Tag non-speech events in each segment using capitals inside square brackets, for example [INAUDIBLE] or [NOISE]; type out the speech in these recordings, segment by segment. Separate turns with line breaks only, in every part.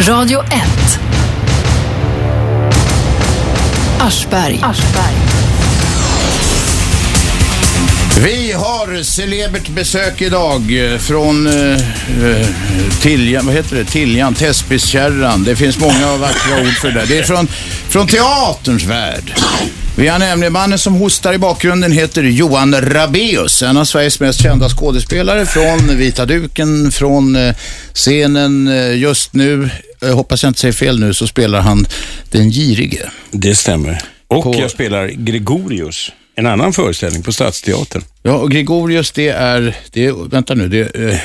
Radio 1. Aschberg.
Vi har celebert besök idag eh, från eh, eh, Tiljan, vad heter det? Tiljan, Täsbyskärran. Det finns många vackra ord för det. där. Det är från, från teaterns värld. Vi har nämligen mannen som hostar i bakgrunden heter Johan Rabeus, en av Sveriges mest kända skådespelare från Vita Duken, från eh, scenen eh, just nu. Jag hoppas jag inte säger fel nu, så spelar han den girige.
Det stämmer. Och
På-
jag spelar Gregorius, en annan föreställning på Stadsteatern.
Ja, och Gregorius det är, det är vänta nu, det är... eh,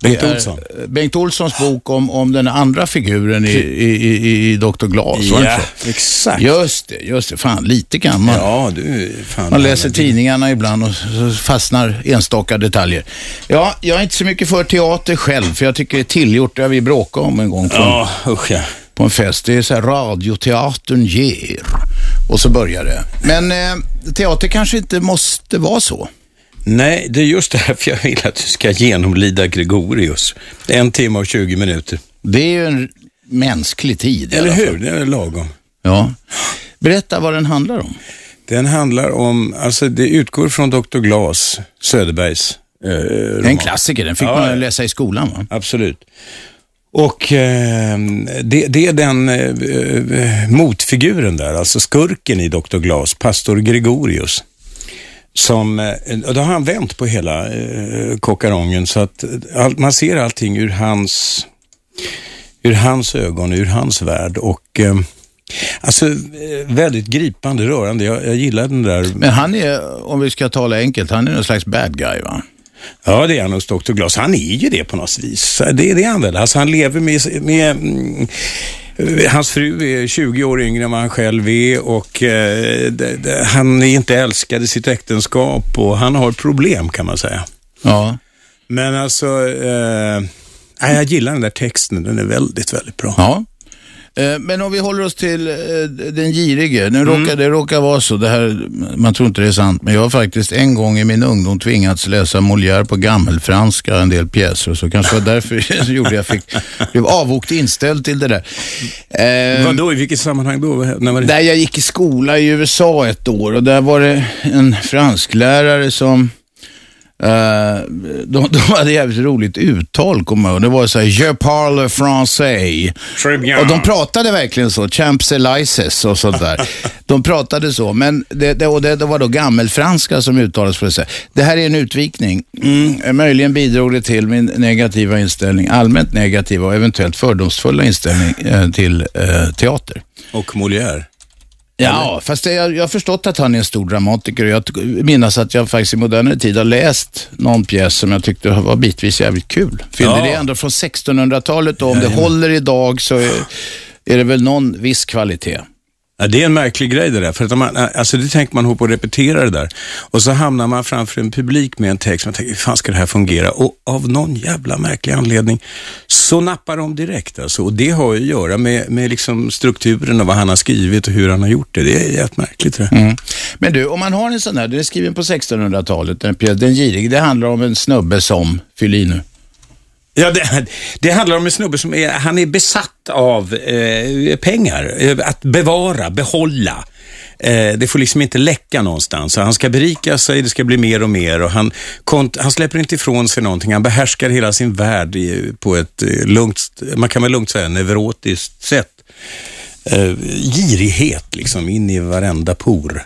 Bengt
Det är,
Olsson.
eh, Bengt Olssons bok om, om den andra figuren i, i, i, i Dr. Glas. var det inte så?
exakt.
Just det, just det. Fan, lite gammal.
Ja, du fan.
Man läser tidningarna ibland och så fastnar enstaka detaljer. Ja, jag är inte så mycket för teater själv, för jag tycker det är tillgjort. Det har vi bråkat om en gång på,
Ja, usch ja.
på en fest. Det är så här, radioteatern ger. Och så börjar det. Men eh, teater kanske inte måste vara så.
Nej, det är just därför jag vill att du ska genomlida Gregorius. En timme och 20 minuter.
Det är ju en mänsklig tid. i
Eller
alla fall.
hur? Det är lagom.
Ja. Berätta vad den handlar om.
Den handlar om, alltså det utgår från Dr. Glas, Söderbergs eh, roman.
Det är en klassiker, den fick
Ja,
man
ja.
ju läsa i skolan va?
Absolut. Och eh, det, det är den eh, eh, motfiguren där, alltså skurken i Dr. Glas, pastor Gregorius. Som, eh, och då har han vänt på hela eh, kockarongen så att eh, allt- man ser allting ur hans, ur hans ögon, ur hans värld. Och, eh, alltså, eh, väldigt gripande, rörande. Jag, jag gillar den där.
Men han är, om vi ska tala enkelt, han är någon slags bad guy va?
Ja, det är han hos Dr. Glas. Han är ju det på något vis. Det är det han väl. Alltså han lever med... med mm, Hans fru är 20 år yngre än vad han själv är och eh, det, det, han är inte älskad i sitt äktenskap och han har problem kan man säga.
Ja.
Men alltså, eh, nej, jag gillar den där texten. Den är väldigt, väldigt bra.
ja. Eh, Men om vi håller oss till eh, den girige.
Mm.
Nu råkar, det råkar vara så, det här, man tror inte det är sant, men jag har faktiskt en gång i min ungdom tvingats läsa Molière på gammelfranska, en del pjäser och så. Kanske var därför [LAUGHS] jag gjorde jag fick, blev avvokt inställd till det där. Eh,
Vad då? I vilket sammanhang då? Vad- När var det?
Där jag gick i skola i USA ett år och där var det en fransklärare som eh, de, de hade jävligt roligt uttal, kommer jag ihåg. Det var så här, je parle français.
Tribune.
Och de pratade verkligen så, champs elises och sånt där. de pratade så, men det, det, och det, det var då gammelfranska som uttalades på det sättet. Det här är en utvikning. Mm, möjligen bidrog det till min negativa inställning, allmänt negativa och eventuellt fördomsfulla inställning eh, till eh, teater.
Och Molière.
Ja, fast det, jag, jag har förstått att han är en stor dramatiker och jag t- minns att jag faktiskt i modernare tid har läst någon pjäs som jag tyckte var bitvis jävligt kul. Fyllde
Ja.
det ändå från 1600-talet och om det håller idag så är, är det väl någon viss kvalitet.
Ja, det är en märklig grej det där, för att man, alltså det tänker man hålla på att repetera det där. Och så hamnar man framför en publik med en text, man tänker, hur fan ska det här fungera? Och av någon jävla märklig anledning så nappar de direkt alltså. Och det har ju att göra med, med liksom strukturen och vad han har skrivit och hur han har gjort det. Det är jättemärkligt det där.
Mm. Men du, om man har en sån här, den är skriven på 1600-talet, den, pjäs- den girige, det handlar om en snubbe som, fyll i nu.
Ja, det, det handlar om en snubbe som är, han är besatt av eh, pengar. Eh, Att bevara, behålla. Eh, det får liksom inte läcka någonstans. Så han ska berika sig, det ska bli mer och mer. Och han, kont- han släpper inte ifrån sig någonting. Han behärskar hela sin värld i, på ett eh, lugnt, man kan väl lugnt säga neurotiskt sätt. Eh, girighet liksom, in i varenda por.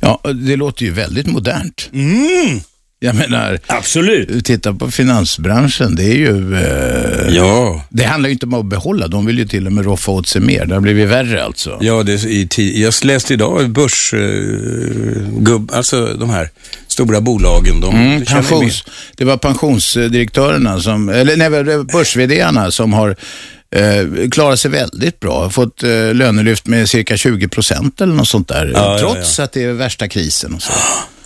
Ja, det låter ju väldigt modernt. Jag menar,
Mm. Absolut.
titta på finansbranschen, det är ju... Eh,
Ja.
Det handlar ju inte om att behålla, de vill ju till och med roffa åt sig mer. Det har blivit värre alltså.
Ja, det, är i, ti- jag läste idag börs... Eh, gubb, alltså de här stora bolagen. De,
Mm,
du känner ju
pensions, det var pensionsdirektörerna, som, eller nej, det var börs vdarna som har eh, klarat sig väldigt bra. Har Fått eh, lönelyft med cirka 20 procent eller något sånt där.
ja,
trots att det är värsta krisen och så.
med.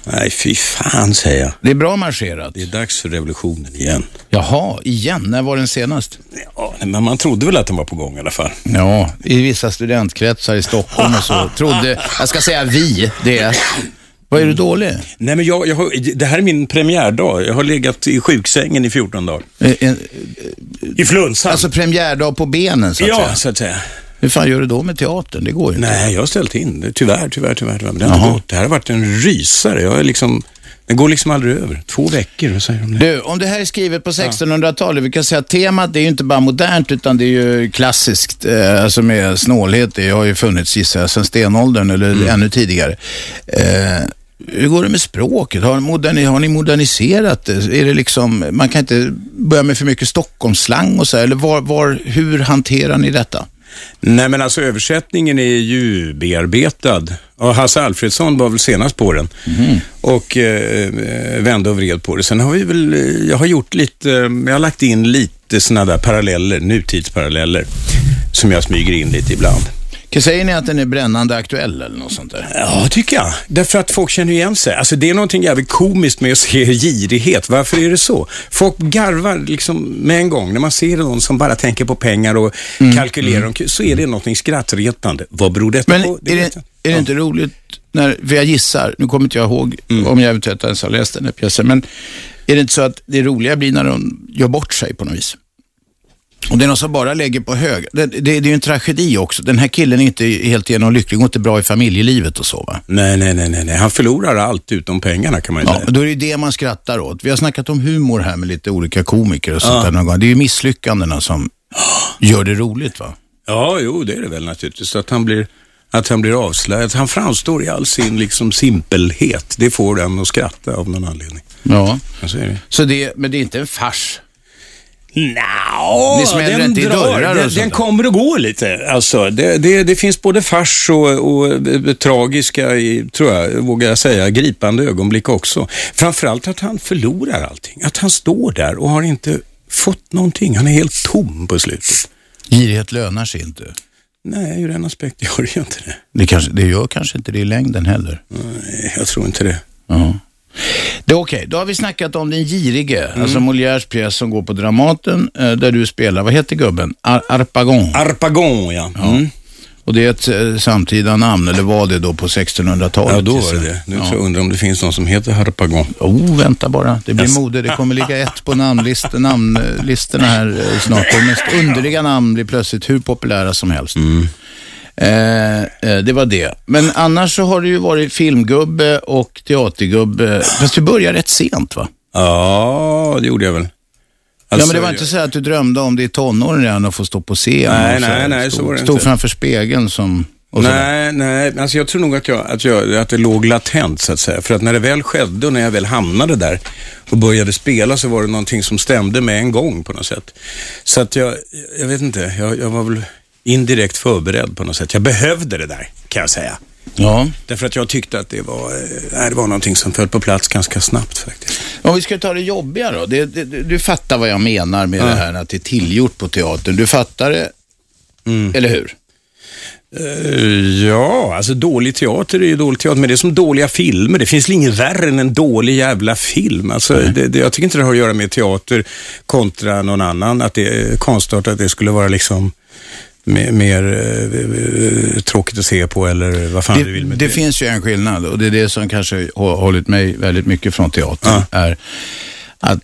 Nej, fy fan säger jag.
Det är bra marscherat.
Det är dags för revolutionen igen.
Jaha, igen. När var den senast?
Ja, men man trodde väl att den var på gång i alla fall.
Ja, i vissa studentkretsar i Stockholm och så. Trodde, jag ska säga vi, det. Vad är du dålig?
Nej, men jag, jag har, det här är min premiärdag. Jag har legat i sjuksängen i 14 dagar.
Eh, eh,
I flunsan?
Alltså premiärdag på benen så att
ja,
säga.
så att säga.
Hur fan gör du då med teatern? Det går ju inte.
Nej, jag har ställt in. det. Tyvärr, tyvärr, tyvärr. tyvärr. Men det, har inte
Jaha.
gått. det här har varit en rysare. Jag är liksom, den går liksom aldrig över. Två veckor, vad säger de det?
Du, om det här är skrivet på 1600-talet, vi kan säga att temat det är ju inte bara modernt utan det är ju klassiskt, eh, alltså med snålhet. Det har ju funnits gissar jag sedan stenåldern eller ännu tidigare. Eh, hur går det med språket? Har, moderni, har ni moderniserat det? Är det liksom, man kan inte börja med för mycket Stockholmsslang och så här, eller var, var, hur hanterar ni detta?
Nej, men alltså översättningen är ju bearbetad. Och Hasse Alfredsson var väl senast på den och eh, eh, vände och vred på det. Sen har vi väl, eh, jag har gjort lite, eh, jag har lagt in lite sådana där paralleller, nutidsparalleller, som jag smyger in lite ibland.
Säger ni att den är brännande aktuell eller något sånt där?
Ja, tycker jag. Därför att folk känner igen sig. Alltså, det är någonting jävligt komiskt med att se girighet. Varför är det så? Folk garvar liksom med en gång. När man ser någon som bara tänker på pengar och
Mm,
kalkylerar omkring, så är det någonting skrattretande. Vad beror detta
Men
på?
är, det,
vet
är
jag
det inte roligt när, för jag gissar, nu kommer inte jag ihåg
Mm.
om jag eventuellt ens har läst den här pjäsen, men är det inte så att det roliga blir när de gör bort sig på något vis? Och det är någon som bara lägger på hög. Det, det, det är ju en tragedi också. Den här killen är inte helt igenom lycklig, går inte bra i familjelivet och så va?
Nej, nej, nej, nej, nej. Han förlorar allt utom pengarna kan man ju
Ja,
säga.
och då är det ju det man skrattar åt. Vi har snackat om humor här med lite olika komiker och sånt där någon gång. Det är ju misslyckandena som gör det roligt va?
Ja, jo, det är det väl naturligtvis. Att han blir, att han blir avslöjad. Att han framstår i all sin liksom, simpelhet. Det får en att skratta av någon anledning.
Ja.
Ja, Så är det.
Så det, men det är inte en fars.
Nja,
Ni smäller
den
inte i dörrar och
Den,
sånt
den
där.
kommer och går lite. Alltså, det, det, det finns både fars och, och eh, tragiska, i, tror jag, vågar jag säga, gripande ögonblick också. Framförallt att han förlorar allting. Att han står där och har inte fått någonting. Han är helt tom på slutet.
Girighet lönar sig inte.
Nej, ur den aspekten [LAUGHS] gör det ju inte det.
Det, kanske, det gör kanske inte det i längden heller.
Nej, jag tror inte det.
Ja. Det är okej, då har vi snackat om den girige,
Mm.
alltså Molières pjäs som går på Dramaten, eh, där du spelar, vad heter gubben? Ar- Arpagon.
Arpagon, ja. Mm.
Och det är ett eh, samtida namn, eller var det då på 1600-talet?
Ja, då var
gissar
det
jag.
det. Nu tror jag undrar om det finns någon som heter Harpagon.
Oh, vänta bara. Det blir mode. Det kommer ligga ett
[LAUGHS]
på namnlist- namnlistorna här eh, snart. De mest underliga namn blir plötsligt hur populära som helst.
Mm.
Eh, eh, det var det. Men annars så har det ju varit filmgubbe och teatergubbe. Fast du började rätt sent va?
Ja, det gjorde jag väl.
ja,
Alltså,
men det var inte så att du drömde om det i tonåren redan att få stå på scen.
Nej,
och
nej, nej, så
stod,
var det
Stod
inte.
framför spegeln som... och så.
Nej, nej, alltså jag tror nog att, jag, att, jag, att det låg latent så att säga. För att när det väl skedde och när jag väl hamnade där och började spela så var det någonting som stämde med en gång på något sätt. Så att jag, jag vet inte, jag, jag var väl indirekt förberedd på något sätt. Jag behövde det där, kan jag säga.
Ja.
Därför att jag tyckte att det var, eh, nej, det var någonting som föll på plats ganska snabbt faktiskt.
Om vi ska ta det jobbiga då. Det, det, du fattar vad jag menar med det här att det är tillgjort på teatern. Du fattar det, eller hur?
Mm. Eh, Ja, alltså dålig teater är ju dålig teater, men det är som dåliga filmer. Det finns väl inget värre än en dålig jävla film. Alltså, det, det, jag tycker inte det har att göra med teater kontra någon annan, att det är konstart att det skulle vara liksom mer, mer eh, eh, tråkigt att se på eller vad fan du vill
Det,
med
det finns ju en skillnad och det är det som kanske har hållit mig väldigt mycket från teatern. Är att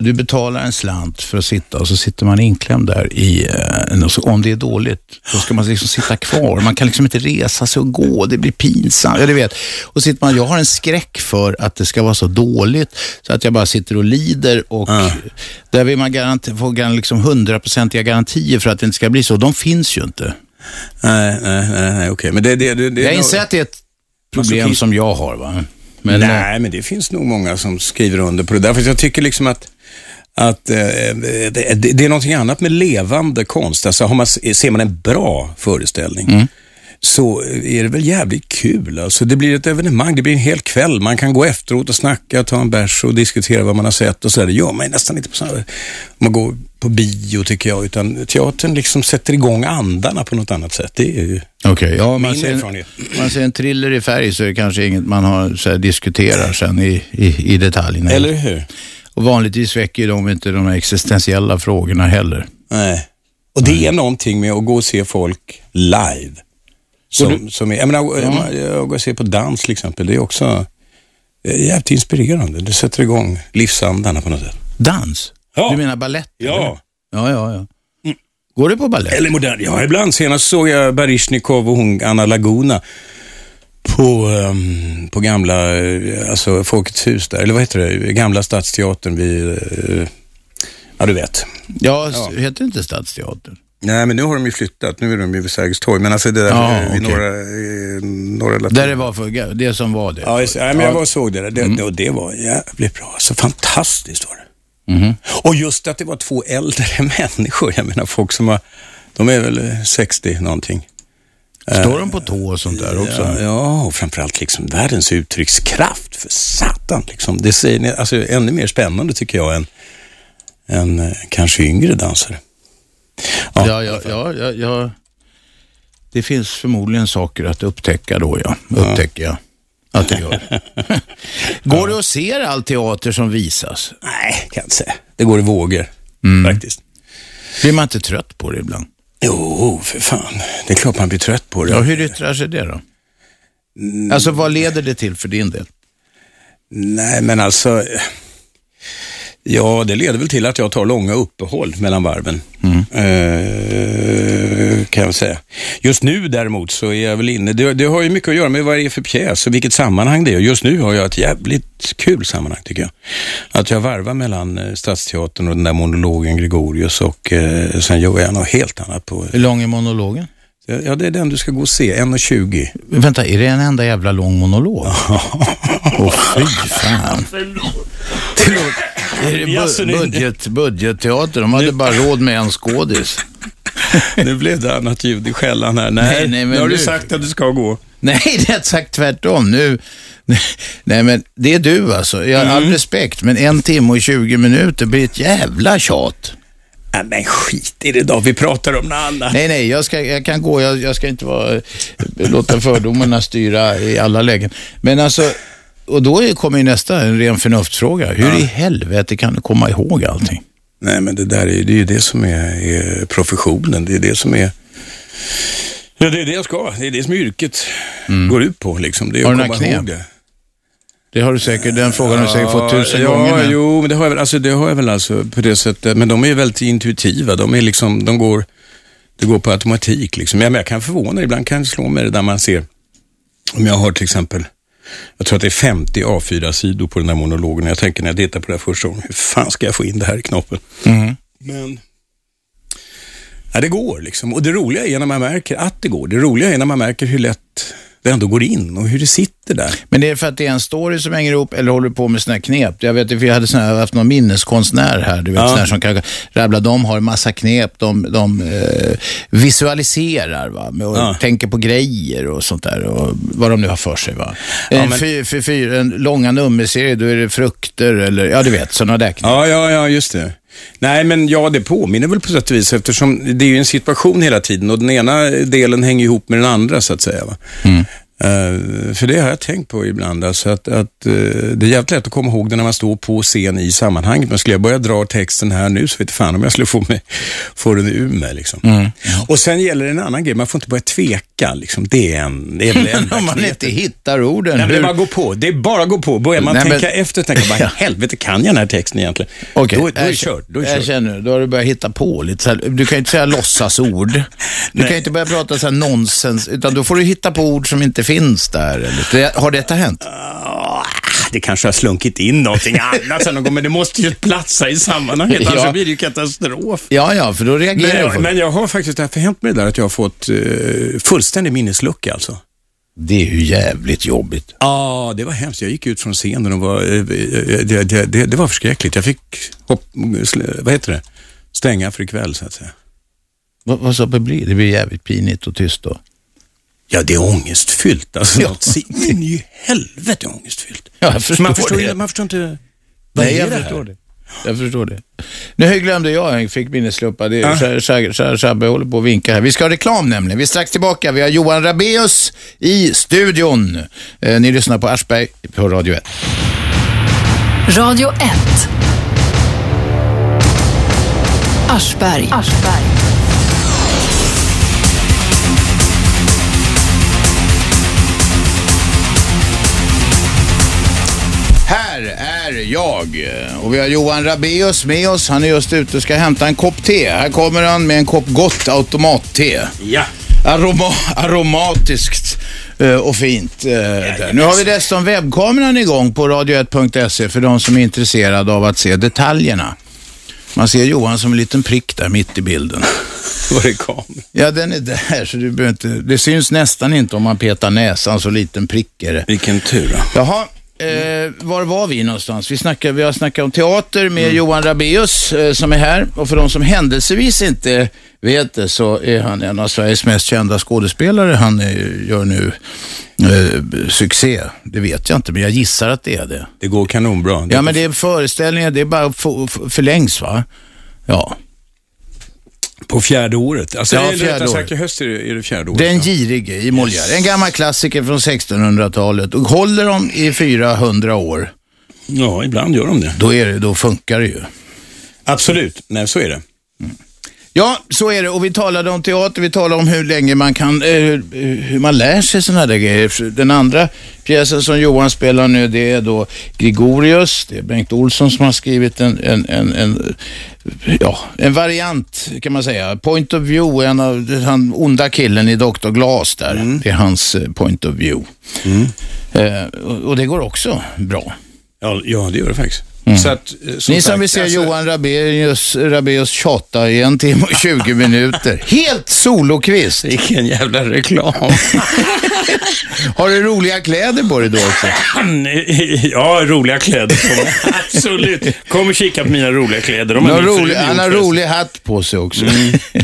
du betalar en slant för att sitta och så sitter man inklämd där i, eh, en- och så, om det är dåligt, då ska man liksom sitta kvar. Man kan liksom inte resa sig och gå, det blir pinsamt. Ja, du vet. Och sitter man, jag har en skräck för att det ska vara så dåligt så att jag bara sitter och lider och där vill man garanti, få gar- liksom hundraprocentiga garantier för att det inte ska bli så. De finns ju inte.
Nej, nej, nej, nej, okej. Men det, det, det, det
Jag inser att det är ett problem
Masochist.
som jag har. Va? Men, eh,
Alltså, Nej, men det finns nog många som skriver under på det där. För jag tycker liksom att, att eh, det, det det är någonting annat med levande konst. Alltså har man, ser man en bra föreställning
Mm.
så är det väl jävligt kul. Alltså, det blir ett evenemang, det blir en hel kväll. Man kan gå efteråt och snacka, ta en bärs och diskutera vad man har sett och sådär. Det gör man ju nästan inte på samma... om Man går på bio tycker jag, utan teatern liksom sätter igång andarna på något annat sätt. Det är ju...
Okej, ja, om man,
Min
ser en,
erfarenhet.
om man ser en thriller i färg så är det kanske inget man har, så här, diskuterar sen i, i, i detalj. nej.
Eller hur?
Och vanligtvis väcker ju de inte de här existentiella frågorna heller.
Nej. Och det är någonting med att gå och se folk live. Som, som är, jag menar, jag, jag går och ser på dans till exempel. Det är också eh, jävligt inspirerande. Det sätter igång livsandarna på något sätt.
Dans?
Ja.
Du menar ballett? eller?
Ja. Mm.
Ja, ja, ja. Går du på ballett?
Eller modern. Ja, ibland. Senast såg jag Baryshnikov och hon, Anna Laguna, på, ehm, på gamla, eh, alltså Folkets hus där. Eller vad heter det? Gamla Stadsteatern vid, eh, ja du vet.
Ja, s- heter det inte Stadsteatern?
Nej, men nu har de ju flyttat. Nu är de ju vid Sergels torg. Men alltså det där
Ja,
vid
okej.
norra, eh, norra Latin.
Där det var för, det som var det. Mm.
Ja, just, det. nej, men jag var och såg det där. Det, det, och det var jävligt bra. Så fantastiskt var det. Mm-hmm. Och just att det var två äldre [LAUGHS] människor. Jag menar folk som var, de är väl eh, 60 någonting. Eh,
Står de på tå och sånt där också?
Ja, ja, och framförallt liksom världens uttryckskraft för satan. Liksom. Det säger ni, alltså, ännu mer spännande tycker jag än, än eh, kanske yngre dansare. Ja,
Ja, ja, ja, ja, ja. Det finns förmodligen saker att upptäcka då, ja. Upptäcker jag att det
[LAUGHS]
gör. Går du och ser all teater som visas?
Nej, kan jag inte säga. Det går i vågor
Mm.
faktiskt.
Blir man inte trött på det ibland?
Jo, för fan. Det är klart man blir trött på det.
Ja, hur yttrar sig det då?
Mm.
Alltså, vad leder det till för din del?
Nej, men alltså. Ja, det leder väl till att jag tar långa uppehåll mellan varven. Eh, kan jag väl säga. Just nu däremot så är jag väl inne. Det, det har ju mycket att göra med vad det är för pjäs och vilket sammanhang det är. Just nu har jag ett jävligt kul sammanhang tycker jag. Att jag varvar mellan eh, Stadsteatern och den där monologen Gregorius och eh, sen gör jag något helt annat på...
Hur lång är monologen?
Ja, det är den du ska gå och se. 1.20.
Vänta, är det en enda jävla lång monolog? Åh, fy fan. Är det
Jaså, det
bu-
är-
budget, budgetteater? De hade bara råd med en skådis.
Nu blev det annat ljud i skällan här. Nej,
Nej, nej, men
nu har du
nu-
sagt att du ska gå.
Nej, rätt sagt tvärtom. Nu, nej, men det är du alltså. Jag har
Mm.
all respekt, men en timme och 20 minuter blir ett jävla tjat.
Nej, men skit i det då. Vi pratar om något annat.
Nej, nej, jag, ska, jag kan gå. Jag, jag ska inte vara, låta fördomarna styra i alla lägen. Men alltså, och då är- kommer ju nästa, en ren förnuftsfråga. Hur i helvete kan du komma ihåg allting?
Nej, men det där är, det är ju det som är, är professionen. Det är det som är... Ja, det är det jag ska. Det är det som yrket går ut på. Liksom. Det är
Mm. Har
att
du några
komma
knep?
ihåg det.
Det har du säkert, den frågan har du säkert fått tusen
ja,
gånger. nu.
Jo, men det har, jag väl, alltså, det har jag väl alltså på det sättet. Men de är ju väldigt intuitiva. De är liksom, de går, det går på automatik liksom. Jag, men jag kan förvåna, ibland kan det slå mig det där man ser, om jag har till exempel, jag tror att det är 50 A4-sidor på den här monologen. Jag tänker när jag tittar på det här första gången, hur fan ska jag få in det här i knoppen?
Mm.
Men... Ja, det går liksom. Och det roliga är när man märker att det går. Det roliga är när man märker hur lätt det ändå går in och hur det sitter där.
Men det är för att det är en story som hänger ihop eller håller du på med såna här knep? Jag vet att vi hade såna här, haft någon minneskonstnär här, du vet, sån här som kan rabbla, de har en massa knep, de, de eh, visualiserar va? Med, och
Ja.
tänker på grejer och sånt där och vad de nu har för sig. Va? en,
men-
fy, fy, fy, en långa nummerserie, då är det frukter eller, ja du vet, sådana där knep.
Ja, ja, ja, just det. Nej, men ja, det påminner väl på sätt och vis eftersom det är ju en situation hela tiden och den ena delen hänger ihop med den andra så att säga. Va?
Mm.
Eh, för det har jag tänkt på ibland, alltså att, att eh, det är jävligt lätt att komma ihåg det när man står på scen i sammanhanget. Men skulle jag börja dra texten här nu så vet fan om jag skulle få, mig, få den ur mig. Liksom.
Mm.
Och sen gäller det en annan grej, man får inte börja tveka. Liksom. Det är en... Det är väl en
[LAUGHS] Om man inte hittar orden.
Nej, men det är
hur-
bara att gå på. Det är bara att gå på. Börjar man
Nej, men-
tänka efter,
[LAUGHS]
tänker man, helvete kan jag den här texten egentligen?
Okej,
Då, då är det
jag
kört. Då är det
jag
kört.
känner, då har du börjat hitta på lite. Så här, du kan ju
[LAUGHS]
inte säga låtsasord. Du kan ju inte börja prata så här nonsens, utan då får du hitta på ord som inte finns där. Eller, det, har detta hänt?
Ah, det kanske har slunkit
[LAUGHS]
in någonting annat sen någon gång, men det måste ju platsa i sammanhanget,
Ja.
annars blir det ju katastrof.
Ja, ja, för då reagerar
Men
jag,
jag, men jag har faktiskt, det har hänt mig det där att jag har fått eh, fullständig minneslucka alltså.
Det är ju jävligt jobbigt.
Ja, det var hemskt. Jag gick ut från scenen och var, eh, eh, det, det, det, det var förskräckligt. Jag fick, hopp, sl- vad heter det, stänga för ikväll så att säga.
Vad, vad så det blir? Det blir jävligt pinigt och tyst då.
Ja, det är ångestfyllt. Alltså,
[LAUGHS] Ja.
något si- in i helvete ångestfyllt.
Ja, jag förstår
man, förstår
det.
ju- man förstår inte... vad
Nej,
är
jag
det här?
förstår det. Jag förstår det. Nu glömde jag, jag fick minnesluppa. Det är-
Ja.
Shab- Shab- Shab- Shabbe håller på att vinka här. Vi ska ha reklam nämligen. Vi är strax tillbaka. Vi har Johan Rabeus i studion. Eh, ni lyssnar på Aschberg på Radio 1.
Radio 1. Aschberg.
är jag. Och vi har Johan Rabeus med oss. Han är just ute och ska hämta en kopp te. Här kommer han med en kopp gott automatte.
Ja.
Aroma aromatiskt eh, och fint. eh, där. Nu har vi dessutom webbkameran igång på radio1.se för de som är intresserade av att se detaljerna. Man ser Johan som en liten prick där mitt i bilden.
[LAUGHS] Var det kameran?
Ja, den är där, så du behöver inte... Det syns nästan inte om man petar näsan, så liten prick är det.
Vilken tur. då.
Jaha, eh, var var vi någonstans? Vi, snackar, vi har snackat om teater
Mm.
med Johan Rabeus eh, som är här. Och för de som händelsevis inte vet det så är han en av Sveriges mest kända skådespelare. Han eh, gör nu eh, succé. Det vet jag inte, men jag gissar att det är det.
Det går kanonbra.
Ja, men det är föreställningar, det är bara f- f- förlängs va? Ja.
På fjärde året. Alltså,
Ja,
det är
fjärde
rättare sagt,
året.
i höst är det, är det fjärde året.
Den
ja.
girige i Molière. En gammal klassiker från 1600-talet. Och håller de i 400 år,
ja, ibland gör de det.
då, är det, då funkar det ju.
Absolut. Nej, så är det.
Ja, så är det. Och vi talade om teater, vi talade om hur länge man kan, eh, hur man lär sig sådana där grejer. Den andra pjäsen som Johan spelar nu, det är då Grigorius. Det är Bengt Olsson som har skrivit en, en, en, en, ja, en variant, kan man säga. Point of view, en av den han onda killen i Dr. Glas där.
Mm.
Det är hans eh, point of view.
Mm.
Eh, och, och det går också bra.
Ja, ja det gör det faktiskt. Så att, eh,
Mm. Ni som
sagt,
vill se
alltså-
Johan Rabeus, Rabeus tjata i en timme och
[LAUGHS]
20 minuter. Helt solokvist.
Vilken jävla reklam.
[LAUGHS] Har du roliga kläder på dig då också?
[LAUGHS]
Ja, roliga kläder. Kommer. Absolut. Kom och kika på mina roliga kläder. De
Han
har
har,
min fru
rolig,
gjort
han har
förresten. Mm.
rolig hatt på sig också.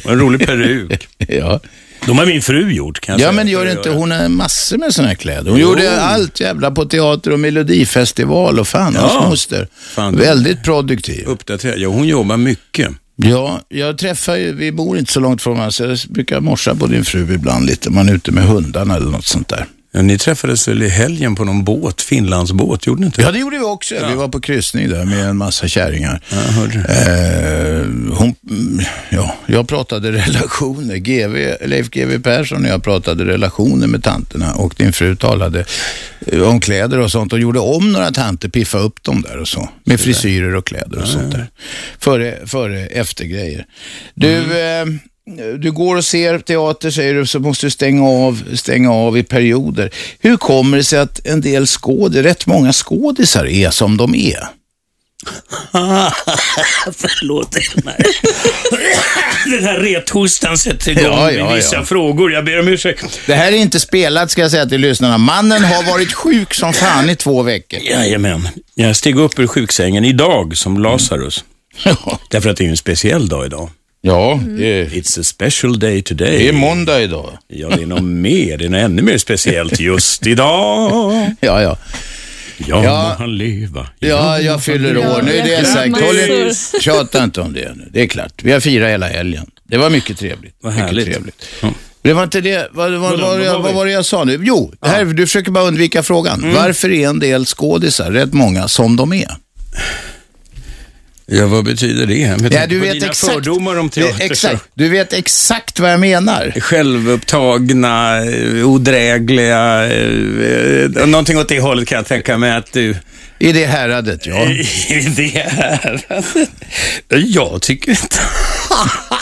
Och En rolig peruk.
[LAUGHS] ja.
De har min fru gjort kan jag
ja,
säga.
men gör
Det
inte hon har massor med såna här kläder? Hon gjorde allt jävla på teater och melodifestival och fan, hans moster.
Fan.
Väldigt produktiv.
Uppdatera. Ja, hon jobbar mycket.
Ja, jag träffar ju, vi bor inte så långt från varandra, så jag brukar morsa på din fru ibland lite, man är ute med hundarna eller något sånt där.
Ja, ni träffades väl i helgen på någon båt, Finlandsbåt, gjorde ni inte?
Ja, det gjorde vi också. Vi var på kryssning där med en massa kärringar.
jag hörde det.
Eh, hon, mm, ja, jag pratade [LAUGHS] relationer. GV, Leif GW Persson och jag pratade relationer med tanterna och din fru talade eh, om kläder och sånt och gjorde om några tanter, piffa upp dem där och så. Med frisyrer och kläder och sånt där. Före, före eftergrejer. Du, eh, du går och ser teater säger du, så måste du stänga av, stänga av i perioder. Hur kommer det sig att en del skådisar, rätt många skådisar är som de är?
[LAUGHS] Förlåt. Nej. Den här rethostan sätter igång
Ja, ja,
med vissa
ja.
frågor. Jag ber om ursäkt.
Det här är inte spelat ska jag säga till lyssnarna. Mannen har varit sjuk som fan i två veckor.
Jajamän. Jag steg upp ur sjuksängen idag som Lazarus.
[LAUGHS]
Därför att det är ju en speciell dag idag.
Mm. Ja, det är,
It's a special day today.
måndag idag.
Ja, det är något mer. Det är något ännu mer speciellt just idag.
Ja, ja.
Ja,
Ja.
må han leva.
Ja, jag fyller år. Nu är det
grattis.
sagt. Håll inte, tjata inte om det nu. Det är klart. Vi har firat hela helgen. Det var mycket trevligt.
Vad
mycket
härligt.
trevligt. Det var inte det. Vad, vad, vad,
var
jag,
vi?
vad var det jag sa nu? Jo, det här, du försöker bara undvika frågan.
Mm.
Varför är en del skådisar, rätt många, som de är?
Ja, vad betyder det? Jag
Ja,
tänker
du
på
vet
dina
exakt,
fördomar om teater.
Det- Exakt. Du vet exakt vad jag menar.
Självupptagna, eh, odrägliga, eh, eh, någonting åt det hållet kan jag tänka mig att du...
I det
[LAUGHS]
häradet, ja.
det är... Jag tycker inte... [LAUGHS]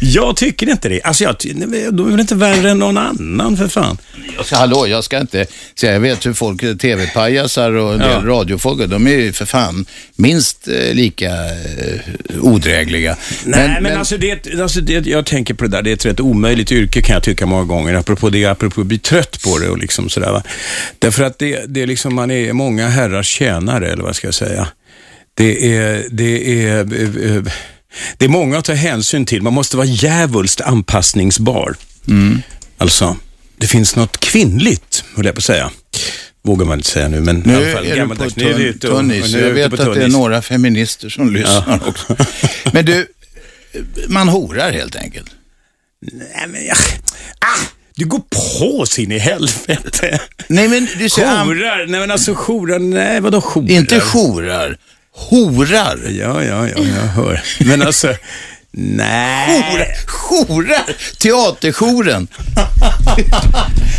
jag tycker inte det. Alltså, jag, ty- nej, de är väl inte värre än någon annan, för fan.
Så Hallå, jag ska inte säga, jag vet hur folk, tv-pajasar och en del
Ja.
radiofolk, de är ju för fan minst eh, lika eh, odrägliga.
Nej, men, alltså, det, alltså det, jag tänker på det där, det är ett rätt omöjligt yrke kan jag tycka många gånger, apropå det, apropå att bli trött på det och liksom sådär. Va? Därför att det, det är liksom, man är många herrars tjänare, eller vad ska jag säga. Det är, det är, eh, eh, det är många att ta hänsyn till, man måste vara djävulskt anpassningsbar. Alltså, det finns något kvinnligt, höll jag på att säga. Vågar man inte säga nu, men
nu
i alla fall
är du på
gammaldags. Nu är vi
tunn,
ute och-
tunn
och
is.
nu är
Jag
vi ute
vet
på
att
tunn
det är
is.
några feminister som lyssnar också. Men du, man horar helt enkelt.
Nej, men jag... Ah! Du går på sin i helvete.
Nej, men du säger... am-
Jourar? Nej, men alltså jourar. Nej, vadå jourar?
Inte jourar, horar.
Ja, ja, ja, jag hör. Men alltså, Nej.
Jourer! Teaterjouren.
[LAUGHS]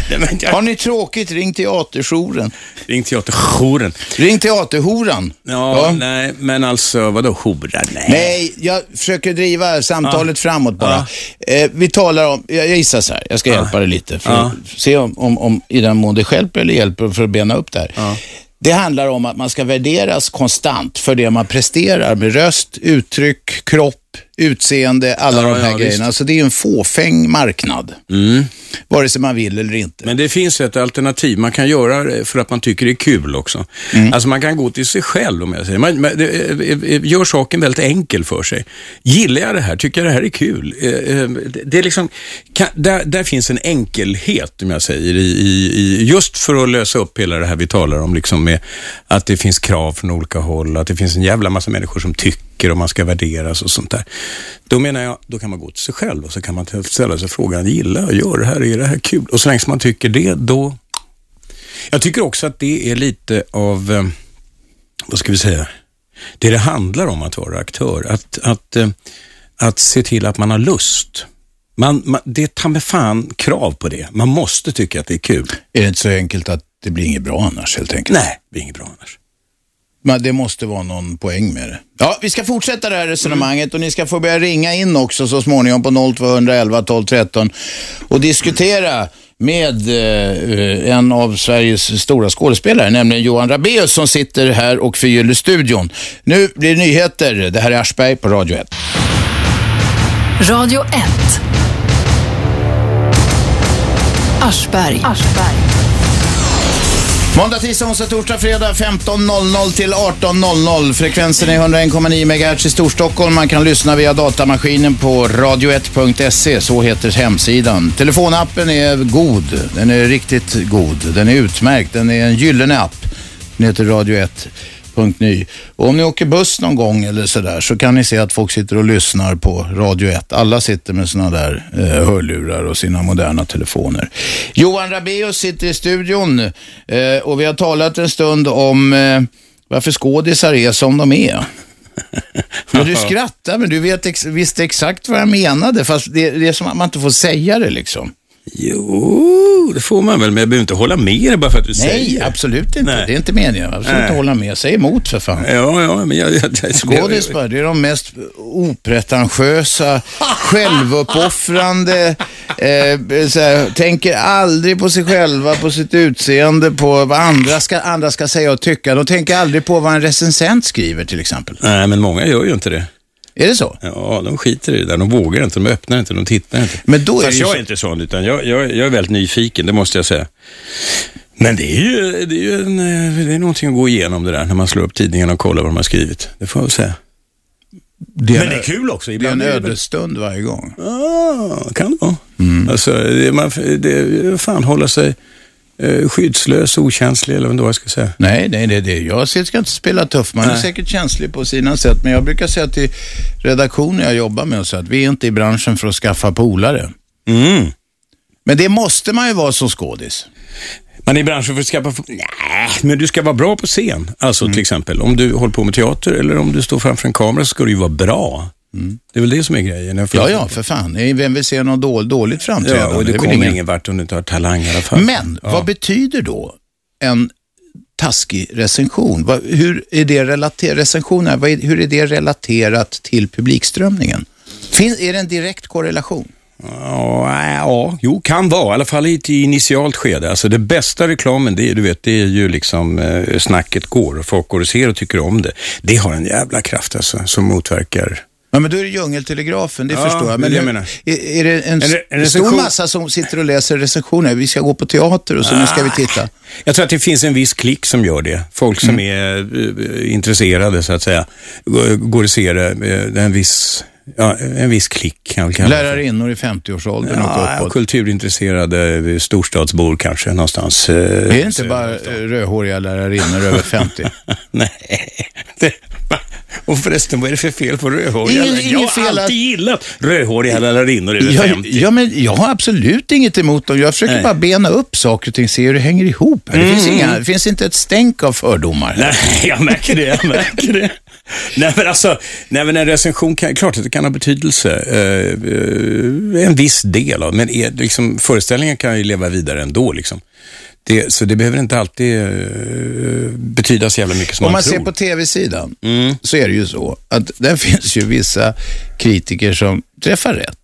Nej, men jag-
Har ni tråkigt, ring teaterjouren.
Ring teaterjouren.
Ring teaterhoran.
Ja, nej, men alltså vadå hora? Nej.
Nej, jag försöker driva samtalet framåt bara. Eh, vi talar om, jag, jag gissar så här, jag ska hjälpa dig lite för
Ja.
att se om, om, om i den mån det hjälper eller hjälper för att bena upp det här. Det handlar om att man ska värderas konstant för det man presterar med röst, uttryck, kropp, utseende, alla
Ja,
de här
ja,
grejerna. Så det är ju en fåfäng marknad,
Mm.
vare sig man vill eller inte.
Men det finns ett alternativ man kan göra det för att man tycker det är kul också. Alltså man kan gå till sig själv om jag säger. Man, man, det, eh, eh, gör saken väldigt enkel för sig. Gillar jag det här? Tycker jag det här är kul? Eh, eh, det- Det är liksom, kan, där, där finns en enkelhet om jag säger, i, i, i, just för att lösa upp hela det här vi talar om, liksom med att det finns krav från olika håll, att det finns en jävla massa människor som tycker och man ska värderas och sånt där. Då menar jag, då kan man gå till sig själv och så kan man t- ställa sig frågan, gillar jag, gör det här, är det här kul? Och så länge som man tycker det, då... Jag tycker också att det är lite av, eh, vad ska vi säga, det det handlar om att vara aktör, att, att, eh, att se till att man har lust. Man, man, det tar med fan krav på det. Man måste tycka att det är kul.
Är det inte så enkelt att det blir inget bra annars helt enkelt?
Nej, det är inget bra annars.
Men det måste vara någon poäng med det. Ja, vi ska fortsätta det här resonemanget och ni ska få börja ringa in också så småningom på 0211 12 13 och diskutera med eh, eh, en av Sveriges stora skådespelare, nämligen Johan Rabaeus som sitter här och förgyller studion. Nu blir det nyheter. Det här är Aschberg på Radio 1.
Radio 1. Aschberg.
Måndag, tisdag, onsdag, torsdag, fredag 15.00 till 18.00. Frekvensen är 101,9 MHz i Storstockholm. Man kan lyssna via datamaskinen på radio1.se. Så heter hemsidan. Telefonappen är god. Den är riktigt god. Den är utmärkt. Den är en gyllene app. Den heter Radio 1.ny. Och om ni åker buss någon gång eller sådär så kan ni se att folk sitter och lyssnar på Radio 1. Alla sitter med sådana där eh, hörlurar och sina moderna telefoner. Johan Rabaeus sitter i studion eh, och vi har talat en stund om eh, varför skådisar är som de är. Men du skrattar, men du vet ex- visste exakt vad jag menade, fast det, det är som att man inte får säga det liksom.
Jo, det får man väl, men jag behöver inte hålla med dig bara för att du
Nej,
säger
absolut inte.
Nej.
Det är inte meningen. Absolut
Nej.
inte hålla med. Säg emot för fan.
Ja, ja, men jag... jag, jag
Skådisar, det är de mest
[LAUGHS]
opretentiösa, självuppoffrande, eh, så här, tänker aldrig på sig själva, på sitt utseende, på vad andra ska, andra ska säga och tycka. De tänker aldrig på vad en recensent skriver till exempel.
Nej, men många gör ju inte det.
Är det så?
Ja, de skiter i det där. De vågar inte, de öppnar inte, de tittar inte.
Men då är det
Fast
ju
jag är
så,
inte sån, utan jag, jag, jag är väldigt nyfiken, det måste jag säga. Men det är ju, det är ju en, eh, det är någonting att gå igenom det där, när man slår upp tidningen och kollar vad de har skrivit. Det får jag väl säga.
det är
Men det är
en,
kul också.
det är en
är väl-
ödesstund varje gång.
Ah, kan det vara.
Mm.
Alltså, det, man, det, fan hålla sig eh, skyddslös, okänslig eller vad det var jag ska säga.
Nej, nej, det är det. Jag ska inte spela tuff. Man är säkert känslig på sina sätt, men jag brukar säga till redaktionen jag jobbar med och så att vi är inte i branschen för att skaffa polare.
Mm.
Men det måste man ju vara som skådis.
Man är i branschen för att skaffa... Nej, men du ska vara bra på scen. Alltså
Mm.
till exempel, om du håller på med teater eller om du står framför en kamera så ska du ju vara bra. Det är väl det som är grejen.
Mm. Ja, ja, för fan. Nej, Vem vill se något då, dåligt
Ja,
framträdande?
och
Det
du
är väl
kommer
ingen-
ingen vart om du inte har talang i alla fall.
Men vad betyder då en taskig recension? Vad, hur är det relaterat, recensioner, vad är, hur är det relaterat till publikströmningen? Fin, är det en direkt korrelation?
Ja, nej, äh, ja, jo, kan vara. I alla fall i ett initialt skede. Alltså det bästa reklamen, det är, du vet, det är ju liksom eh, snacket går och folk går och ser och tycker om det. Det har en jävla kraft alltså, som motverkar.
Ja, men då är det djungeltelegrafen, det
Ja,
förstår jag.
det är
Men
det jag
hur-
menar.
Är, är det en,
En re- en
stor
recension-
massa som sitter och läser recensioner? Vi ska gå på teater och så, nu
Ah,
ska vi titta. Mm.
Jag tror att det finns en viss klick som gör det. Folk som är eh, intresserade, så att säga, g- går och ser det. eh, det är En viss, ja, en viss klick kan jag väl kalla det för.
Lärarinnor i 50-årsåldern och
Ja,
uppåt.
kulturintresserade eh, storstadsbor kanske någonstans. eh,
Det är inte bara eh, rödhåriga lärarinnor över 50.
[LAUGHS] Nej. Det, [LAUGHS] va? och förresten, vad är det för fel på rödhåriga?
Ingen- ingen
jag har
fel att-
alltid gillat rödhåriga lärarinnor över
Jag,
50.
ja, men jag har absolut inget emot dem. Jag försöker
Nej. Mm.
bara bena upp saker och ting, se hur det hänger
[LAUGHS]
ihop. här. Det, finns inga, det finns inte ett stänk av fördomar.
Nej, jag märker det. Jag märker det. Nej men alltså, nej, men en recension kan, klart att det kan ha betydelse. eh, eh, en viss del av, men är, liksom, föreställningen kan ju leva vidare ändå liksom. Det, så det behöver inte alltid eh, betyda så jävla mycket som
Om
man,
man
tror. Mm.
ser på tv-sidan så är det ju så att där [LAUGHS] finns ju vissa kritiker som träffar rätt.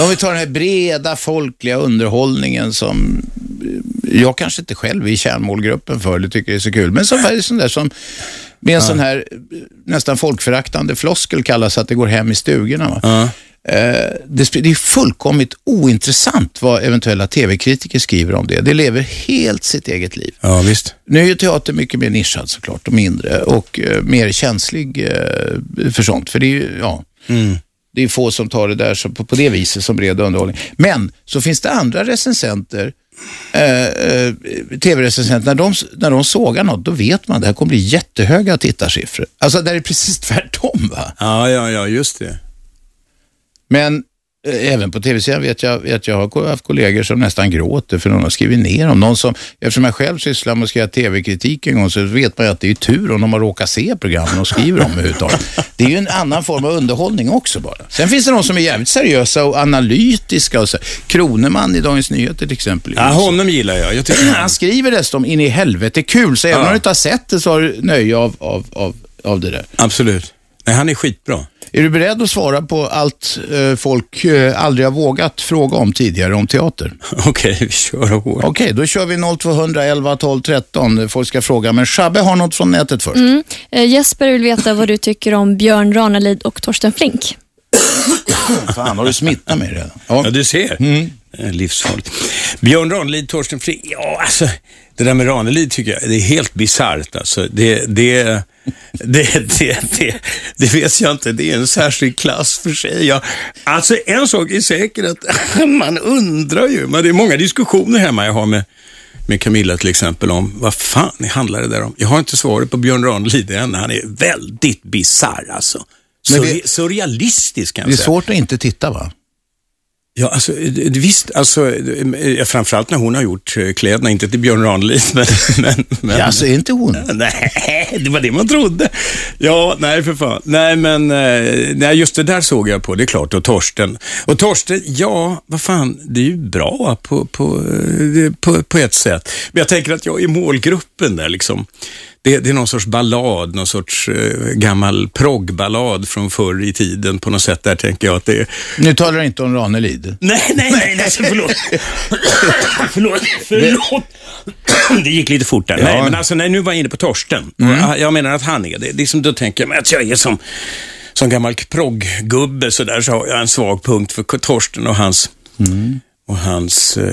Om vi tar den här breda folkliga underhållningen som eh, jag kanske inte själv är i kärnmålgruppen för eller tycker det är så kul, men som är sån där som med en sån här eh, nästan folkföraktande floskel kallas att det går hem i stugorna. Va? Eh, Det sp- det är fullkomligt ointressant vad eventuella tv-kritiker skriver om det. Det lever helt sitt eget liv.
Ja, visst.
Nu är ju teater mycket mer nischad såklart och mindre och eh, mer känslig eh, för sånt. För det är ju, ja, det är få som tar det där så, på, på det viset som bred underhållning. Men så finns det andra recensenter, eh, eh, tv-recensenter, när de, när de sågar något, då vet man att det här kommer bli jättehöga tittarsiffror. Alltså där är det precis tvärtom va.
Ja, ja, ja, just det.
Men eh, Även på tv-serien vet jag att jag har ko- haft kollegor som nästan gråter för någon har skrivit ner dem. Någon som, eftersom jag själv sysslar med att skriva tv-kritik en gång så vet man ju att det är tur om de har råkat se programmen och skriver dem
[LAUGHS]
överhuvudtaget. Det är ju en annan form av underhållning också bara. Sen finns det de som är jävligt seriösa och analytiska. Och så. Kroneman i Dagens Nyheter till exempel.
Ja, honom gillar jag. Jag
[CLEARS THROAT]
tycker
Alltså. Han skriver dessutom in i helvete kul, så även om du inte har sett det så har du nöje av, av, av, av det där.
Absolut. Nej, han är skitbra. [LAUGHS]
Är du beredd att svara på allt eh, folk eh, aldrig har vågat fråga om tidigare om
[LAUGHS]
teater?
Okej, vi kör hårt.
Okej, då kör vi 0200 11 12 13. Folk ska fråga, men Shabbe har något från nätet
Mm.
först.
Eh, Jesper vill veta vad du tycker om Björn Ranelid och Torsten Flink.
Fan, har du smittat mig redan? Ja. Mm.
Ja, du ser. Eh, Livsfarligt. Björn Ranelid, Torsten Flink. Ja, alltså, det där med Ranelid tycker jag, det är helt bisarrt. Alltså, det, det, det, det, det, det vet jag inte, det är en särskild klass för sig. Jag, alltså, en sak är säker, att [LAUGHS] man undrar ju. Men det är många diskussioner hemma jag har med, med Camilla till exempel om vad fan handlar det där om? Jag har inte svaret på Björn Ranelid än. Han är väldigt bisarr alltså.
Men
Surre-
det-
surrealistisk kan
Det
jag
är
säga.
svårt att inte titta va?
Ja, alltså, eh, visst, alltså, eh, eh, framförallt när hon har gjort eh, kläderna, inte till Björn Ranelid, [LAUGHS] men... men, men
Ja, alltså, är inte hon?
[LAUGHS] Nej, det var det man trodde. Ja, nej för fan. Nej, men eh, nej, just det där såg jag på, det är klart. Och Torsten. Och Torsten, ja, vad fan, det är ju bra på, på, eh, det- på, på ett sätt. Men jag tänker att jag är målgruppen där liksom. Det, det är någon sorts ballad, någon sorts eh, gammal proggballad från förr i tiden på något sätt. Där tänker jag att det är...
Nu talar jag inte om Ranelid.
Nej, nej, nej, nej förlåt. [LAUGHS] förlåt, förlåt. Det gick lite fort där.
Nej,
Nej,
men alltså, nej, nu var jag inne på Torsten. Jag, jag menar att han är det. det är som, då tänker jag mig att jag är som, som gammal progggubbe sådär, så har jag en svag punkt för Torsten och hans, och hans eh,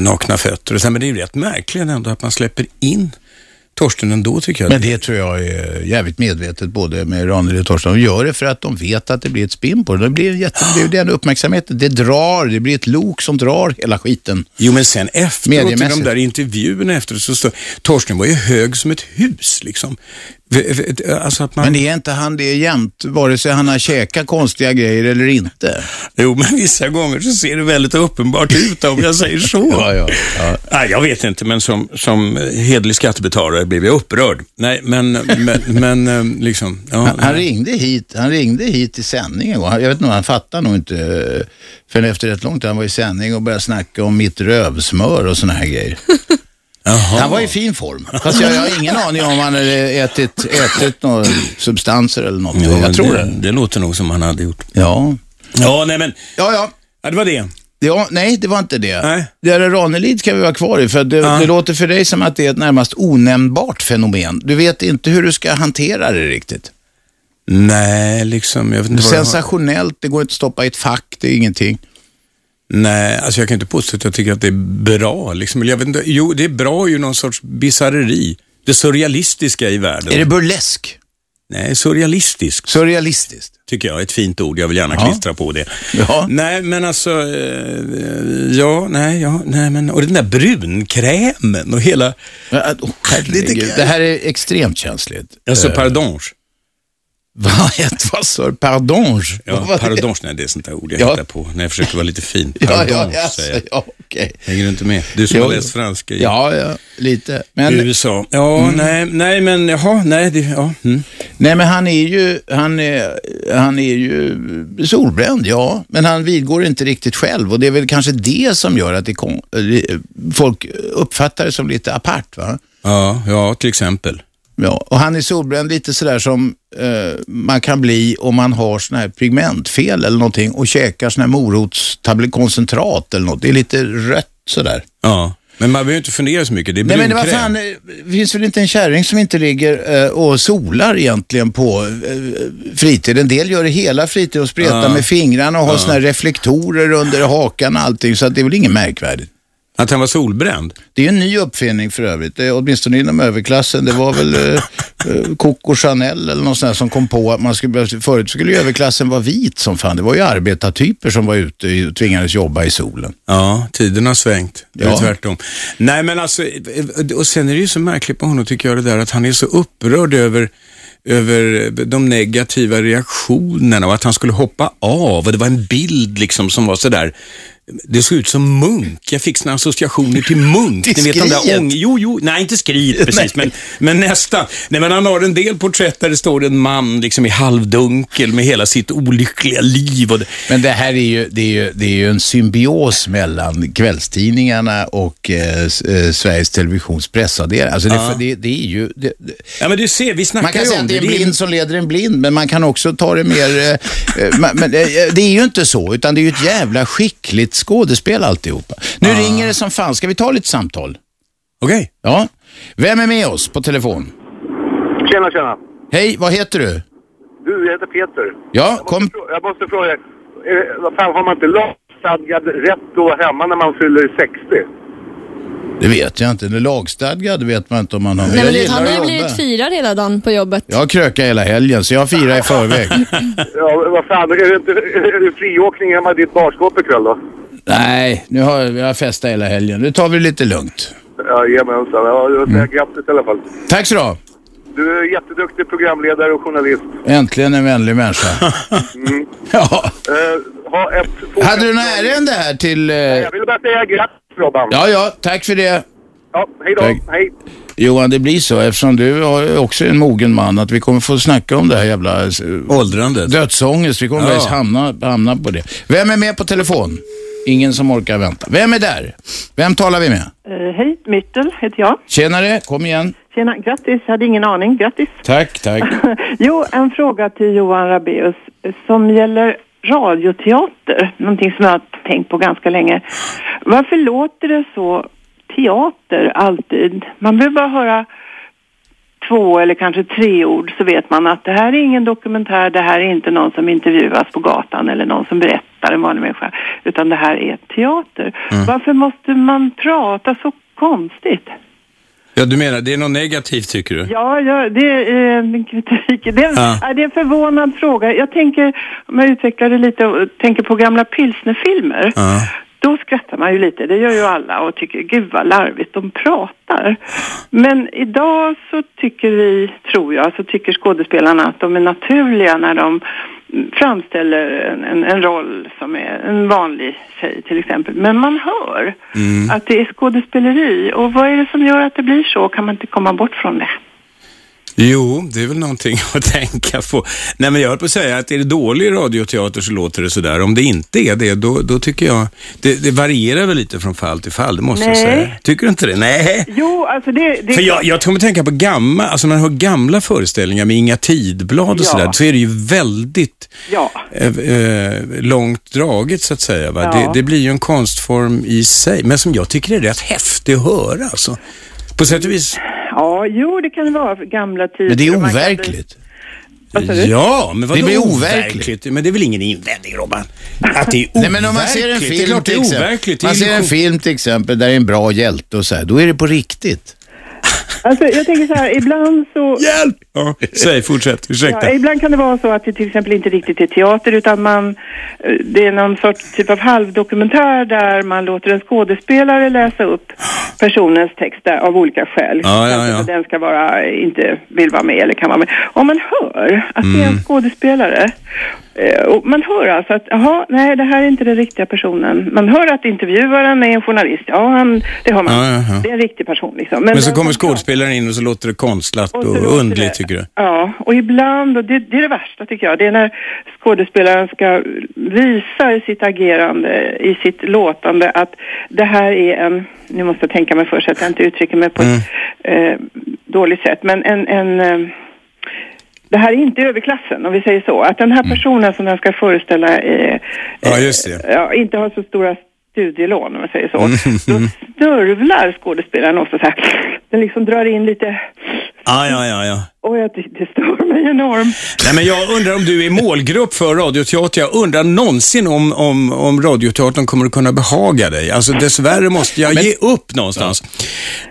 nakna fötter. Och sen, men det är ju rätt märkligt ändå att man släpper in Torsten ändå, tycker jag.
Men det tror jag är jävligt medvetet både med Ranelid och Torsten. De gör det för att de vet att det blir ett spinn på det. Det blir, en jätte, det är ju den uppmärksamheten. Det drar, det blir ett lok som drar hela skiten.
Jo, men sen efteråt, i de
Mediemässigt.
där intervjuerna efteråt, så står Torsten var ju hög som ett hus, liksom. V- v- Alltså att man...
Men det är inte han det är jämt, vare sig han har käkat konstiga grejer eller inte.
Jo, men vissa gånger så ser det väldigt uppenbart ut om jag säger så.
Ja, ja, ja.
Nej, jag vet inte, men som, som hederlig skattebetalare blev jag upprörd. Nej, men, men, men eh, liksom. Ja,
Han, han, ringde hit, han ringde hit till sändning en gång. Han- Jag vet inte, han fattade nog inte eh, förrän efter rätt långt. Han var i sändning och började snacka om mitt rövsmör och såna här grejer.
[LAUGHS] Jaha.
Han var i fin form. Fast jag, jag har ingen aning om han hade ätit, ätit några substanser eller något.
Ja,
jag tror det.
det. Det låter nog som han hade gjort.
Ja.
Ja, nej men.
Ja, ja.
Ja, det var det.
Ja, nej, det var inte det.
Nej.
Det där Ranelid kan vi vara kvar i, för det, det låter för dig som att det är ett närmast onämnbart fenomen. Du vet inte hur du ska hantera det riktigt.
Nej, liksom. Jag vet inte vad jag har.
Sensationellt, det går inte att stoppa i ett fack, det är ingenting.
Nej, alltså jag kan inte påstå att jag tycker att det är bra. Liksom. Eller Jag vet inte, jo, det är bra ju någon sorts bisarreri. Det surrealistiska i världen.
Är det burlesk?
Nej, surrealistiskt.
Surrealistiskt.
tycker jag. Ett fint ord. Jag vill gärna
Ja.
klistra på det.
Ja.
Nej, men alltså, eh, ja, nej, ja, nej, men, och den där brunkrämen och hela,
Ja, äh, åh, herregud. Det här är extremt känsligt. Eh.
alltså pardonge.
[LAUGHS] Vad hette vad sa du? Pardonge? [LAUGHS]
Ja,
Vad var det?
pardonge, nej det är sånt där ord jag
Ja.
hittar på när jag försöker vara lite fin.
Ja,
Pardonge,
ja, alltså,
säger jag.
ja. Okej.
Hänger du inte med? Du som har
Jo.
läst franska i
Ja, ja, lite. Men, Mm.
USA. Ja, nej, nej, men jaha, nej, det, ja. Mm.
nej, men han är ju, han är, han är ju solbränd, ja. Men han vidgår inte riktigt själv och det är väl kanske det som gör att det kon- eh, folk uppfattar det som lite apart, va?
Ja, ja, till exempel.
Ja, och han är solbränd lite sådär som eh, man kan bli om man har sådana här pigmentfel eller någonting och käkar sådana här morotskoncentrat eller något. Det är lite rött sådär.
Ja, men man behöver inte fundera så mycket. Det är
Nej men det var
brunkräm.
fan, eh, finns väl inte en kärring som inte ligger eh, och solar egentligen på eh, fritiden. En del gör det hela fritiden och spretar med fingrarna och har sådana här reflektorer under hakan och allting. Så att det är väl inget märkvärdigt.
Att han var solbränd?
Det är en ny uppfinning för övrigt, det är, åtminstone inom överklassen. Det var väl eh, eh, Coco Chanel eller någon sån här som kom på att man skulle, behöva- förut skulle ju överklassen vara vit som fan. Det var ju arbetartyper som var ute i- och tvingades jobba i solen.
Ja, tiden har svängt. Det är
Ja.
tvärtom. Nej, men alltså, och sen är det ju så märkligt med honom tycker jag det där att han är så upprörd över över de negativa reaktionerna och att han skulle hoppa av och det var en bild liksom som var sådär, det såg ut som Munk. Jag fick såna associationer till Munk.
Till
Ni vet den där
skriet.
ång... Jo, jo, nej inte skriet precis, men, men nästan. Nej, men han har en del porträtt där det står en man liksom i halvdunkel med hela sitt olyckliga liv. Och det...
Men det här är ju, det är ju, det är ju en symbios mellan kvällstidningarna och eh, s- eh, Sveriges Televisions pressavdelning. Alltså det, det, det är ju... Det, det,
Ja, men du ser, vi snackar
man kan
ju
säga
om
att det är
det.
en
Det är-
blind som leder en blind, men man kan också ta det mer... eh, eh, ma- men, eh, det är ju inte så, utan det är ju ett jävla skickligt skådespel alltihopa. Nu ringer det som fan. Ska vi ta lite samtal?
Okej.
Ja. Vem är med oss på telefon?
Tjena, tjena.
Hej, vad heter du?
Du, jag heter Peter.
Ja,
Jag
kom.
måste frå- Jag måste fråga, eh, vad fan har man inte lagstadgad rätt att vara hemma när man fyller 60?
Det vet jag inte. Den är lagstadgad vet man inte om man har.
Nej,
jag
men du, han
gillar
har ju
att
blivit
jobba.
firad hela dagen på jobbet.
Jag har krökat hela helgen, så jag firar i förväg.
Ja, vad fan, är det inte är det friåkning hemma i ditt barskåp ikväll då?
[LAUGHS] Nej, nu har jag, jag festat hela helgen. Nu tar vi det lite lugnt.
Jajamensan, ja, jag säger
Mm.
grattis i alla fall.
Tack så du
Du är jätteduktig programledare och journalist. Mm.
Äntligen en vänlig [LAUGHS] människa. Ja.
Eh, ha ett...
Hade du något ärende här till... eh,
Jag ville bara säga grattis Robban.
Ja, ja, tack för det.
ja hej då.
Tack.
Hej.
Johan, det blir så eftersom du har- också är en mogen man att vi kommer få snacka om det här jävla eh,
Åldrandet.
dödsångest. Vi kommer
Ja.
faktiskt hamna, hamna på det. Vem är med på telefon? Ingen som orkar vänta. Vem är där? Vem talar vi med?
Eh, hej, Myttel heter jag.
Tjenare, kom igen.
Tjena, grattis. Jag hade ingen aning. Grattis.
Tack, tack.
[CLEARS THROAT] Jo, en fråga till Johan Rabeus eh, som gäller radioteater. Någonting som jag har tänkt på ganska länge. Varför låter det så teater alltid? Man behöver bara höra två eller kanske tre ord så vet man att det här är ingen dokumentär, det här är inte någon som intervjuas på gatan eller någon som berättar en vanlig människa, utan det här är teater. Varför måste man prata så konstigt?
Ja, du menar, det är något negativt tycker du?
Ja, ja det är eh, min kritik. Det är,
Ja.
ja. det är en förvånad fråga. Jag tänker, om jag utvecklar det lite och tänker på gamla pilsnerfilmer.
Ja.
Då skrattar man ju lite, det gör ju alla och tycker gud vad larvigt de pratar. Men idag så tycker vi, tror jag, så tycker skådespelarna att de är naturliga när de mm, framställer en, en, en roll som är en vanlig tjej till exempel. Men man hör
Mm.
att det är skådespeleri och vad är det som gör att det blir så? Kan man inte komma bort från det?
Jo, det är väl någonting att [LAUGHS] tänka på. Nej, men jag höll på att säga att är det dålig radioteater så låter det sådär. Om det inte är det, då, då tycker jag... Det, det varierar väl lite från fall till fall, det måste jag
Nej.
säga. Tycker du inte det? Nej.
Jo, alltså det... det
För jag, jag kommer tänka på gamla, alltså när man hör gamla föreställningar med Inga Tidblad och
Ja.
sådär, så är det ju väldigt
Ja.
eh, eh, långt draget så att säga. Va?
Ja.
Det, det blir ju en konstform i sig, men som jag tycker är rätt häftig att höra alltså. På sätt och vis.
Ja, jo, det kan det vara för gamla tider.
Men det är
Man kan bli-
overkligt.
Vad sa du?
Ja, men vadå
Det blir overkligt.
overkligt? Men det är väl ingen invändning Robban? Att det är
[LAUGHS]
overkligt.
Nej, men om man ser en
det är
film,
klart det
till
är
exempel,
overkligt. Det är
man ser en
illusion.
film till exempel där det är en bra hjälte och så här, då är det på riktigt.
Alltså, jag tänker så här, ibland så...
Hjälp! Ja, säg, fortsätt. Ursäkta.
Ja, ibland kan det vara så att det till exempel inte riktigt är teater utan man, eh, det är någon sorts typ av halvdokumentär där man låter en skådespelare läsa upp personens texter av olika skäl.
Ja, ja,
Kanske
ja.
för att Den ska vara, inte vill vara med eller kan vara med. Om man hör att det är
Mm.
en skådespelare eh, och man hör alltså att, jaha, nej det här är inte den riktiga personen. Man hör att intervjuaren är en journalist. Ja, han, det har man.
Ja, ja, ja.
Det är en riktig person liksom.
Men så
den
kommer
som pratar-
skådespelaren in och så låter det konstlat
så låter
och
det-
underligt tycker du?
Ja, och ibland, och det, det är det värsta tycker jag, det är när skådespelaren ska visa i sitt agerande, i sitt låtande att det här är en, nu måste jag tänka mig först så att jag inte uttrycker mig på ett eh, dåligt sätt, men en, en eh, det här är inte överklassen, om vi säger så. Att den här personen som den ska föreställa eh,
Ja, just det. Mm.
ja, inte har så stora studielån om man säger så.
Mm.
Då snörvlar skådespelaren ofta så här. Den liksom drar in lite
Ja, ja, ja, ja.
och jag, det, det stör mig enormt.
Nej, men jag undrar om du är målgrupp för radioteater. Jag undrar någonsin om, om, om radioteatern kommer att kunna behaga dig. Alltså dessvärre måste jag ge upp någonstans.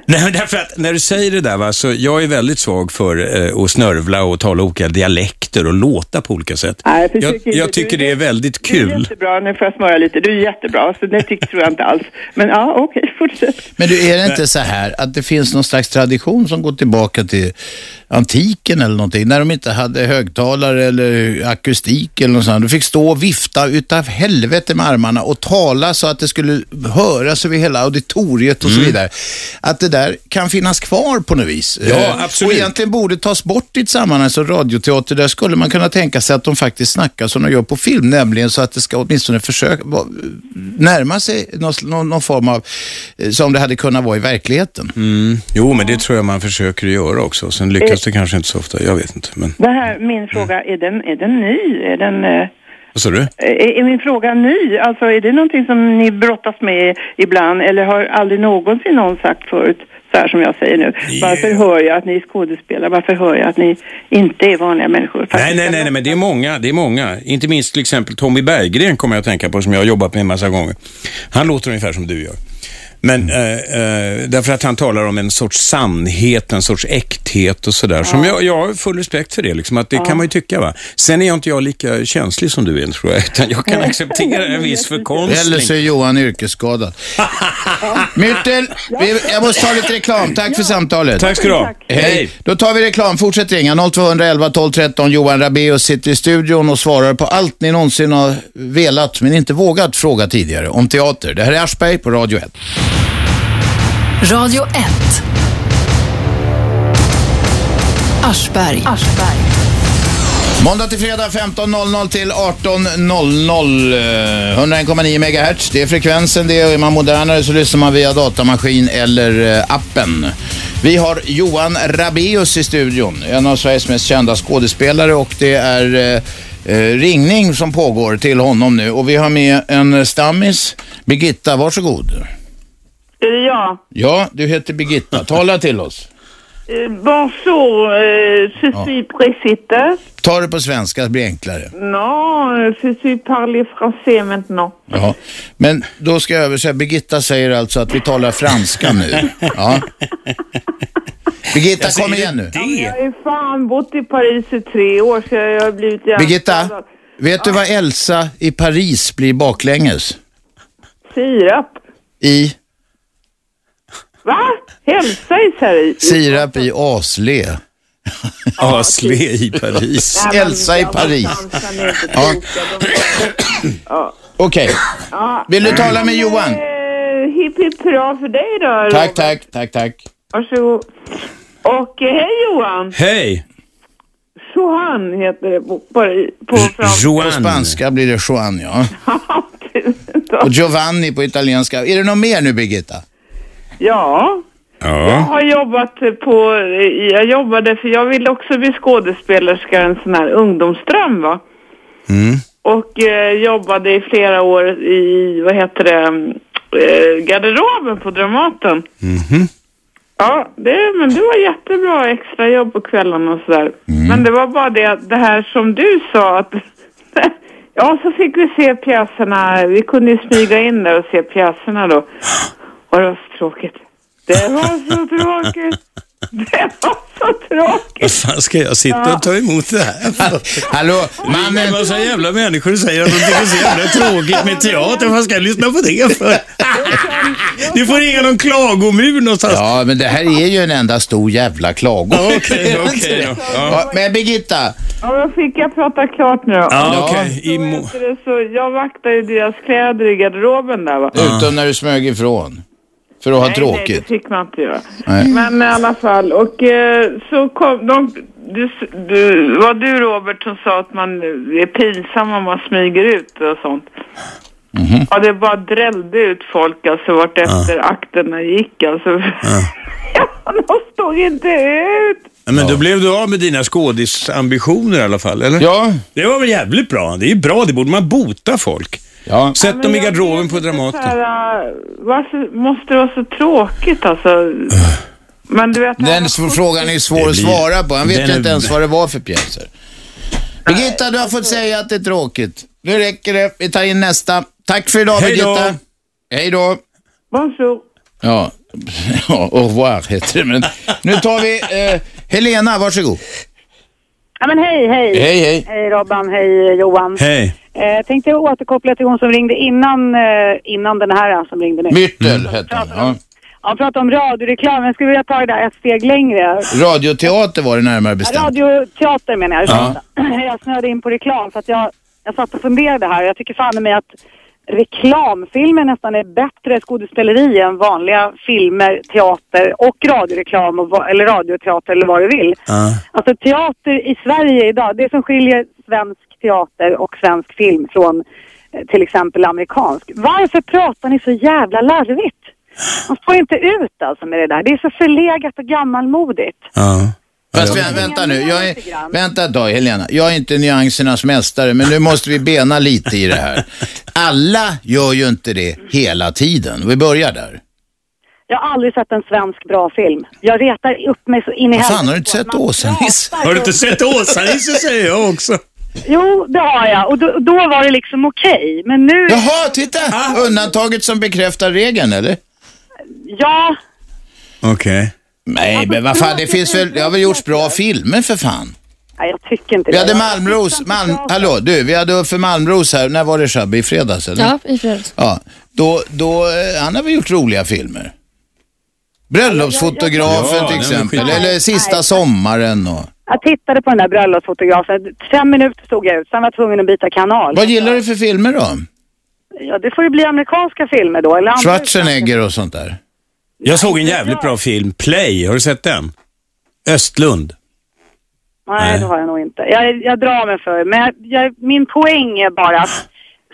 Nej, men därför att när du säger det där, va, så jag är väldigt svag för eh, att snörvla och tala olika dialekter och låta på olika sätt.
Nej, jag försöker
jag,
inte.
jag
Du-
tycker det är väldigt
Du är
kul.
jättebra, nu får jag smöra lite. Du är jättebra, så det tycker tror jag inte alls. Men ja, okej, fortsätt.
Men du, är det inte så här att det finns någon slags tradition som går tillbaka till antiken eller någonting? När de inte hade högtalare eller akustik eller något sånt. Du fick stå och vifta utav helvete med armarna och tala så att det skulle höras över hela auditoriet och så vidare. Att det där kan finnas kvar på något vis.
Ja,
Eh,
absolut.
Och egentligen borde tas bort i ett sammanhang som radioteater. Där skulle man kunna tänka sig att de faktiskt snackar som de gör på film, nämligen så att det ska åtminstone försöka va- närma sig någon, någon, någon form av, eh, som det hade kunnat vara i verkligheten.
Mm. Jo, men det tror jag man försöker göra också. Sen
Eh.
lyckas det kanske inte så ofta. Jag vet inte. Men...
Det här, min fråga, är den, är den ny? Är, den, eh,
Vad sa du?
är, är min fråga ny? Alltså, är det någonting som ni brottas med ibland? Eller har aldrig någonsin någon sagt förut, så här som jag säger nu? Varför hör jag att ni är skådespelare? Varför hör jag att ni inte är vanliga människor?
Nej, nej, nej, nej, men det är många. Det är många. Inte minst till exempel Tommy Berggren kommer jag att tänka på, som jag har jobbat med en massa gånger. Han låter ungefär som du gör. Men eh, eh, därför att han talar om en sorts sannhet, en sorts äkthet och sådär. Som jag, jag har full respekt för det, liksom, att det kan man ju tycka. Va? Sen är jag inte jag lika känslig som du är, tror jag. Utan jag kan acceptera en
[LAUGHS]
viss
Eller så är
förkonstling.
Johan yrkesskadad.
Ah,
Myrtel, vi- jag måste ta lite reklam. Tack för samtalet.
Tack ska du ha.
Hej. Då tar vi reklam. Fortsätt ringa 0211 12 13. Johan Rabaeus sitter i studion och svarar på allt ni någonsin har velat men inte vågat fråga tidigare om teater. Det här är Aschberg på Radio 1.
Radio 1. Aschberg.
Måndag till fredag 15.00 till 18.00. eh, 101,9 MHz. Det är frekvensen det och är man modernare så lyssnar man via datamaskin eller eh, appen. Vi har Johan Rabaeus i studion, en av Sveriges mest kända skådespelare och det är eh, eh, ringning som pågår till honom nu och vi har med en eh, stammis. Birgitta, varsågod.
Är det jag?
Ja, du heter Birgitta. Tala till oss.
Eh, bonjour, euh, je suis Brigitte.
Ta det på svenska, det blir enklare.
Non, euh, je suis parlé français maintenant.
Ja. Men då ska jag översätta. Birgitta säger alltså att vi talar franska nu. Ja. Birgitta, kom igen nu.
Jag har ju fan bott i Paris i tre år så jag har blivit jävla...
Birgitta, vet du vad Elsa i Paris blir baklänges?
Sirap.
I
Va? Hälsa i Paris.
sirap i
[LAUGHS]
asle.
Asle i Paris.
Nej, men
[LAUGHS] Elsa i
jag
Paris.
dansar nu inte
Ja.
kloka, de-
Okej. Vill du tala med Johan?
Eh, hipp hipp hurra för dig då.
Tack,
Robert.
tack, tack, tack.
Varsågod. Och eh, hej Johan.
Hej!
Johan heter det på, på, på franska.
På
Johan.
spanska blir det Juan,
[LAUGHS]
ja.
Tusen tack.
Och Giovanni på italienska. Är det något mer nu, Birgitta?
Ja. Jag
Ja.
har jobbat på, jag jobbade för jag ville också bli skådespelerska, en sån här ungdomsdröm va.
Mm.
Och eh, jobbade i flera år i, vad heter det, eh, garderoben på Dramaten. Ja, det, men det var jättebra extra jobb på kvällarna och sådär.
Mm.
Men det var bara det, att det här som du sa att, [LAUGHS] ja så fick vi se pjäserna, vi kunde ju smyga in där och
[LAUGHS]
se pjäserna då. Och det var så tråkigt. Det var så tråkigt. Det var så tråkigt.
Vad fan ska jag sitta och ta emot det här för?
Hallå,
Det är
mannen,
massa jävla människor som säger att de tycker det är så jävla tråkigt med teater. Vad ska jag lyssna på det för? Du får ringa någon klagomur någonstans.
Ja, men det här är ju en enda stor jävla klagomur. [LAUGHS]
Okej, okej då. Ja.
Ja, Men Birgitta,
Ja, men fick jag prata klart nu då?
Ja, okej.
Så
Imo-
heter det så, jag vaktar ju deras kläder i garderoben där va.
utom när du smög ifrån. För att ha
Nej, det
tråkigt.
fick man inte göra.
Nej.
Men i alla fall, och eh, så kom de... Du, du, var du Robert som sa att man är pinsam om man smyger ut och sånt?
Mhm.
Ja, det bara drällde ut folk alltså vartefter akterna gick alltså. [LAUGHS] Ja. de stod inte ut!
Ja, Men då blev du av med dina skådisambitioner i alla fall, eller?
Ja,
Det var väl jävligt bra. Det är ju bra, det borde man bota folk.
ja.
Sätt
Men
dem i
jag
garderoben
vet
på
inte
Dramaten.
så här, äh, varför måste det vara så tråkigt alltså?
Äh.
Men du vet...
Den
han-
s- frågan är svår
Det
att
blir-
svara på. Han vet
den
ju
är-
inte ens vad det var för pjäser. Birgitta, du har fått säga att det är tråkigt. Nu räcker det. Vi tar in nästa. Tack för idag,
Hej då.
Birgitta. Hej då.
Bonjour.
Ja, [LAUGHS] ja au revoir heter det. Men nu tar vi eh, Helena, varsågod.
Ja, men hej, hej.
Hej, hej.
Hej Robban, hej Johan.
Hej.
Eh, tänkte jag återkoppla till hon som ringde innan, eh, innan den här som ringde nu.
Myrtel hette hon. Ja.
Ja, prata om radioreklam. Jag skulle vilja ta det där ett steg längre.
Radioteater var det närmare
Ja,
bestämt.
Radioteater menar jag. ursäkta. [CLEARS THROAT] Jag snöade in på reklam för att jag, jag satt och funderade här och jag tycker fan i mig att reklamfilmer nästan är bättre skådespeleri än vanliga filmer, teater och radioreklam och, va- eller radioteater eller vad du vill.
Ja.
Alltså teater i Sverige idag, det som skiljer svensk teater och svensk film från eh, till exempel amerikansk. Varför pratar ni så jävla larvigt? Man får inte ut alltså med det där. Det är så förlegat och gammalmodigt.
Ja.
Fast vä- vänta nu, jag är, vänta ett tag Helena. Jag är inte nyansernas mästare, men nu måste vi bena lite i det här. Alla gör ju inte det hela tiden. Vi börjar där.
Jag har aldrig sett en svensk bra film. Jag retar upp mig så in i
Vad fan,
helvete
har du inte
på att
sett
man
Åsa-Nisse?
pratar
Har du
så-
inte sett Åsa-Nisse säger jag också.
Jo, det har jag. Och då, då var det liksom okej. Men nu...
Jaha, titta! Undantaget som bekräftar regeln, eller?
Ja,
Okej.
Nej, men vad fan, det finns väl, det har väl gjorts bra filmer för fan.
nej, jag tycker inte
Vi
det.
hade Malmros, Malm, hallå du, vi hade Uffe Malmros här, när var det Shabbe? I fredags eller?
Ja, i fredags.
Ja, då, då, eh, han har väl gjort roliga filmer.
Ja,
Bröllopsfotografen
den
till
är
exempel,
skitbra.
eller Sista sommaren och...
Jag tittade på den där bröllopsfotografen. Fem minuter stod jag ut, sen var jag tvungen att byta kanal.
Vad gillar du för filmer då?
Ja, det får ju bli amerikanska filmer då. Eller andra utländska.
Schwarzenegger och sånt där?
Jag såg en jävligt bra film, Play. Har du sett den? Östlund.
Nej,
Nej.
det har jag nog inte. Jag, jag drar mig för. Men jag, jag, min poäng är bara att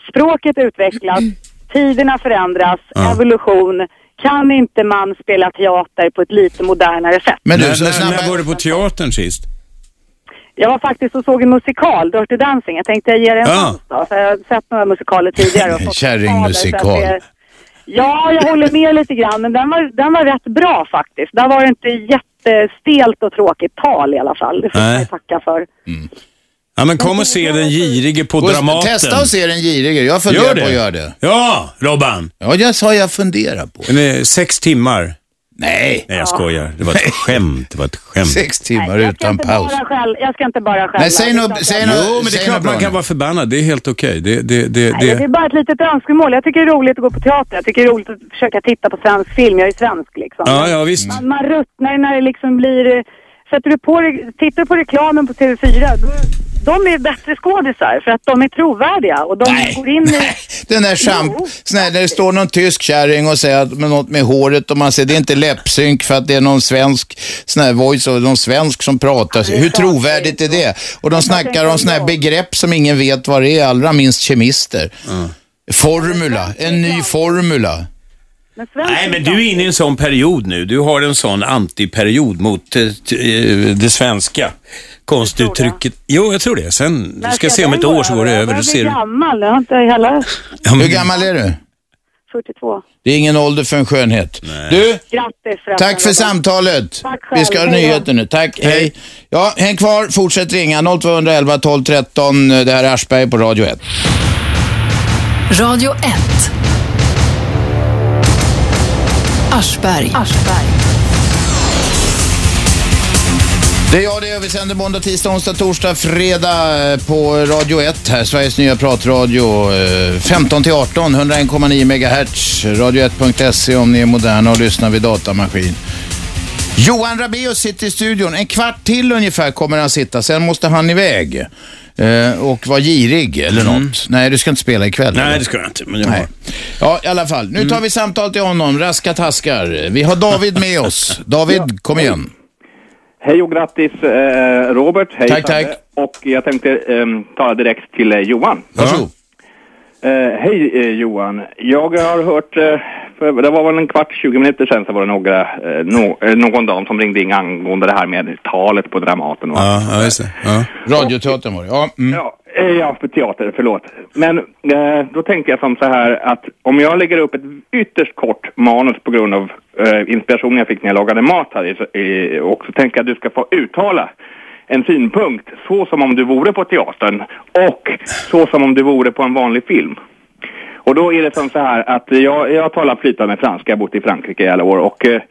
språket utvecklas, tiderna förändras, evolution. Kan inte man spela teater på ett lite modernare sätt?
Men du,
när,
så
när,
snabba...
när var du på teatern sist?
Jag var faktiskt och såg en musikal, Dirty Dancing. Jag tänkte jag ger det en
Ja.
chans då. För jag har sett några musikaler tidigare. och fått
Kärringmusikal.
skader, så att det- Ja, jag håller med lite grann. Men den var, den var rätt bra faktiskt. Där var det inte jättestelt och tråkigt tal i alla fall. Det får
Nej.
jag tacka för.
Ja, men kom och se den girige på
Gå och
Dramaten.
Testa och se den girige, jag funderar på att göra det.
Ja, Robban.
Ja, jag sa jag funderar på.
Den är sex timmar.
Nej,
Nej, jag skojar. Det var ett skämt. Det var ett skämt.
sex timmar
jag, ska
utan
inte
paus.
bara skäll, jag ska inte bara skälla.
Nej, säg
utan
något,
jag-
säg något,
Jo, men det är
säg
klart
något bra
man kan
nu.
vara förbannad. Det är helt okej. Det, det, det,
Nej, det är
det.
bara ett litet önskemål. Jag tycker det är roligt att gå på teater. Jag tycker det är roligt att försöka titta på svensk film. Jag är svensk liksom.
Ja, ja, visst.
Man, man ruttnar när det liksom blir... eh, Sätter du på, re- tittar du på reklamen på TV4, då, de är bättre skådisar för att de är trovärdiga och de går in i...
Den där champ,
Jo,
sån här, när det står någon tysk kärring och säger att med något med håret och man säger det är inte läppsynk för att det är någon svensk sån här voice och någon svensk som pratar. Så Hur trovärdigt är det? Och de snackar om såna här begrepp som ingen vet vad det är, allra minst kemister.
Mm.
Formula, en ny formula.
Men svensk
Nej, men du är inne i en sån period nu. Du har en sån antiperiod mot eh, t- eh, det svenska konstuttrycket. Jo, jag tror det. Sen, du ska se om ett år så var det över.
Jag
Då
börjar bli
ser du.
gammal, jag har inte hela
Ja,
Hur
men-
gammal är du?
42.
Det är ingen ålder för en skönhet. Du,
Grattis förresten.
Tack för samtalet.
Tack själv.
Vi ska ha
Hej då.
nyheter nu. Tack, hej. Ja, häng kvar, fortsätt ringa 0211 12 13. Det här är Aschberg på Radio 1.
Radio 1. Aschberg. Aschberg.
Det är jag det. Vi sänder måndag, tisdag, onsdag, torsdag, fredag eh, på Radio 1 här. Sveriges nya pratradio eh, 15 till 18, 101,9 MHz. Radio1.se om ni är moderna och lyssnar vid datamaskin. Johan Rabaeus sitter i studion. En kvart till ungefär kommer han sitta, sen måste han iväg. Eh, och vara girig eller något. Nej, du ska inte spela ikväll.
Mm. Nej,
eller?
det ska jag inte. Men jag
Nej.
har. Mm.
Ja, i alla fall. Nu tar vi samtal till honom, raska taskar. Vi har David med oss. David, kom igen.
Hej och grattis eh, Robert. Hej
Tack,
Sanne.
tack.
Och jag tänkte ehm, tala direkt till eh, Johan.
Varsågod.
Eh, hej eh, Johan. Jag har hört, eh, för det var väl en kvart, 20 minuter sedan så var det några, eh, nå- eh, någon dam som ringde in angående det här med talet på Dramaten.
Mm.
Och
Ja, ja just det. Ja.
Radioteatern var det. Ja, mm.
ja, eh, ja, för teater, förlåt. Men eh, då tänkte jag som så här att om jag lägger upp ett ytterst kort manus på grund av eh, inspirationen jag fick när jag lagade mat här i- i, och så tänker jag att du ska få uttala en synpunkt så som om du vore på teatern och så som om du vore på en vanlig film. Och då är det som så här att jag, jag talar flytande franska, jag har bott i Frankrike i alla år och eh,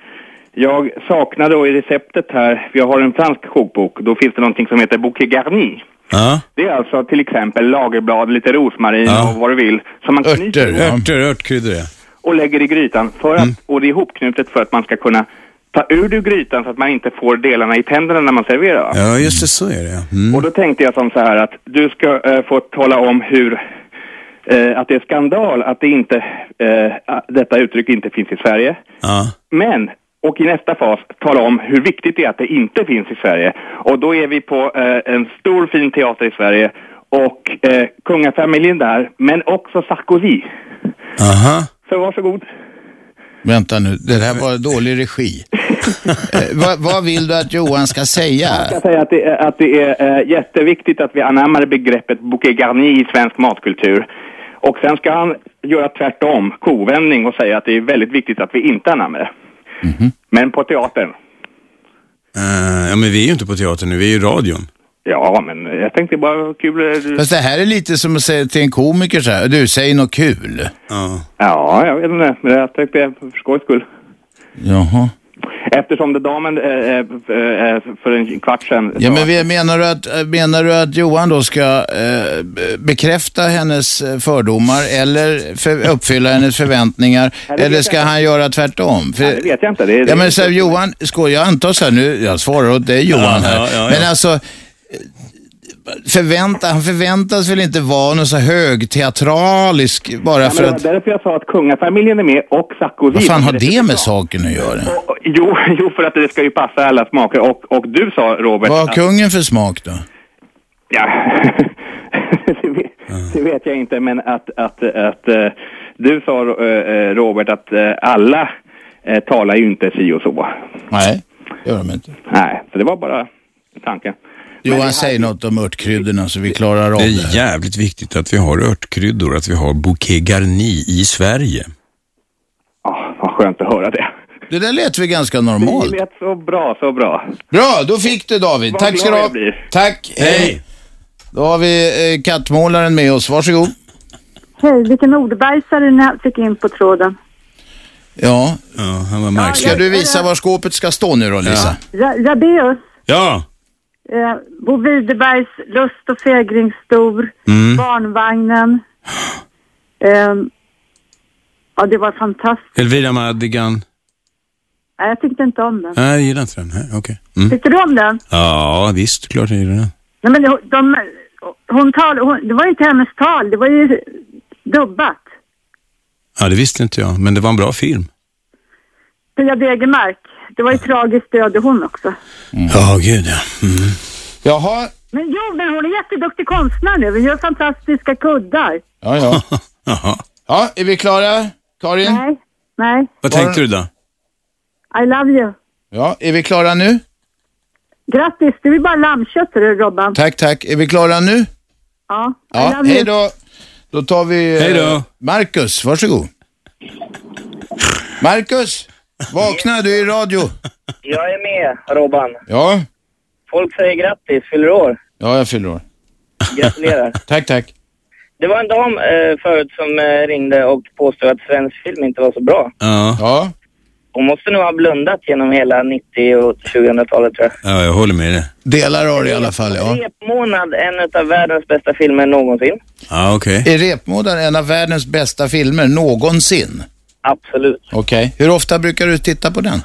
jag saknar då i receptet här, för jag har en fransk kokbok, då finns det någonting som heter bouquet garni.
Ja.
Det är alltså till exempel lagerblad, lite rosmarin
Ja.
och vad du vill. Som man knyter ihop
Örter, Mm. örtkryddor ja.
och lägger i grytan. För att, Och det är ihopknutet för att man ska kunna ta ur det ur grytan så att man inte får delarna i tänderna när man serverar. va?
Ja, just det. Så är det ja.
Och då tänkte jag som så här att du ska eh, få tala om hur eh, att det är skandal att det inte, eh, att detta uttryck inte finns i Sverige.
ja.
Men, och i nästa fas, tala om hur viktigt det är att det inte finns i Sverige. Och då är vi på eh, en stor fin teater i Sverige och eh, kungafamiljen där, men också Sarkozy.
Aha.
Så varsågod.
Vänta nu, det här var dålig regi. eh, vad, vad vill du att Johan ska säga?
Jag säger att det är, att det är eh, jätteviktigt att vi anammar begreppet bouquet garni i svensk matkultur. Och sen ska han göra tvärtom, kovändning, och säga att det är väldigt viktigt att vi inte anammar det.
Mhm.
Men på teatern.
Eh, ja, men vi är ju inte på teatern nu, vi är ju i radion.
Ja, men jag tänkte bara kul... eh, du-
Fast det här är lite som att säga till en komiker så här, du säg något kul.
Ja.
Ja, jag vet inte. Men jag tänkte för skojs skull.
Jaha.
Eftersom det damen eh, eh, eh, för en kvart sedan...
Ja, men vi- menar du att, eh, menar du att Johan då ska eh, be- bekräfta hennes eh, fördomar eller för, uppfylla hennes förväntningar?
Ja, det vet
Eller
jag
ska
inte.
han göra tvärtom? För-
Nej, det vet jag inte. Det,
Ja men
det-
så här, Johan, skål, jag antar så här nu, jag svarar åt dig Johan här.
ja, ja, ja.
Men alltså, eh, förvänta, han förväntas väl inte vara någon så här högteatralisk bara
Ja, men
för
det var
att,
därför jag sa att kungafamiljen är med och Sarkozy.
vad fan har det med saken att göra?
Och- [LAUGHS] Jo, jo, för att det ska ju passa alla smaker. Och, och du sa, Robert...
Vad har
att-
kungen för smak då?
Ja, [LAUGHS] det, vet,
Ah.
det vet jag inte, men att, att, att eh, du sa, eh, eh, Robert, att eh, alla eh, talar ju inte si och så.
Nej, det gör de inte.
Nej, så det var bara tanken.
Johan, säg något om örtkryddorna så vi klarar av
Det
det.
är
här.
jävligt viktigt att vi har örtkryddor, att vi har bouquet garni i Sverige.
Ja, vad skönt att höra det.
Det där lät väl ganska
Det
normalt.
lät så bra, så bra.
Bra, då fick du David.
Vad
Tack ska du
glad
ha.
jag blir.
Tack, hej. Då har vi eh, kattmålaren med oss, varsågod.
Hej, vilken ordbajsare ni fick in på tråden.
Ja,
Ja, han var märklig.
ska du visa var skåpet ska stå nu då Lisa?
Ra- Rabaeus,
Ja.
eh, Bo Widerbergs Lust och fägring stor,
Mm.
Barnvagnen. Ehm, ja, det var fantastiskt.
Elvira Madigan.
Nej, jag tyckte inte om den.
Nej, jag gillar inte den. Nej, Okej. Mm.
Tyckte du om den?
Ja, visst, klart jag gillar den.
Nej, men de, de, hon tal, hon, det var ju inte hennes tal, det var ju dubbat.
Ja, det visste inte jag, men det var en bra film.
Pia Degermark, det var ju tragiskt död hon också.
Ja, gud ja. Mm.
Jaha,
Men jo, men hon är jätteduktig konstnär nu, hon gör fantastiska kuddar.
ja ja.
[LAUGHS] Jaha.
Ja, är vi klara? Karin?
Nej, nej,
Vad
Var-
tänkte du då?
I love you.
Ja, är vi klara nu?
Grattis, du är bara lammkött du Robban.
Tack, tack. Är vi klara nu?
Ja, I
Ja,
love
hej
you.
då. Då tar vi eh,
Hej då.
Marcus, varsågod. Marcus, vakna, du är i radio.
Jag är med, Robban.
Ja,
Folk säger grattis, fyller år.
ja jag fyller år.
Gratulerar.
Tack, tack.
Det var en dam eh, förut som eh, ringde och påstod att svensk film inte var så bra.
Ja.
Ja,
Hon måste nog ha blundat genom hela 90 och 2000-talet tror jag.
Ja, jag håller med dig.
Delar av det i alla fall, ja.
Repmånad, en av världens bästa filmer någonsin.
Ja, okej.
Är Repmodaren en av världens bästa filmer någonsin?
Absolut.
Okej. Hur ofta brukar du titta på den?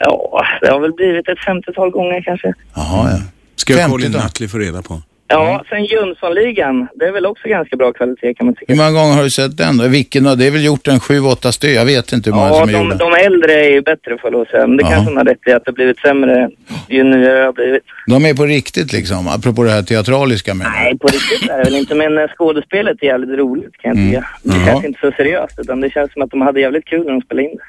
Ja, det har väl blivit ett 50-tal gånger kanske.
Jaha, ja.
Ska jag kolla in Nutley få reda på.
Ja, sen Jönssonligan. Det är väl också ganska bra kvalitet kan man tycka.
Hur många gånger har du sett den då? Vilken av? Det är väl gjort en sju, åtta stö. Jag vet inte hur många
Ja,
som är gjorda.
de, de äldre är ju bättre får jag lov att säga. Men det
Ja.
kanske hon har rätt i att det har blivit sämre ju nyare det har blivit.
De är på riktigt liksom, apropå det här teatraliska menar
Nej, på riktigt är det väl inte. Men eh, skådespelet är jävligt roligt kan jag
Mm.
tycka. Det
Jaha.
kanske inte så seriöst utan det känns som att de hade jävligt kul när de spelade in det.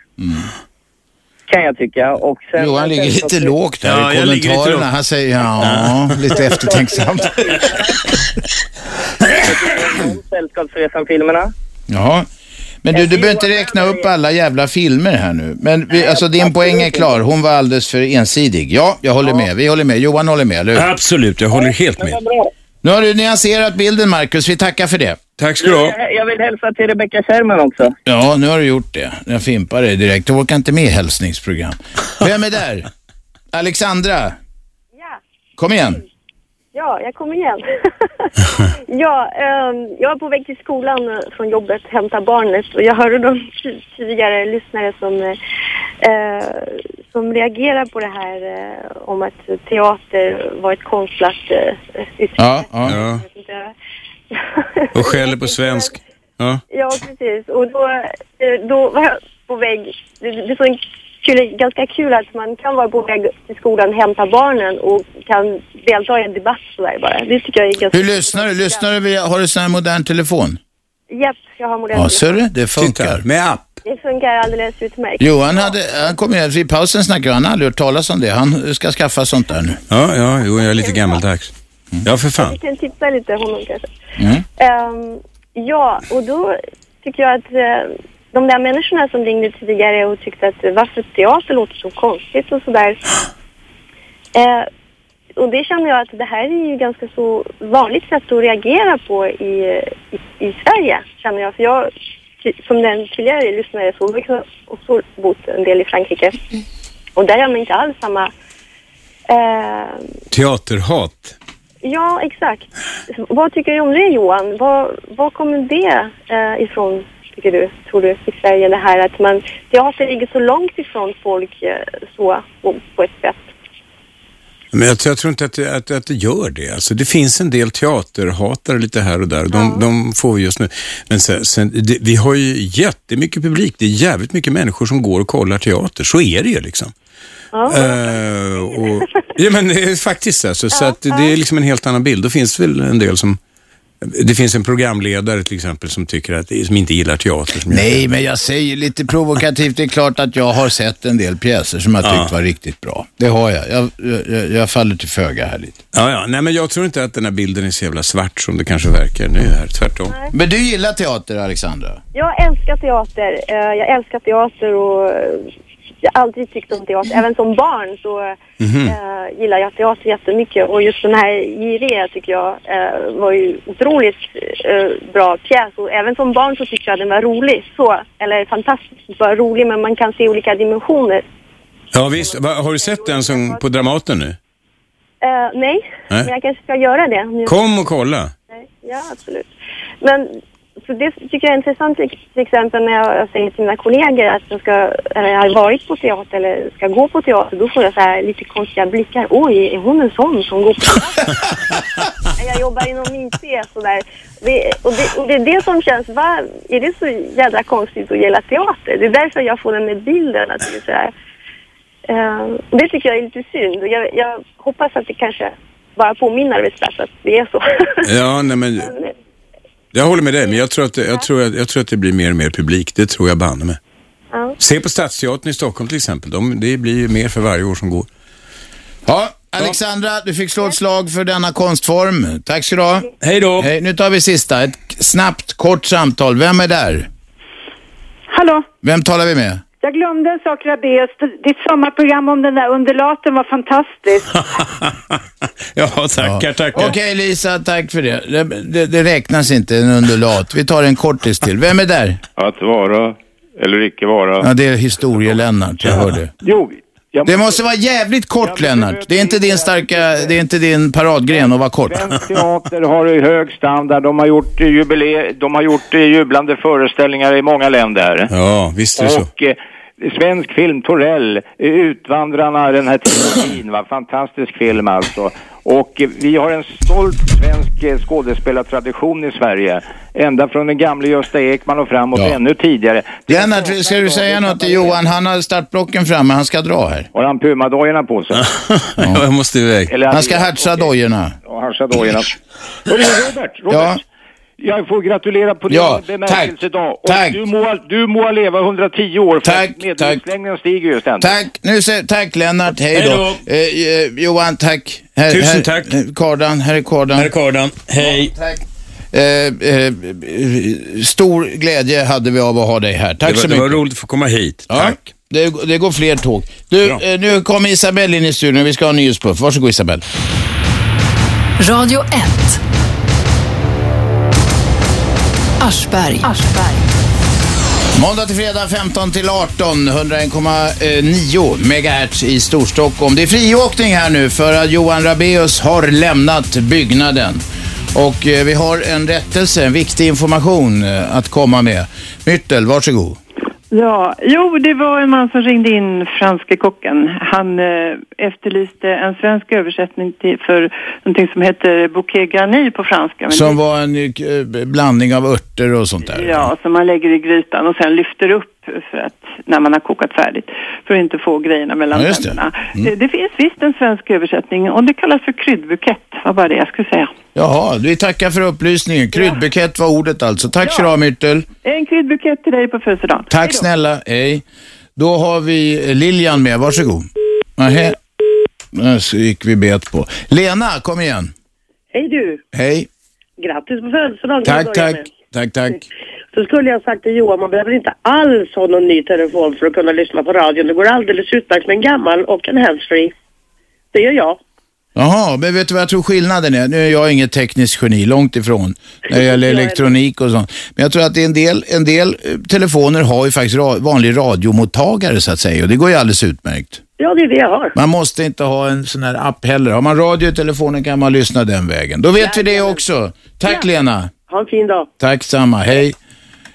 Kan jag tycka. Och sen,
Johan ligger lite lågt här
Mm. Ja,
i
jag ligger lite
kommentarerna.
lågt.
Han säger ja, lite eftertänksamt.
Sällskapsresan-filmerna.
Ja. Men du, du behöver inte räkna upp alla jävla filmer här nu. Men vi, alltså din poäng är klar. Hon var alldeles för ensidig. Ja, jag håller med. Vi håller med. Johan håller med, eller hur?
Absolut, jag håller helt med.
Nu har du nyanserat bilden, Marcus. Vi tackar för det.
Tack
Jag, jag vill hälsa till Rebecca Kjellman också.
Ja, nu har du gjort det. Jag fimpar dig direkt. Du orkar inte med hälsningsprogram. Vem
[LAUGHS]
är där? Alexandra?
Ja.
Kom igen.
Ja, jag kommer
[LAUGHS]
igen. ja, ehm, jag var på väg till skolan eh, från jobbet, hämta barnet och jag hörde de ti- tidigare lyssnare som, eh, eh, som reagerar på det här eh, om att teater var ett konstlat eh, yttre.
Ja, ja. ja.
Jag vet inte. [LAUGHS]
Och skäller på svensk. Ja.
Ja, precis. Och då, eh, då var jag på väg. Det, det är så en kul, ganska kul att man kan vara på väg till skolan, hämta barnen och kan delta i en debatt sådär bara. Det tycker jag är ganska...
Hur lyssnar du? Lyssnar du via, har du sån här modern telefon?
Japp, jag har modell.
Ja, sörre, det funkar.
Med app.
Det funkar alldeles utmärkt.
Johan hade, han kom ju, vid pausen snackade han, han har aldrig hört talas om det. Han ska skaffa sånt där nu.
Ja, ja, jo, jag är lite gammaldags. Ja, för fan.
Vi kan tipsa lite honom kanske.
Mm.
Ehm, ja, och då tycker jag att eh, de där människorna som ringde tidigare och tyckte att eh, varför teater låter så konstigt och sådär. Eh, och det känner jag att det här är ju ganska så vanligt sätt att reagera på i, i, i Sverige, känner jag. För jag, ty- som den tidigare lyssnare, så har jag också bott en del i Frankrike. Och där har man inte alls samma eh,
Teaterhat.
Ja, exakt. Vad tycker du om det, Johan? Vad, vad kommer det eh, ifrån, tycker du, tror du, i Sverige? Det här att man, teater ligger så långt ifrån folk eh, så, på, på ett sätt.
Men jag, jag tror inte att det, att, att det gör det. Alltså, det finns en del teaterhatare lite här och där. De, de får vi just nu. Men sen, sen, det, vi har ju jättemycket publik. Det är jävligt mycket människor som går och kollar teater. Så är det ju liksom. Eh, och, ja, men det är faktiskt alltså, så att det är liksom en helt annan bild. Då finns det väl en del som... Det finns en programledare till exempel som tycker att, som inte gillar teater. Som
Nej, men jag säger lite provokativt, det är klart att jag har sett en del pjäser som jag tyckt var riktigt bra. Det har jag. Jag, jag, jag faller till föga här lite.
Ja, ja. Nej, men jag tror inte att den här bilden är så jävla svart som det kanske verkar nu här. Tvärtom.
Men du gillar teater, Alexandra?
Jag älskar teater. Eh, jag älskar teater och eh, jag har aldrig tyckt om teater. Även som barn så
Mm.
Mhm.
eh, gillar jag teater jättemycket. Och just den här Jiré tycker jag eh, var ju otroligt eh, bra pjäs. Och även som barn så tyckte jag den var rolig. Så, eller fantastiskt bara rolig, men man kan se olika dimensioner.
Ja, visst. Va, har du sett den som på Dramaten nu?
Eh, nej,
Nej.
men jag kanske ska göra det. Nu-
Kom och kolla.
Ja, absolut. Men så det tycker jag är intressant till till exempel när jag jag säger till mina kollegor att de ska, eller har varit på teater eller ska gå på teater, då får jag så här lite konstiga blickar. Oj, är hon en sån som går på
[LAUGHS]
teater? jag jobbar inom IT sådär. Det, och, det, och det är det som känns, va, är det så jävla konstigt att gilla teater? Det är därför jag får den med bilden att det är så här. Eh, och det tycker jag är lite synd. Och Jag, jag hoppas att det kanske bara på min arbetsplats att det är så. [LAUGHS]
Ja, nej men... Jag håller med dig, men jag tror, att, det- jag, tror att, jag tror att det blir mer och mer publik. Det tror jag banne mig.
Ja.
Se på Stadsteatern i Stockholm till exempel. De, det blir ju mer för varje år som går.
Ja, Alexandra, du fick slå ett slag för denna konstform. Tack ska du ha.
Hej då.
Hej, nu tar vi sista. Ett snabbt, kort samtal. Vem är där?
Hallå,
Vem talar vi med?
jag glömde en sak Rabaeus. Ditt sommarprogram om den där underlaten var fantastiskt.
Ja, tackar, tackar.
Okej, Lisa, tack för det. Det, det. det räknas inte, en undulat. Vi tar en kortis till. Vem är där?
Att vara
eller icke vara.
Ja, det är historie-Lennart, jag hörde.
Jo, jag
Det måste vara jävligt kort, Lennart. Det är inte din starka, det är inte din paradgren att vara kort.
teater har hög standard. De har gjort, eh, jubile- de har gjort eh, jublande föreställningar i många länder.
Ja, visst är det så.
Och eh, svensk film, Torell, eh, Utvandrarna, den här trilogin, va? fantastisk film alltså. Och eh, vi har en stolt svensk eh, skådespelartradition i Sverige. Ända från den gamle Gösta Ekman och framåt
Ja.
ännu tidigare.
Lennart, ska du säga något till Johan? Han har startblocken framme, han ska dra här.
Har han pumadojorna på sig?
Ja, [LAUGHS] jag måste iväg.
Eller-
Han ska hatcha dojorna.
Ja, han ska dojorna. Hörru, Robert, Robert. Jag får gratulera på din
Ja,
bemärkelse idag. Och Du, må, du må leva 110 år för tack, medellivslängden stiger ju ständigt.
Tack, nu säger, tack Lennart, hej då. Eh, eh, Johan, tack. Här,
Tusen
här,
tack.
eh, Kardan, här är kardan. Här är
kardan, hej.
tack. Eh, eh, eh, stor glädje hade vi av att ha dig här. Tack
det var,
så
Det
mycket.
var roligt att få komma hit.
Ja, det, det går fler tåg. Du, eh, nu kommer Isabel in i studion. Vi ska ha en nyhetspuff. Varsågod Isabel.
Radio 1. Aschberg.
Måndag till fredag 15 till 18, 101,9 megahertz i Storstockholm. Det är friåkning här nu för att Johan Rabeus har lämnat byggnaden. Och eh, vi har en rättelse, en viktig information eh, att komma med. Myrtel, varsågod.
Ja, jo, det var en man som ringde in franske kocken. Han eh, efterlyste en svensk översättning till, för någonting som heter bouquet garni på franska. Men
Som var en eh, blandning av örter och sånt där.
Ja, som man lägger i grytan och sen lyfter upp för att, när man har kokat färdigt för att inte få grejerna mellan
Ja, just det. Mm.
tänderna. Det. det finns visst en svensk översättning och det kallas för kryddbukett, var bara det jag skulle säga.
Jaha, vi tackar för upplysningen. Kryddbukett var ordet alltså. Tack så du ha Myrtel.
En kryddbukett till dig på födelsedagen.
Tack snälla, hej. Då har vi Lilian med, varsågod. Nähä, Nej, så gick vi bet på. Lena, kom igen.
Hej du!
Hej.
Grattis på födelsedagen! kan jag
Tack,
börja
tack.
med.
Tack, tack.
Så skulle jag sagt till Johan, man behöver inte alls ha någon ny telefon för att kunna lyssna på radion. Det går alldeles utmärkt med en gammal och en handsfree. Det gör jag.
Jaha, men vet du vad jag tror skillnaden är? Nu är jag inget tekniskt geni, långt ifrån, när det [LAUGHS] gäller
Jag är-
elektronik och sånt. Men jag tror att det är en del, en del eh, telefoner har ju faktiskt ra vanlig radiomottagare så att säga och det går ju alldeles utmärkt.
Ja, det är det jag har.
Man måste inte ha en sån här app heller. Har man radio i telefonen kan man lyssna den vägen. Då vet vi det också. Tack Lena.
Ha en fin dag.
Tack samma, hej.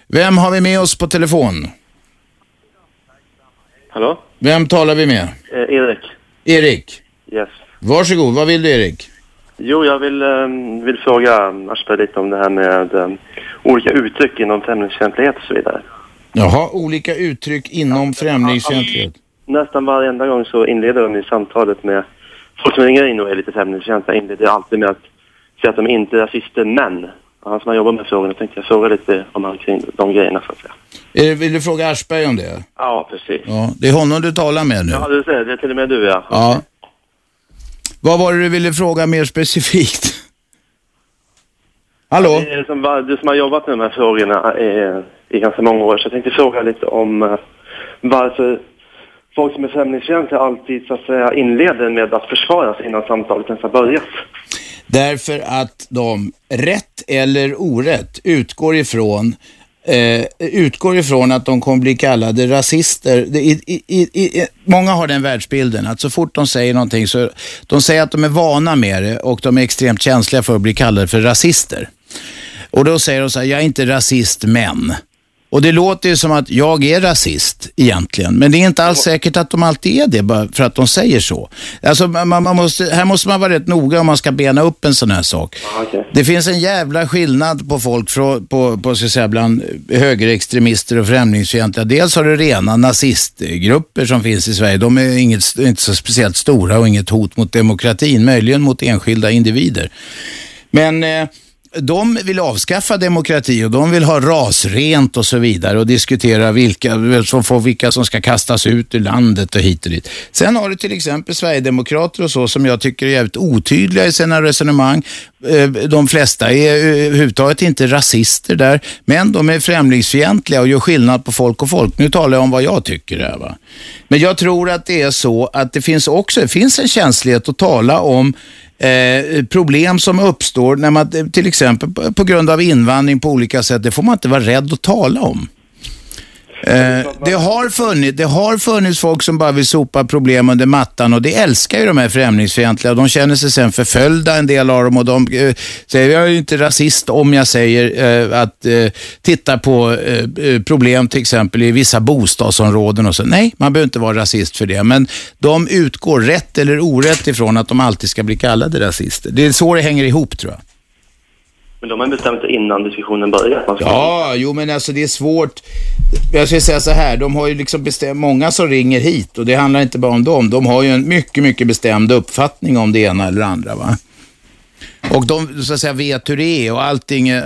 Vem har vi med oss på telefon?
Hallå?
Vem talar vi med?
Eh, Erik.
Erik.
Yes.
Varsågod, vad vill du Erik?
Jo, jag vill, eh, vill fråga eh, Aschberg lite om det här med eh, olika uttryck inom främlingsfientlighet och så vidare.
Jaha, olika uttryck inom främlingsfientlighet.
Nästan varenda gång så inleder de ju samtalet med folk som ringer in och är lite främlingsfientliga inleder alltid med att säga att de inte är rasister, men han som har jobbat med frågorna tänkte jag fråga lite om han kring de grejerna så att säga.
Eh, Vill du fråga Aschberg om det?
Ja, precis.
Ja, det är honom du talar med nu.
Ja, du ser, det är till och med du ja.
Ja. Vad var det du ville fråga mer specifikt? Hallå?
Det är Som, var- du som har jobbat med de här frågorna eh, i ganska många år, så jag tänkte fråga lite om eh, varför folk som är främlingsfientliga alltid så att säga, inleder med att försvara sig innan samtalet ens har börjat.
Därför att de, rätt eller orätt, utgår ifrån Eh, utgår ifrån att de kommer bli kallade rasister. Det, i, i, i, i, många har den världsbilden att så fort de säger någonting så de säger att de är vana med det och de är extremt känsliga för att bli kallade för rasister. Och då säger de så här, jag är inte rasist men. Och det låter ju som att jag är rasist egentligen, men det är inte alls säkert att de alltid är det bara för att de säger så. Alltså, man, man måste, här måste man vara rätt noga om man ska bena upp en sån här sak. Det finns en jävla skillnad på folk frå, på, på, ska jag säga, bland högerextremister och främlingsfientliga. Dels har du rena nazistgrupper som finns i Sverige. De är inget, inte så speciellt stora och inget hot mot demokratin, möjligen mot enskilda individer. Men eh, de vill avskaffa demokrati och de vill ha rasrent och så vidare och diskutera vilka, som får, vilka som ska kastas ut ur landet och hit och dit. Sen har du till exempel Sverigedemokrater och så som jag tycker är jävligt otydliga i sina resonemang. Eh, De flesta är eh, överhuvudtaget inte rasister där, men de är främlingsfientliga och gör skillnad på folk och folk. Nu talar jag om vad jag tycker här va. Men jag tror att det är så att det finns också, det finns en känslighet att tala om eh, problem som uppstår när man till exempel på, på grund av invandring på olika sätt, det får man inte vara rädd att tala om. Eh, Eh, det, har funnits, det har funnits folk som bara vill sopa problem under mattan och det älskar ju de här främlingsfientliga. De känner sig sen förföljda en del av dem och de eh, säger, jag är ju inte rasist om jag säger eh, att eh, titta på eh, eh, problem till exempel i vissa bostadsområden och så. Nej, man behöver inte vara rasist för det. Men de utgår rätt eller orätt ifrån att de alltid ska bli kallade rasister. Det är så det hänger ihop tror jag.
Men de har bestämt sig innan diskussionen börjar. Man ska-
Ja, jo men alltså det är svårt. Jag skulle säga så här, de har ju liksom bestämt, många som ringer hit och det handlar inte bara om dem. De har ju en mycket, mycket bestämd uppfattning om det ena eller andra va. Och de så att säga, vet hur det är och allting. eh,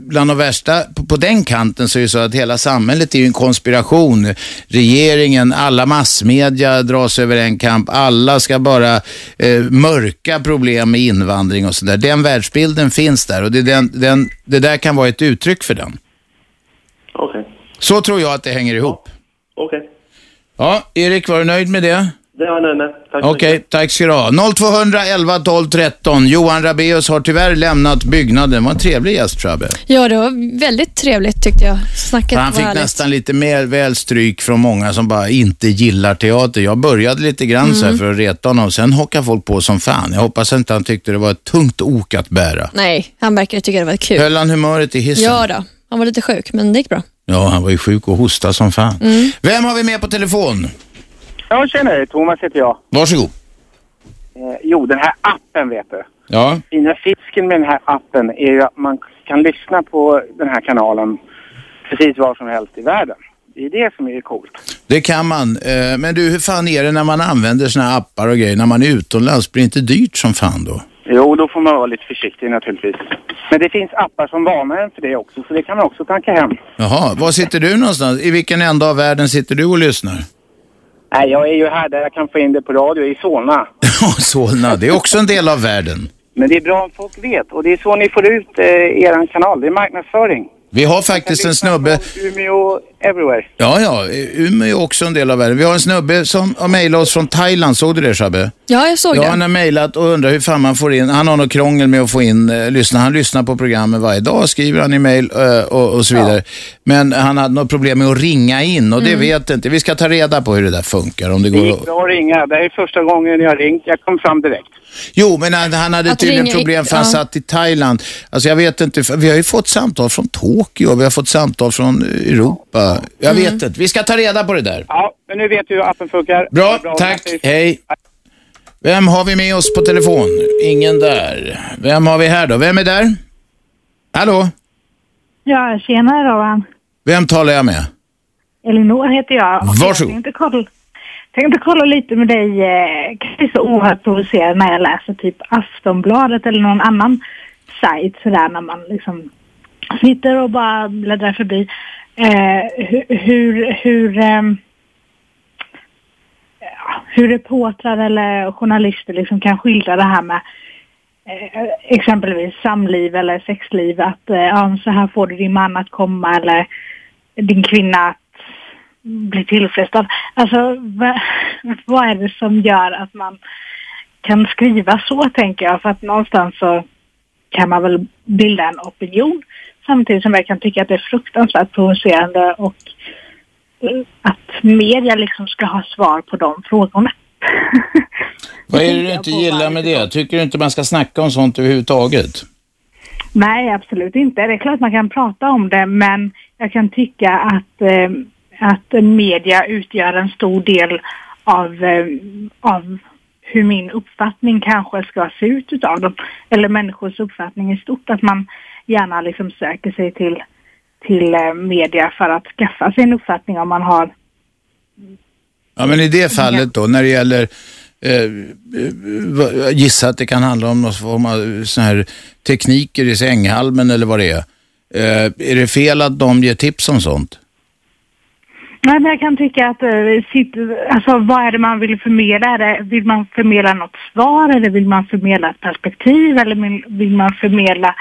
Bland de värsta på, på den kanten så är det så att hela samhället är ju en konspiration. Regeringen, alla massmedia dras över en kamp. Alla ska bara eh, mörka problem med invandring och sådär. Den världsbilden finns där och det, är den, den, det där kan vara ett uttryck för den.
Okej.
Så tror jag att det hänger ihop.
Okej.
Ja, Erik, var du nöjd med det?
Det var jag nöjd med. Tack så
Okej, tack ska du ha. 0211 12 13. Johan Rabeus har tyvärr lämnat byggnaden. Det var en trevlig gäst, Trabbe.
Ja, det var väldigt trevligt tyckte jag. Snacket
Han
var
fick
härligt.
nästan lite mer väl stryk från många som bara inte gillar teater. Jag började lite grann så här
Mm.
för att reta honom. Sen hockade folk på som fan. Jag hoppas inte han tyckte det var ett tungt ok att bära.
Nej, han verkade tycka det var kul.
Höll han humöret i hissen?
Mm. Ja då, han var lite sjuk, men det gick bra.
Ja, han var ju sjuk och hostade som fan.
Mm.
Vem har vi med på telefon?
Ja, tjena. Thomas heter jag.
Varsågod.
Eh, jo, den här appen vet du.
Ja.
Fina fisken med den här appen är ju att man kan lyssna på den här kanalen precis var som helst i världen. Det är det som är coolt.
Det kan man. Eh, Men du, hur fan är det när man använder såna här appar och grejer? När man är utomlands, blir det inte dyrt som fan då?
Jo, då får man vara lite försiktig naturligtvis. Men det finns appar som varnar en för det också, så det kan man också tanka hem.
Jaha, var sitter du någonstans? I vilken ända av världen sitter du och lyssnar? [LAUGHS]
Nej, jag är ju här där jag kan få in det på radio, i Solna.
Ja, Solna, det är också en del av världen.
Men det är bra om folk vet, och det är så ni får ut eh, er kanal. Det är marknadsföring.
Vi har faktiskt en snubbe,
Umeå, everywhere.
ja ja, Umeå är också en del av världen. Vi har en snubbe som har mejlat oss från Thailand, såg du det Shabbe?
Ja, jag såg
Ja, han
det.
har mejlat och undrar hur fan man får in, han har något krångel med att få in, eh, lyssna, han lyssnar på programmen varje dag, skriver han i mejl eh, och, och så vidare. Men han hade något problem med att ringa in och det
Mm.
vet inte, vi ska ta reda på hur det där funkar om det
Det
går
gick
att...
bra att ringa. Det här är första gången jag har ringt. Jag kom fram direkt.
Jo, men han, han hade
Att
tydligen
ringa i-
problem för han
ja.
satt i Thailand. Alltså jag vet inte, för vi har ju fått samtal från Tokyo, vi har fått samtal från eh, Europa. Jag
Mm.
vet inte, vi ska ta reda på det där.
Ja, men nu vet du hur appen funkar.
Bra, tack, hej. Vem har vi med oss på telefon? Ingen där. Vem har vi här då? Vem är där? Hallå?
Ja, tjena Rowan.
Vem talar jag med?
Elinor heter jag. Och
Varsågod.
Jag tänkte kolla, tänkte kolla lite med dig. eh, Jag blir så oerhört provocerad när jag läser typ Aftonbladet eller någon annan sajt sådär när man liksom sitter och bara bläddrar förbi. Eh, hu- hur, hur, ehm, ja, hur reportrar eller journalister liksom kan skildra det här med eh, exempelvis samliv eller sexliv. Att eh, ja, så här får du din man att komma eller din kvinna att bli tillfredsställd. Alltså va, vad är det som gör att man kan skriva så tänker jag. För att någonstans så kan man väl bilda en opinion. Samtidigt som jag kan tycka att det är fruktansvärt provocerande och eh, att media liksom ska ha svar på de frågorna.
Vad är det du inte gillar med det? Tycker du inte man ska snacka om sånt överhuvudtaget?
Nej, absolut inte. Det är klart man kan prata om det, men jag kan tycka att, eh, att media utgör en stor del av, eh, av hur min uppfattning kanske ska se ut utav dem. Eller människors uppfattning i stort, att man gärna liksom söker sig till, till eh, media för att skaffa sig en uppfattning om man har
Ja, men i det fallet då, när det gäller eh, eh, vad- jag gissar att det kan handla om någon form av sån här tekniker i sänghalmen eller vad det är. Eh, är det fel att de ger tips om sånt?
Nej, men jag kan tycka att eh, sitt, alltså, vad är det man vill förmedla? Är det, vill man förmedla något svar eller vill man förmedla ett perspektiv eller vill, vill man förmedla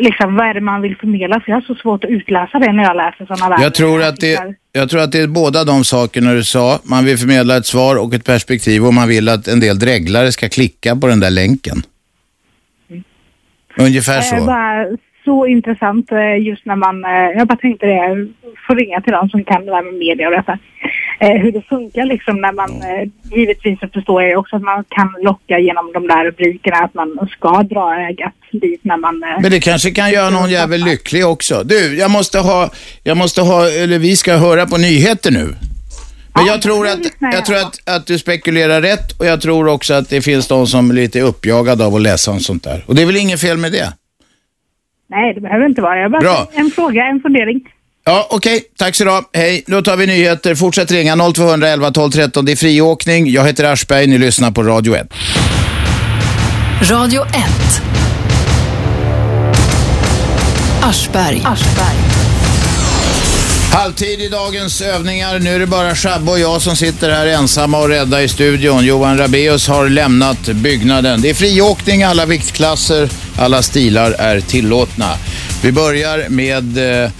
liksom, vad är det man vill förmedla? För jag har så svårt att utläsa det när jag läser sådana där.
Jag tror, att det, jag tror att det är båda de sakerna du sa. Man vill förmedla ett svar och ett perspektiv och man vill att en del dräglare ska klicka på den där länken. Ungefär
Jag är
så.
Eh, bara så intressant eh, just när man, eh, jag bara tänkte det, får ringa till någon som kan det där med media och detta. Eh, hur det funkar liksom när man, eh, givetvis så förstår jag ju också att man kan locka genom de där rubrikerna att man ska dra ögat dit när man... eh,
Men det kanske kan göra någon jävel lycklig också. Du, jag måste ha, jag måste ha, eller vi ska höra på nyheter nu. Men jag tror, att, jag tror att, att du spekulerar rätt och jag tror också att det finns de som är lite uppjagade av att läsa om sånt där. Och det är väl inget fel med det?
Nej, det behöver inte vara. Jag bara
Bra.
en fråga, en fundering.
Ja, okej. Tack så du ha. Hej. Då tar vi nyheter. Fortsätt ringa 0211 12 13. Det är friåkning. Jag heter Aschberg. Ni lyssnar på Radio 1.
Radio 1. Aschberg.
Halvtid i dagens övningar. Nu är det bara Shabbe och jag som sitter här ensamma och rädda i studion. Johan Rabeus har lämnat byggnaden. Det är friåkning, alla viktklasser, alla stilar är tillåtna. Vi börjar med eh,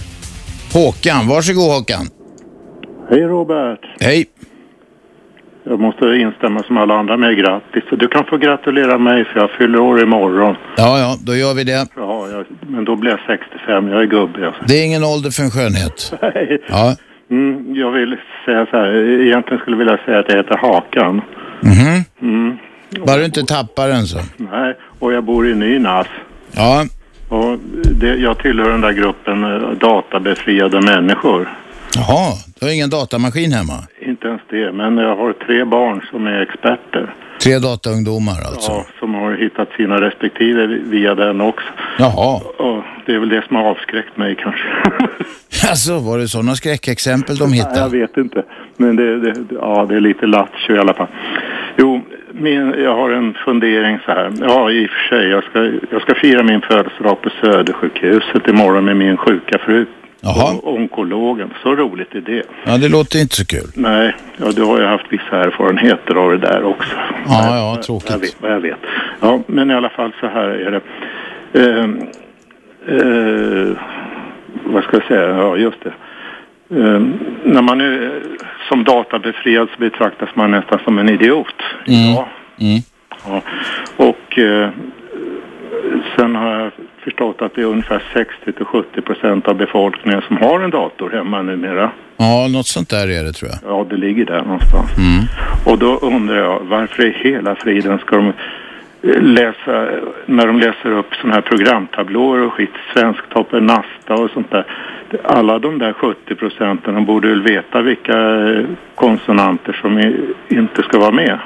Håkan. Varsågod Håkan.
Hej Robert!
Hej.
Jag måste instämma som alla andra med grattis. Du kan få gratulera mig för jag fyller år imorgon.
Ja, ja, då gör vi det.
Ja, jag, men då blir jag 65. Jag är gubbe. Jag.
Det är ingen ålder för en skönhet.
[LAUGHS] Nej.
Ja.
Mm, jag vill säga så här. Egentligen skulle jag vilja säga att jag heter Hakan.
Mhm.
Mm.
Bara du inte tappar den så.
Nej, och jag bor i Nynäs.
Ja.
Och det, jag tillhör den där gruppen eh, databefriade människor.
Jaha, du har ingen datamaskin hemma?
Inte ens det, men jag har tre barn som är experter.
Tre dataungdomar alltså?
Ja, som har hittat sina respektive via den också.
Jaha.
Ja, det är väl det som har avskräckt mig
[LAUGHS]
kanske.
Alltså, var det sådana skräckexempel de
Nej, jag
hittade?
vet inte. Men det, det, ja, det är lite lattjo i alla fall. Jo, min, jag har en fundering så här. Ja, i och för sig. Jag ska, jag ska fira min födelsedag på Södersjukhuset imorgon med min sjuka fru.
Jaha.
Och Onkologen. Så roligt är det.
Ja, det låter inte så kul.
Nej, ja, du har ju haft vissa erfarenheter av det där också.
Ja, ja, tråkigt.
Jag vet vad jag vet. Ja, men i alla fall så här är det. Ehm, eh, vad ska jag säga? Ja, just det. Ehm, när man är som databefriad så betraktas man nästan som en idiot. Ja.
Mm.
Ja. Och eh, sen har jag förstått att det är ungefär 60 till 70 procent av befolkningen som har en dator hemma numera.
Ja, något sånt där är det tror jag.
Ja, det ligger där någonstans.
Mm.
Och då undrar jag varför i hela friden ska de eh, läsa, när de läser upp sådana här programtablåer och skit, Svensktoppen, Nasta och sånt där. Alla de där 70 procenten, de borde väl veta vilka eh, konsonanter som i- inte ska vara med.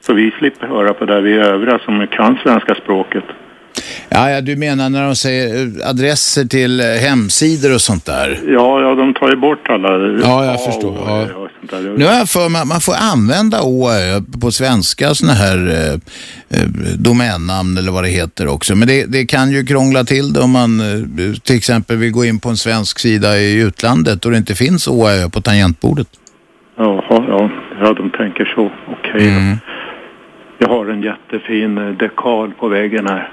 Så vi slipper höra på det vi övriga som kan svenska språket.
Ja, ja, du menar när de säger eh, adresser till eh, hemsidor och sånt där?
Ja, ja, de tar ju bort alla...
Ja, jag förstår. Ja. Nu har jag för mig att man får använda å ö på svenska sådana här eh, eh, domännamn eller vad det heter också. Men det, det kan ju krångla till det om man eh, till exempel vill gå in på en svensk sida i utlandet och det inte finns å ö på tangentbordet.
Jaha, ja, ja de tänker så. Okej. då.
Mm.
Jag har en jättefin eh, dekal på väggen här.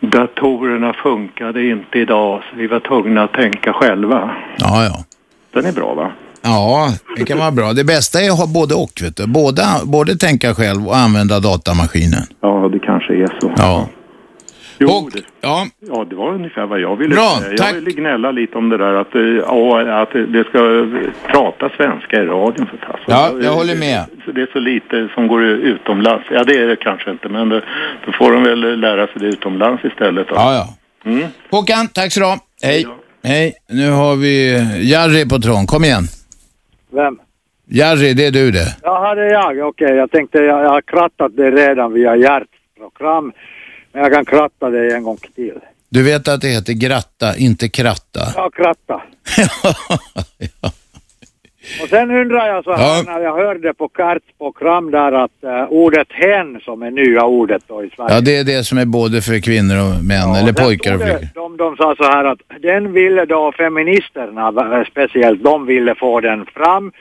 Datorerna funkade inte idag så vi var tvungna att tänka själva.
Ja, ja.
Den är bra va?
Ja, det kan vara bra. Det bästa är att ha både och, vet du. Både, både tänka själv och använda datamaskinen.
Ja, det kanske är så.
Ja.
Jo,
det, ja.
ja, det var ungefär vad jag ville
Bra,
säga. Jag ville gnälla lite om det där att, eh, ja, att det ska eh, prata svenska i radion för fasen.
Ja, jag håller med.
Så det är så lite som går utomlands. Ja, det är det kanske inte, men det, då får de väl eh, lära sig det utomlands istället. Då.
Ja, ja.
Mm.
Håkan, tack så du ha. Hej. Hej. Nu har vi Jerry på tråden. Kom igen.
Vem?
Jerry, det är du det.
Jaha, det är jag. Okej, jag tänkte jag, jag har krattat det redan via hjärtprogram. Men jag kan kratta det en gång till.
Du vet att det heter gratta, inte kratta.
Ja, kratta. Och sen undrar jag så här när jag hörde på Karts program där att eh, ordet hen som är nya ordet då i Sverige.
Ja, det är det som är både för kvinnor och män, eller pojkar och flickor.
De, de sa så här att den ville då feministerna eh, speciellt, de ville få den fram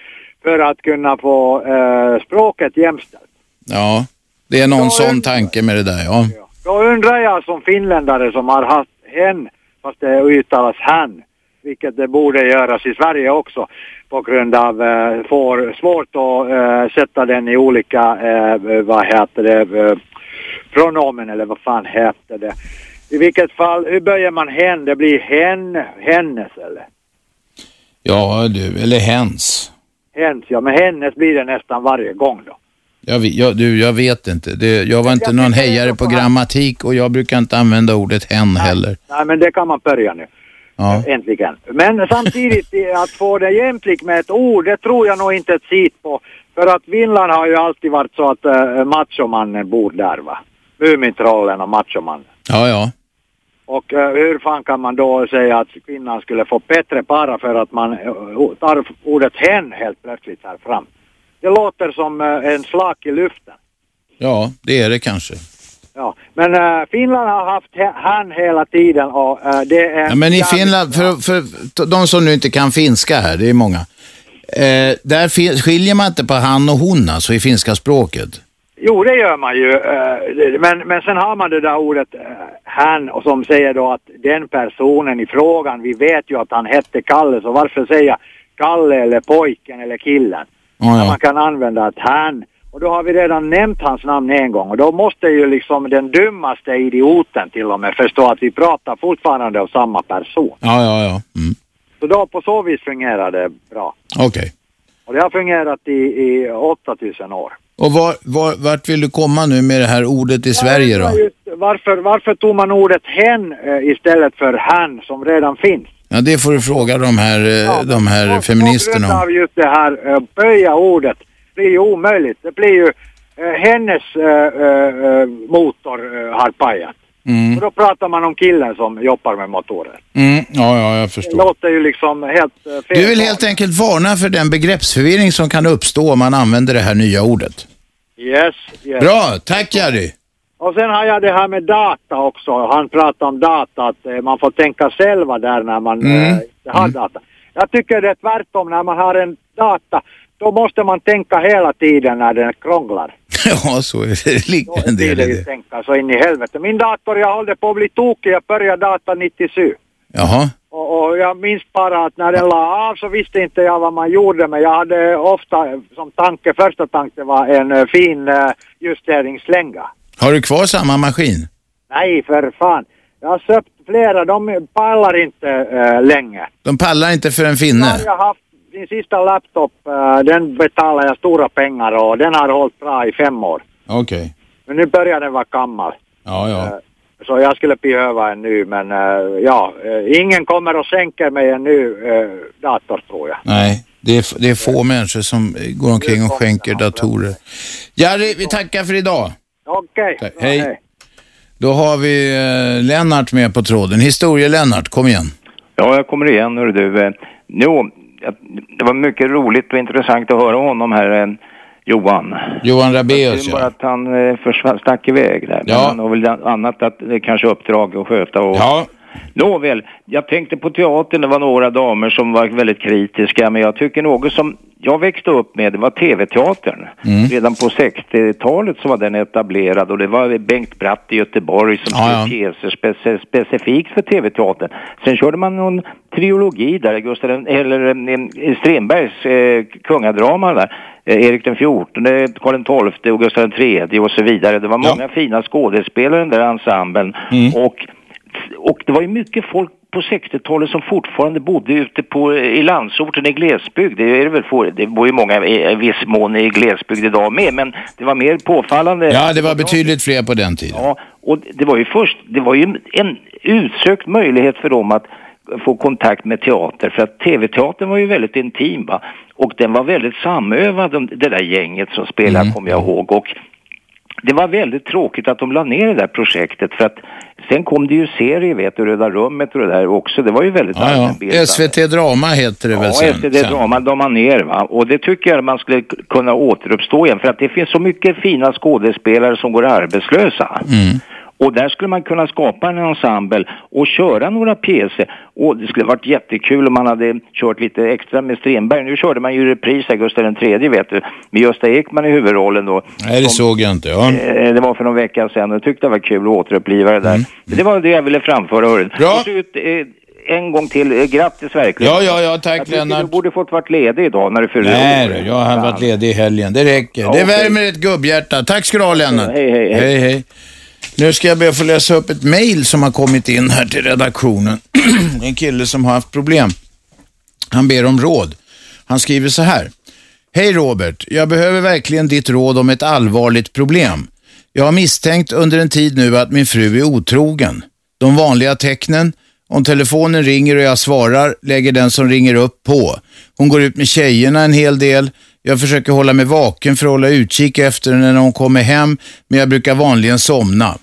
för att kunna få eh, språket jämställt.
Ja, det är någon sån tanke med det där, ja.
Då undrar jag som finländare som har haft hen, fast det uttalas han, vilket det borde göras i Sverige också på grund av eh, får, svårt att eh, sätta den i olika, eh, vad heter det, eh, pronomen eller vad fan heter det. I vilket fall, hur böjer man hen? Det blir hen, hennes eller?
Ja, du, eller hens.
Hens, ja men hennes blir det nästan varje gång då.
Jag, vi- jag, du, jag vet inte. Det, jag var inte någon hejare på grammatik och jag brukar inte använda ordet hen heller.
Nej men det kan man börja nu.
Ja.
Äntligen. Men samtidigt, eh, att få det jämlikt med ett ord, det tror jag nog inte ett sit på. För att Finland har ju alltid varit så att uh, machomannen bor där va. Mumintrollen och machomannen.
Ja, ja.
Och eh, hur fan kan man då säga att kvinnan skulle få bättre bara för att man eh, o- tar ordet hen helt plötsligt här fram? Det låter som eh, en slag i luften.
Ja, det är det kanske.
Ja. Men eh, Finland har haft he- han hela tiden och eh, det är...
Ja, men i Finland, för, för t- de som nu inte kan finska här, det är många. Eh, där fin- skiljer man inte på han och hon alltså i finska språket.
Jo, det gör man ju. eh, det- Men, men sen har man det där ordet eh, han och som säger då att den personen i frågan, vi vet ju att han hette Kalle, så varför säga Kalle eller pojken eller killen?
Ja,
Man kan använda att han. Och då har vi redan nämnt hans namn en gång och då måste ju liksom den dummaste idioten till och med förstå att vi pratar fortfarande om samma person.
Ja, ja, ja. Mm.
Så då på så vis fungerar det bra.
Okej.
Och det har fungerat i, i 8000 år.
Och var, var, vart vill du komma nu med det här ordet i Sverige då?
Just, varför, varför tog man ordet hen eh, istället för han som redan finns?
Ja, det får du fråga de här, eh, de här
På grund
feministerna om.
av just det här eh, böja ordet blir ju omöjligt. Det blir ju eh, hennes eh, eh, eh, motor eh, har pajat.
Mm.
Och då pratar man om killen som jobbar med motorer.
Mm. Ja, ja, jag
Det
förstår.
låter ju liksom helt eh, fel.
Du vill helt enkelt varna för den begreppsförvirring som kan uppstå om man använder det här nya ordet.
Yes, yes.
Bra, tack Jari.
Och sen har jag det här med data också. Han pratar om data, att eh, man får tänka själva där när man
Mm.
eh, inte har data. Jag tycker det är tvärtom, när man har en data, då måste man tänka hela tiden när den krånglar.
[LAUGHS] Ja, så är det. Det ligger en
Det
del i
är ju
det.
tänka så in i helvete. Min dator, jag håller på att bli tokig, jag började data 97.
Jaha.
Och, och jag minns bara att när den la av så visste inte jag vad man gjorde, men jag hade ofta som tanke, första tanke var en eh, fin eh, justeringslänga.
Har du kvar samma maskin?
Nej, för fan. Jag har köpt flera, de pallar inte eh, länge.
De pallar inte för en
Har
finne.
Jag har haft min sista laptop, eh, den betalade jag stora pengar och den har hållit bra i fem år.
Okej.
Men nu börjar den vara gammal.
Ja, ja.
Så jag skulle behöva en ny, men eh, ja, eh, ingen kommer och sänker mig en ny eh, dator tror jag.
Nej, det är, det är få människor som eh, går omkring och skänker datorer. Jari, vi tackar för idag.
Okej.
Tack. Hej. Då har vi eh, Lennart med på tråden. Historie-Lennart, kom igen.
Ja, jag kommer igen hör du. Eh, Jo, jag- det var mycket roligt och intressant att höra honom här, eh, Johan.
Johan Rabaeus,
Synd
ja.
bara att han eh, försvann, stack iväg där. Men
Ja.
han har väl annat att, eh, kanske uppdrag att sköta och...
Ja.
Nåväl, jag tänkte på teatern, det var några damer som var väldigt kritiska, men jag tycker något som jag växte upp med, det var TV-teatern.
Mm.
Redan på 60-talet så var den etablerad och det var Bengt Bratt i Göteborg som
Ja,
skrev teser speci- specifikt för TV-teatern. Sen körde man någon trilogi där, Gustav, eller eh, Strindbergs eh, kungadrama där. Eh, Erik den fjortonde, Karl XII och Gustav III och så vidare. Det var många fina skådespelare i den där ensemblen.
Mm.
Och och det var ju mycket folk på 60-talet som fortfarande bodde ute på, eh, i landsorten i glesbygd. Det, är det, väl få, det bor ju många i i viss mån i glesbygd idag med, men det var mer påfallande.
Ja, det var betydligt fler på den tiden.
Ja, och det var ju först, det var ju en utsökt möjlighet för dem att få kontakt med teater för att tv-teatern var ju väldigt intim va? och den var väldigt samövad de- det där gänget som spelade
Mm.
kommer jag ihåg och det var väldigt tråkigt att de la ner det där projektet för att sen kom det ju serier vet du, Röda rummet och det där också det var ju väldigt
Ja, ja. SVT Drama heter det väl
Ja, efter det dramat de man ner va. Och det tycker jag man skulle k- kunna återuppstå igen. För att det finns så mycket fina skådespelare som går arbetslösa.
Mm.
Och där skulle man kunna skapa en ensemble och köra några pjäser. Och det skulle varit jättekul om man hade kört lite extra med Strindberg. Nu körde man ju repris här, Gustav III vet du, med Gösta Ekman i huvudrollen då.
Nej, det såg jag inte. Ja.
Eh, Det var för någon vecka sedan och jag tyckte det var kul att återuppliva det där.
Mm.
Det var det jag ville framföra. hörru. Och så ut, eh, en gång till, eh, grattis verkligen.
Ja, ja, ja, tack,
jag tycker
Lennart.
Du borde fått varit ledig idag när du fyller
Nej,
år.
du, jag har varit ledig i helgen. Det räcker.
Ja,
det
okej.
värmer ett gubbhjärta. Tack ska du ha, Lennart.
Ja, hej, hej, hej.
hej, hej. Nu ska jag be att få läsa upp ett mejl som har kommit in här till redaktionen. [CLEARS THROAT] en kille som har haft problem. Han ber om råd. Han skriver så här. Hej Robert, jag behöver verkligen ditt råd om ett allvarligt problem. Jag har misstänkt under en tid nu att min fru är otrogen. De vanliga tecknen, om telefonen ringer och jag svarar, lägger den som ringer upp på. Hon går ut med tjejerna en hel del. Jag försöker hålla mig vaken för att hålla utkik efter henne när hon kommer hem, men jag brukar vanligen somna.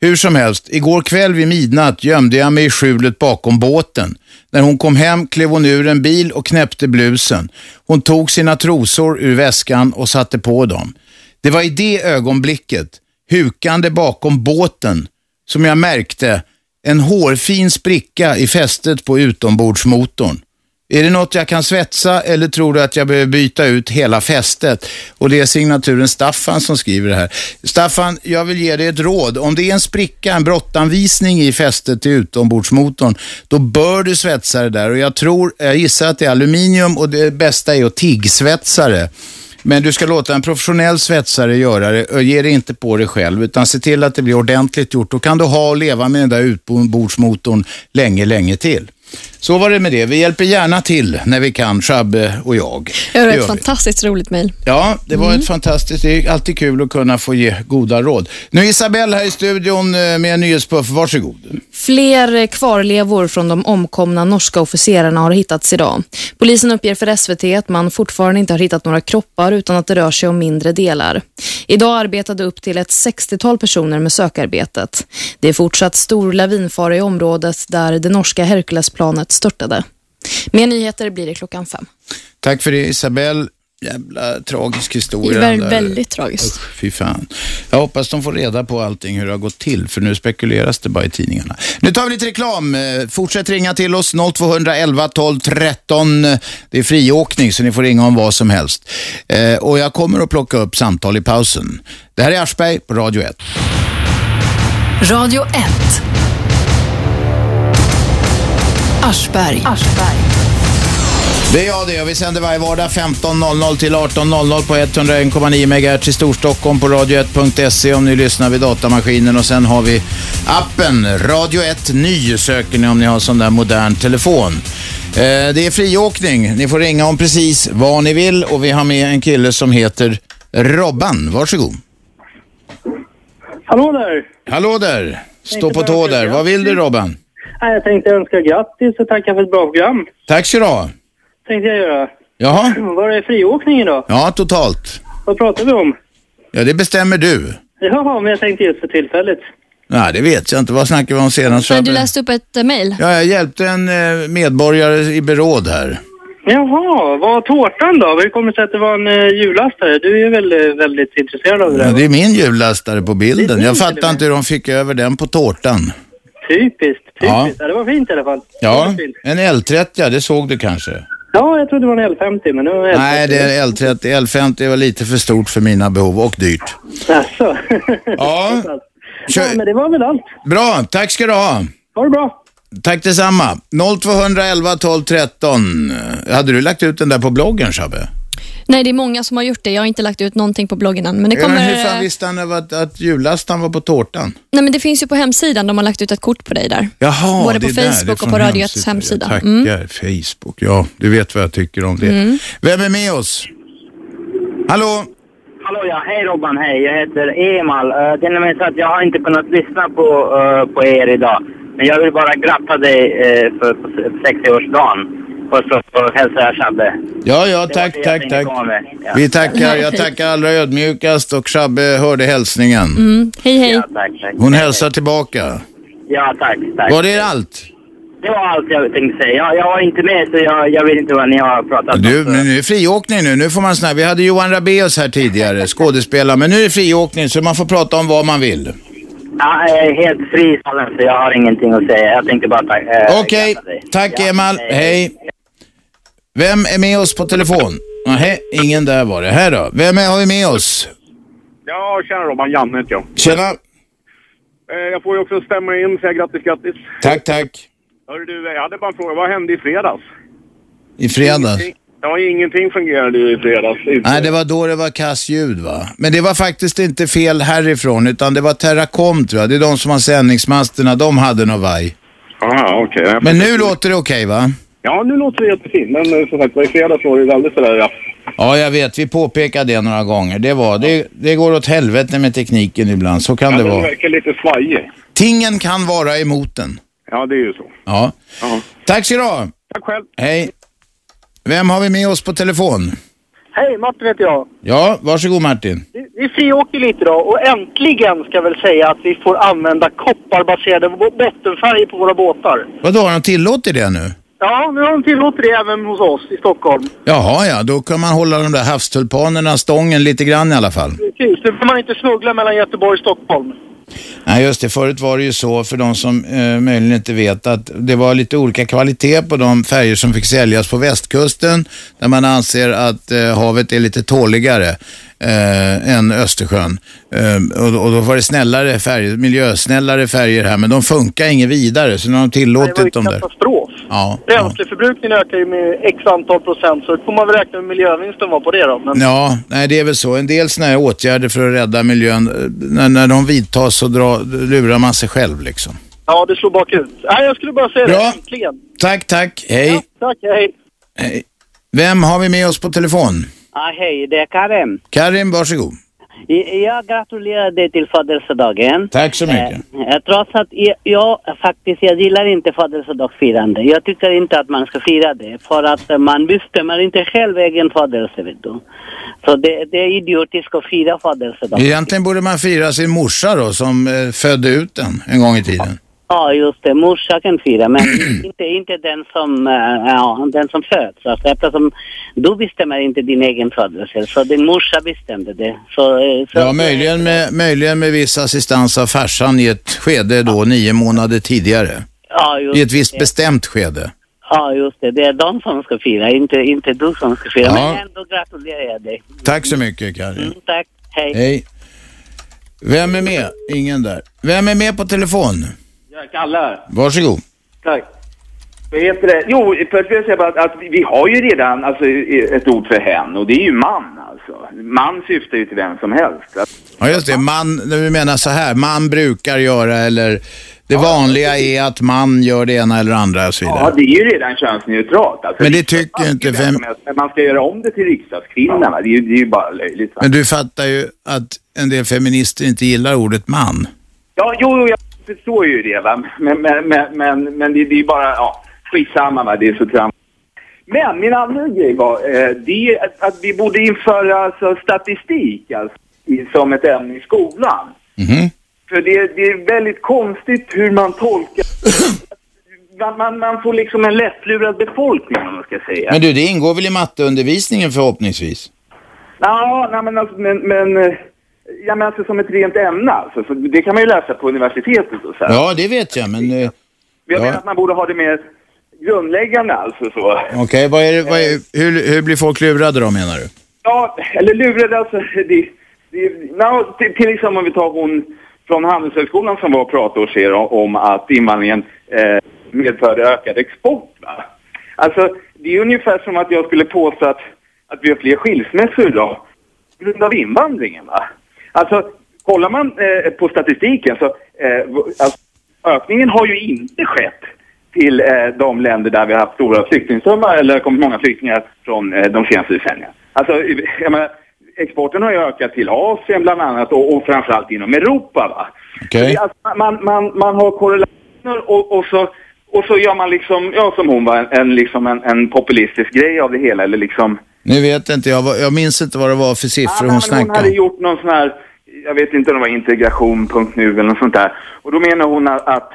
Hur som helst, igår kväll vid midnatt gömde jag mig i skjulet bakom båten. När hon kom hem klev hon ur en bil och knäppte blusen. Hon tog sina trosor ur väskan och satte på dem. Det var i det ögonblicket, hukande bakom båten, som jag märkte en hårfin spricka i fästet på utombordsmotorn. Är det något jag kan svetsa eller tror du att jag behöver byta ut hela fästet? Och det är signaturen Staffan som skriver det här. Staffan, jag vill ge dig ett råd. Om det är en spricka, en brottanvisning i fästet till utombordsmotorn, då bör du svetsa det där. Och jag tror, jag gissar att det är aluminium och det bästa är att tiggsvetsa det. Men du ska låta en professionell svetsare göra det och ge dig inte på det själv utan se till att det blir ordentligt gjort. Då kan du ha och leva med den där utbordsmotorn länge, länge till. Så var det med det. Vi hjälper gärna till när vi kan, Shabbe och jag.
Det var
Det gör
ett
vi.
fantastiskt roligt mejl.
Ja, det var
Mm.
ett fantastiskt, det är alltid kul att kunna få ge goda råd. Nu är Isabelle här i studion eh, med en nyhetspuff, varsågod.
Fler kvarlevor från de omkomna norska officerarna har hittats idag. Polisen uppger för SVT att man fortfarande inte har hittat några kroppar utan att det rör sig om mindre delar. Idag arbetade upp till ett 60-tal personer med sökarbetet. Det är fortsatt stor lavinfara i området där det norska Herculesplanet störtade. Mer nyheter blir det klockan fem.
Tack för det Isabelle. Jävla tragisk historia.
Det är
den där.
väldigt tragiskt.
Usch, fy fan. Jag hoppas de får reda på allting hur det har gått till, för nu spekuleras det bara i tidningarna. Nu tar vi lite reklam. Eh, Fortsätt ringa till oss, 0211 12 13. Det är friåkning, så ni får ringa om vad som helst. Eh, Och jag kommer att plocka upp samtal i pausen. Det här är Aschberg på Radio 1.
Radio 1. Aschberg.
Det är jag det och vi sänder varje vardag 15.00 till 18.00 på 101,9 MHz i Storstockholm på radio1.se om ni lyssnar vid datamaskinen och sen har vi appen Radio 1 Ny söker ni om ni har sån där modern telefon. Eh, Det är friåkning, ni får ringa om precis vad ni vill och vi har med en kille som heter Robban, varsågod.
Hallå där!
Hallå där, stå
Tänkte
på
bara
tå
säga
där, vad vill du Robban?
Nej, Jag tänkte önska grattis och tacka för ett bra program.
Tack så du ha.
Tänkte jag göra.
Jaha,
Var är friåkning idag?
ja totalt.
Vad pratar vi om?
Ja det bestämmer du.
Jaha, men jag tänkte just för tillfället.
Nej det vet jag inte, vad snackade vi om senast?
Men du läste upp ett eh, mejl.
Ja, jag hjälpte en eh, medborgare i beråd här.
Jaha, vad tårtan då? Hur kommer det sig att det var en eh, jullastare? Du är väl eh, väldigt intresserad av det
Ja,
där?
det är min jullastare på bilden.
Det är din
Jag
till
fattar
och
inte hur de fick över den på tårtan.
Typiskt, typiskt.
Ja.
Ja. det var fint i alla fall. Det
Ja,
var fint.
en L30, ja, det såg du kanske?
Ja, jag trodde det var en L50, men nu var det
Nej, det är L30. L50 var lite för stort för mina behov och dyrt.
Jaså? [LAUGHS]
Ja.
ja, men det var väl allt.
Bra, tack ska du ha.
Ha det bra.
Tack detsamma. 0211 12 13. Hade du lagt ut den där på bloggen, Shabbe?
Nej, det är många som har gjort det. Jag har inte lagt ut någonting på bloggen än, men det
Ja, men
kommer...
Hur fan
eh,
visste han att, att jullastaren var på tårtan?
Nej, men det finns ju på hemsidan. De har lagt ut ett kort på dig där.
Jaha,
Både på
det är där, det är
Facebook
från
och på Radio 1s hemsida.
Tackar,
Mm.
Facebook. Ja, du vet vad jag tycker om det.
Mm.
Vem är med oss? Hallå?
Hallå ja, hej Robban, hej. Jag heter Emal. Uh, det är nämligen så att jag har inte kunnat lyssna på, eh, på er idag. Men jag vill bara gratta dig eh, för, för 60-årsdagen. Och så så hälsar jag Shabbe.
Ja, ja, tack, tack,
jag tänkte
tack.
komma med. Ja.
Vi tackar. Jag tackar allra ödmjukast och Shabbe hörde hälsningen.
Mm. Hej, hej.
Ja, tack, tack.
Hon hälsar tillbaka.
Ja, tack, tack.
Var det allt?
Det var allt jag tänkte säga. Jag, jag var inte med så jag, jag vet inte vad ni har pratat om.
Du, men nu är det friåkning nu. Nu får man snabbt. Vi hade Johan Rabaeus här tidigare, skådespelare. Men nu är det friåkning så man får prata om vad man vill.
Ja, jag är helt fri i salen, så jag har ingenting att säga. Jag tänkte bara tack, eh,
Okej,
gratta dig.
tack Emal. Hej. Vem är med oss på telefon? Nej, ingen där var det. Här då. Vem är, har vi med oss?
Ja, tjena Robban. Janne heter jag.
Tjena.
Eh, jag får ju också stämma in och säga grattis, grattis.
Tack, tack.
Hörru du, jag hade bara en fråga. Vad hände i fredags?
I fredags.
Ja, ingenting fungerade ju i fredags. Inte.
Nej, det var då det var kass ljud va? Men det var faktiskt inte fel härifrån, utan det var Terracom tror jag. Det är de som har sändningsmasterna, de hade något vaj.
Aha, Ah, okej. Nej,
Men nu låter det okej va?
Ja, nu låter det jättefint. Men eh, som sagt var, i fredags var det väldigt sådär... Ja.
Ja, jag vet. Vi påpekade det några gånger. Det, var, det, det går åt helvete med tekniken ibland, så kan
Ja,
det
den
vara.
verkar lite svajig.
Tingen kan vara emot den.
Ja, det är ju så.
Ja. Tack så du ha.
Tack själv.
Hej. Vem har vi med oss på telefon?
Hej, Martin heter jag.
Ja, varsågod Martin.
Vi- Vi friåker lite idag och äntligen ska jag väl säga att vi får använda kopparbaserade bo- bottenfärger på våra båtar.
Vadå, har de tillåtit det nu?
Ja, nu har de tillåtit det även hos oss i Stockholm.
Jaha, ja. Då kan man hålla de där havstulpanerna stången lite grann i alla fall.
Precis, nu får man inte snuggla mellan Göteborg och Stockholm.
Nej, just det. Förut var det ju så, för de som eh, möjligen inte vet, att det var lite olika kvalitet på de färger som fick säljas på västkusten, där man anser att eh, havet är lite tåligare eh, än Östersjön. Eh, och, då- och då var det snällare färger, miljösnällare färger här, men de funkar inget vidare, så nu har de tillåtit dem där.
Katastrof. alltså-
Ja.
Bränsleförbrukningen ökar ju med x antal procent så får man väl räkna med miljövinsten var på det då. Men...
Ja, nej det är väl så. En del sådana här åtgärder för att rädda miljön, eh, när, när de vidtas så dra, lurar man sig själv liksom.
Ja, det slår bakut. Nej, jag skulle bara säga
Bra.
det. Äntligen.
Tack, tack. Hej.
Tack, hej.
Hej. Eh, Vem har vi med oss på telefon?
Ah, hej, det är Karim.
Karim, varsågod.
I- Jag gratulerar dig till födelsedagen.
Tack så mycket.
Eh, trots att jag, jag faktiskt, jag gillar inte födelsedagsfirande. Jag tycker inte att man ska fira det. För att eh, man bestämmer inte själv egen födelse, vet du. Så det, det är idiotiskt att fira födelsedag.
Egentligen borde man fira sin morsa då, som eh, födde ut den en gång i tiden.
Ja, just det. Morsa kan fira, men inte, inte den som, eh, ja, den som föds. Alltså, eftersom du bestämmer inte din egen födelse, så din morsa bestämde det. Så, eh, så
Ja, möjligen med, möjligen med viss assistans av farsan i ett skede då, nio månader tidigare.
ja, just
I ett visst
det.
bestämt skede.
Ja, just det. Det är de som ska fira, inte, inte du som ska fira.
Ja.
Men ändå gratulerar jag dig.
Tack så mycket, Karin.
Mm, tack. Hej.
Hej. Vem är med? Ingen där. Vem är med på telefon?
Ja, Kalle här.
Varsågod.
Tack. Vad heter det? Jo, först vill jag säga bara att, att vi har ju redan alltså, ett ord för hen och det är ju man alltså. Man syftar ju till vem som helst. Att,
Ja, just det. Man, du menar så här, man brukar göra eller det vanliga är att man gör det ena eller andra och så vidare.
ja, det är ju redan könsneutralt. Alltså,
Men det tycker inte fem...
Men man ska göra om det till riksdagskvinnorna. Det är ju, det är ju bara löjligt. Va?
Men du fattar ju att en del feminister inte gillar ordet man.
Ja, jo, jo, jag förstår ju det va. Men, men, men, men, men det, det är ju bara, ja, skitsamma va. Det är så tramsigt. Men min andra grej var, eh, det är att, att vi borde införa alltså, statistik alltså, i, som ett ämne i skolan.
Mhm.
För det, det är väldigt konstigt hur man tolkar.
[COUGHS]
Man, man, man får liksom en lättlurad befolkning om man ska säga.
Men du, det ingår väl i matteundervisningen förhoppningsvis?
Ja, nej, men alltså, men, men, eh, ja, men alltså som ett rent ämne alltså. För det kan man ju läsa på universitetet och så. här.
Ja, det vet jag, men... eh,
Jag menar
Ja.
att man borde ha det mer grundläggande alltså så.
Okej, vad är det, vad är, hur, hur blir folk lurade då menar du?
Ja, eller lurade alltså. Det, det, no, till, till exempel om vi tar hon från Handelshögskolan som var och pratade hos er om, om att invandringen eh, medförde ökad export. Va? Alltså, det är ungefär som att jag skulle påstå att, att vi har fler skilsmässor idag på grund av invandringen. Va? Alltså, kollar man eh, på statistiken så eh, v- alltså, ökningen har ju inte skett till eh, de länder där vi har haft stora flyktingströmmar eller kommit många flyktingar från eh, de senaste decennierna. Alltså, jag menar, exporten har ju ökat till Asien bland annat och, och framförallt inom Europa. Va?
Okej.
Det är Alltså, man, man, man har korrelationer och, och, så, och så gör man liksom, ja som hon var, en, en, liksom en, en populistisk grej av det hela. Eller liksom,
Nu vet inte jag, vad- jag minns inte vad det var för siffror hon
men hon hade
snackade om.
gjort någon sån här, jag vet inte om det var integration.nu eller något sånt där. Och då menar hon att, att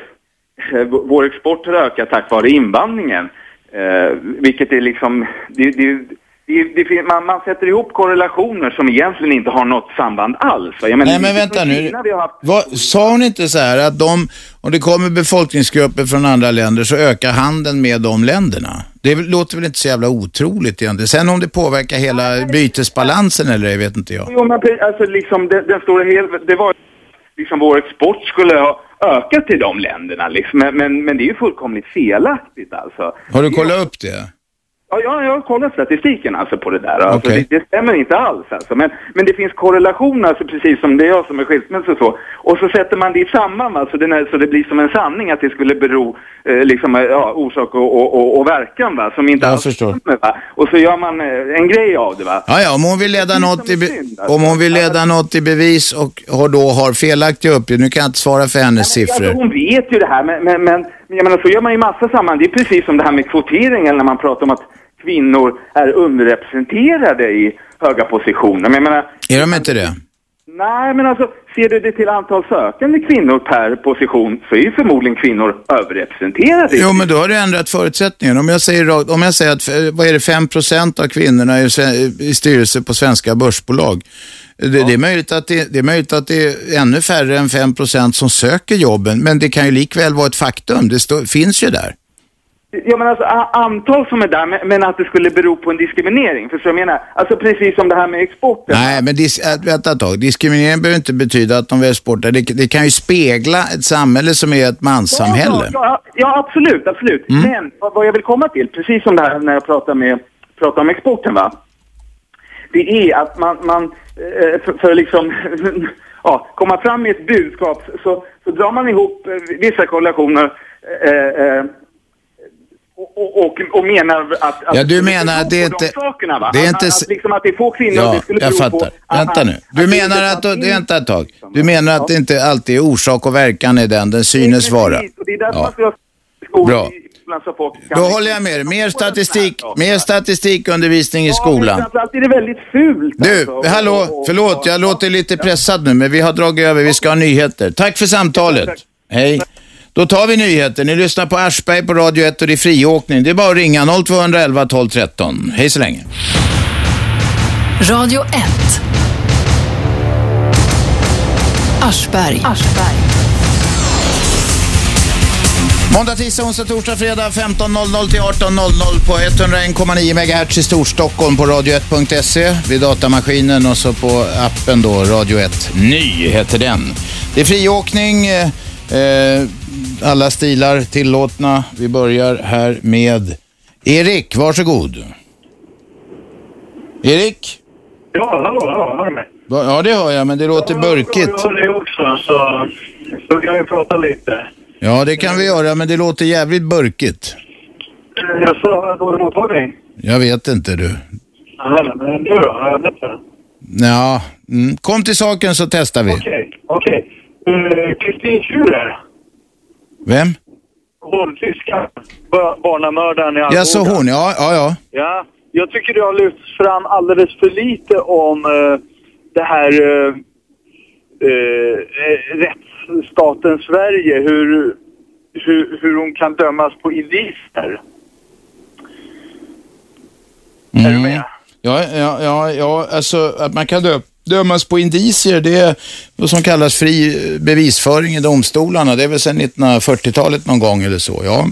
eh, v- vår export har ökat tack vare invandringen. Eh, vilket är liksom, det, det, det, det, fin- man, man sätter ihop korrelationer som egentligen inte har något samband alls. va? Jag menar,
Nej men
det är
vänta
från
nu.
Kina vi har haft-
Vad, sa hon inte så här att de, om det kommer befolkningsgrupper från andra länder så ökar handeln med de länderna? Det är väl- låter väl inte så jävla otroligt egentligen. Sen om det påverkar hela bytesbalansen eller det vet inte jag.
Jo, men pre- alltså liksom den, den stora hel... Det var liksom vår export skulle ha ökat till de länderna liksom. Men, men, men det är ju fullkomligt felaktigt alltså.
Har du kollat upp det?
Ja, jag, jag har kollat statistiken alltså på det där. Alltså, det, det stämmer inte alls alltså. Men, men det finns korrelationer, alltså, precis som det är jag som är skilsmässa och så. Och så sätter man det i samband, alltså, den här, så det blir som en sanning att det skulle bero eh, liksom, eh, ja, orsak och, och, och, och verkan va, som inte alls stämmer va. Och så gör man eh, en grej av det va.
Ja, ja, om hon vill leda, något i, be-
alltså.
om hon vill leda något i bevis och har då har felaktiga uppgifter, nu kan jag inte svara för hennes
Alltså,
siffror.
hon vet ju det här, men, men, men men jag menar, så gör man ju massa samman. Det är precis som det här med kvoteringen när man pratar om att kvinnor är underrepresenterade i höga positioner. Men jag menar,
Är de inte det?
nej men alltså, ser du det till antal sökande kvinnor per position så är ju förmodligen kvinnor överrepresenterade. i-
Jo, men då har du ändrat förutsättningarna. Om jag säger, rakt- om jag säger att, eh, vad är det, 5% av kvinnorna är i sve- i styrelser på svenska börsbolag. Det, det, är möjligt att det, det är möjligt att det är ännu färre än 5% som söker jobben, men det kan ju likväl vara ett faktum. Det står- finns ju där.
Ja men alltså a- antal som är där, men, men att det skulle bero på en diskriminering. För så jag menar, alltså precis som det här med export.
Nej, men dis- äh, vänta ett tag. Diskriminering behöver inte betyda att de väljs bort. Det, det kan ju spegla ett samhälle som är ett manssamhälle.
Ja, ja, ja absolut, absolut.
Mm.
Men vad, vad jag vill komma till, precis som det här när jag pratar, med, pratar om exporten va. Det är att man, man eh, för, för liksom, [LAUGHS] ja, komma fram med ett budskap så, så drar man ihop eh, vissa korrelationer eh, eh, och, och, och, och menar att... att
Ja, du menar att det är
på de
inte-
Sakerna, va?
det är
Att-
inte
Att,
s-
att, liksom att det är få kvinnor och
Ja,
det skulle
jag
bero på...
fattar.
att-
Vänta nu. Du
att det
menar
inte
att, det
fanns in-
vänta ett tag. Du menar att det inte alltid är orsak och verkan i den den synes vara.
Precis, och Det är därför
Ja.
man ska ha skolor
Bra.
i skolan så folk kan...
Då håller jag med dig. Mer statistik, mer statistikundervisning i
Ja, men alltså.
skolan.
framförallt är det väldigt fult.
Du, hallå, förlåt, jag låter lite pressad nu, men vi har dragit över, vi ska ha nyheter. Tack för samtalet. Hej. Då tar vi nyheter. Ni lyssnar på Aschberg på Radio 1 och det är friåkning. Det är bara att ringa 0211 12 13. Hej så länge.
Radio 1. Aschberg.
Måndag, tisdag, onsdag, torsdag, fredag 15.00 till 18.00 på 101,9 MHz i Storstockholm på radio1.se vid datamaskinen och så på appen då, Radio 1 Ny heter den. Det är friåkning, eh, eh, alla stilar tillåtna. Vi börjar här med Erik, varsågod. Erik?
Ja, hallå, hallå, hör du mig?
Va- Ja, det hör jag, men det låter burkigt.
Jag hör dig också, alltså. så, så kan vi prata lite.
Ja, det kan vi göra, men det låter jävligt burkigt.
Eh, Jag sa, har jag dålig mottagning?
Jag vet inte du.
Nej, men nu då? Har jag bättre?
Ja, mm. kom till saken så testar vi.
Okej, okej. Eh, Kristin Schurer,
Vem?
hon tyska ba- barnamördaren i
Ja, så hon. Ja, ja, ja.
Ja, jag tycker det har lyfts fram alldeles för lite om eh, det här eh, eh, eh, rättsstaten Sverige, hur, hur, hur hon kan dömas på indicier.
Är du med? Mm. Ja, ja, ja, ja, alltså att man kan dö- dömas på indicier, det är vad som kallas fri eh, bevisföring i domstolarna. Det är väl sedan 1940-talet någon gång eller så, ja.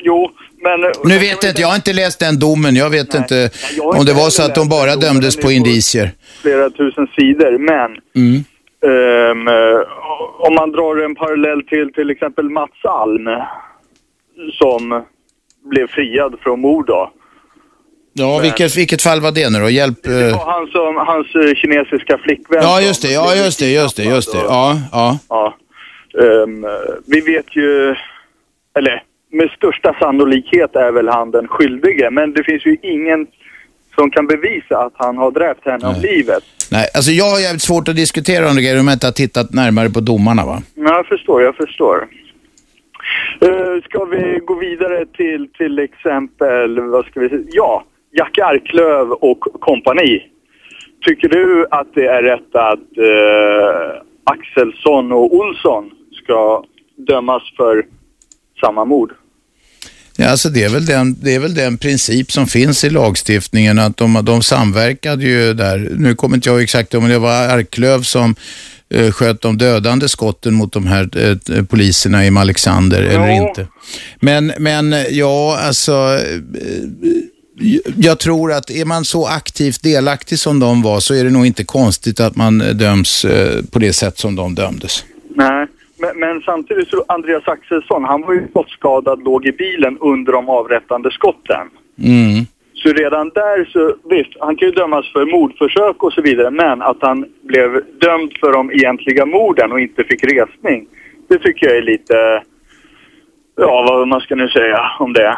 Jo, men... eh,
Nu vet jag inte, jag har inte läst den domen. Jag vet inte
har
om
inte
det var
heller
så att de
läst
bara
den domen,
dömdes
men
på
det får-
indicier.
Flera tusen sidor, men
Mm.
ehm, eh, om man drar en parallell till till exempel Mats Alm som blev friad från mord då.
Ja, vilket, vilket fall var det nu då? Hjälp...
Det
eh,
var han som, hans eh, kinesiska flickvän.
Ja, just det, ja, just det, just det, just det. Ja, ja.
Ja. Ehm, eh, vi vet ju, eller med största sannolikhet är väl han den skyldige, men det finns ju ingen som kan bevisa att han har dräpt henne om livet.
Nej, alltså jag har jävligt svårt att diskutera om det grejer om jag inte har tittat närmare på domarna va.
Ja, jag förstår, jag förstår. Eh, ska vi gå vidare till till exempel, vad ska vi säga? Ja, Jack Arklöv och kompani. Tycker du att det är rätt att eh, Axelsson och Olsson ska dömas för samma mord?
Ja, alltså det, är väl den, det är väl den princip som finns i lagstiftningen att de, de samverkade ju där. Nu kommer inte jag exakt ihåg, men det var Arklöv som eh, sköt de dödande skotten mot de här eh, poliserna i Alexander eller inte. Men, men ja, alltså eh, jag tror att är man så aktivt delaktig som de var så är det nog inte konstigt att man eh, döms eh, på det sätt som de dömdes.
Nej, men, men samtidigt så Andreas Axelsson, han var ju skottskadad, låg i bilen under de avrättande skotten.
Mm.
Så Så redan där så, visst, han kan ju dömas för mordförsök och så vidare, men att han blev dömd för de egentliga morden och inte fick resning, det tycker jag är lite, ja vad man ska nu säga om det.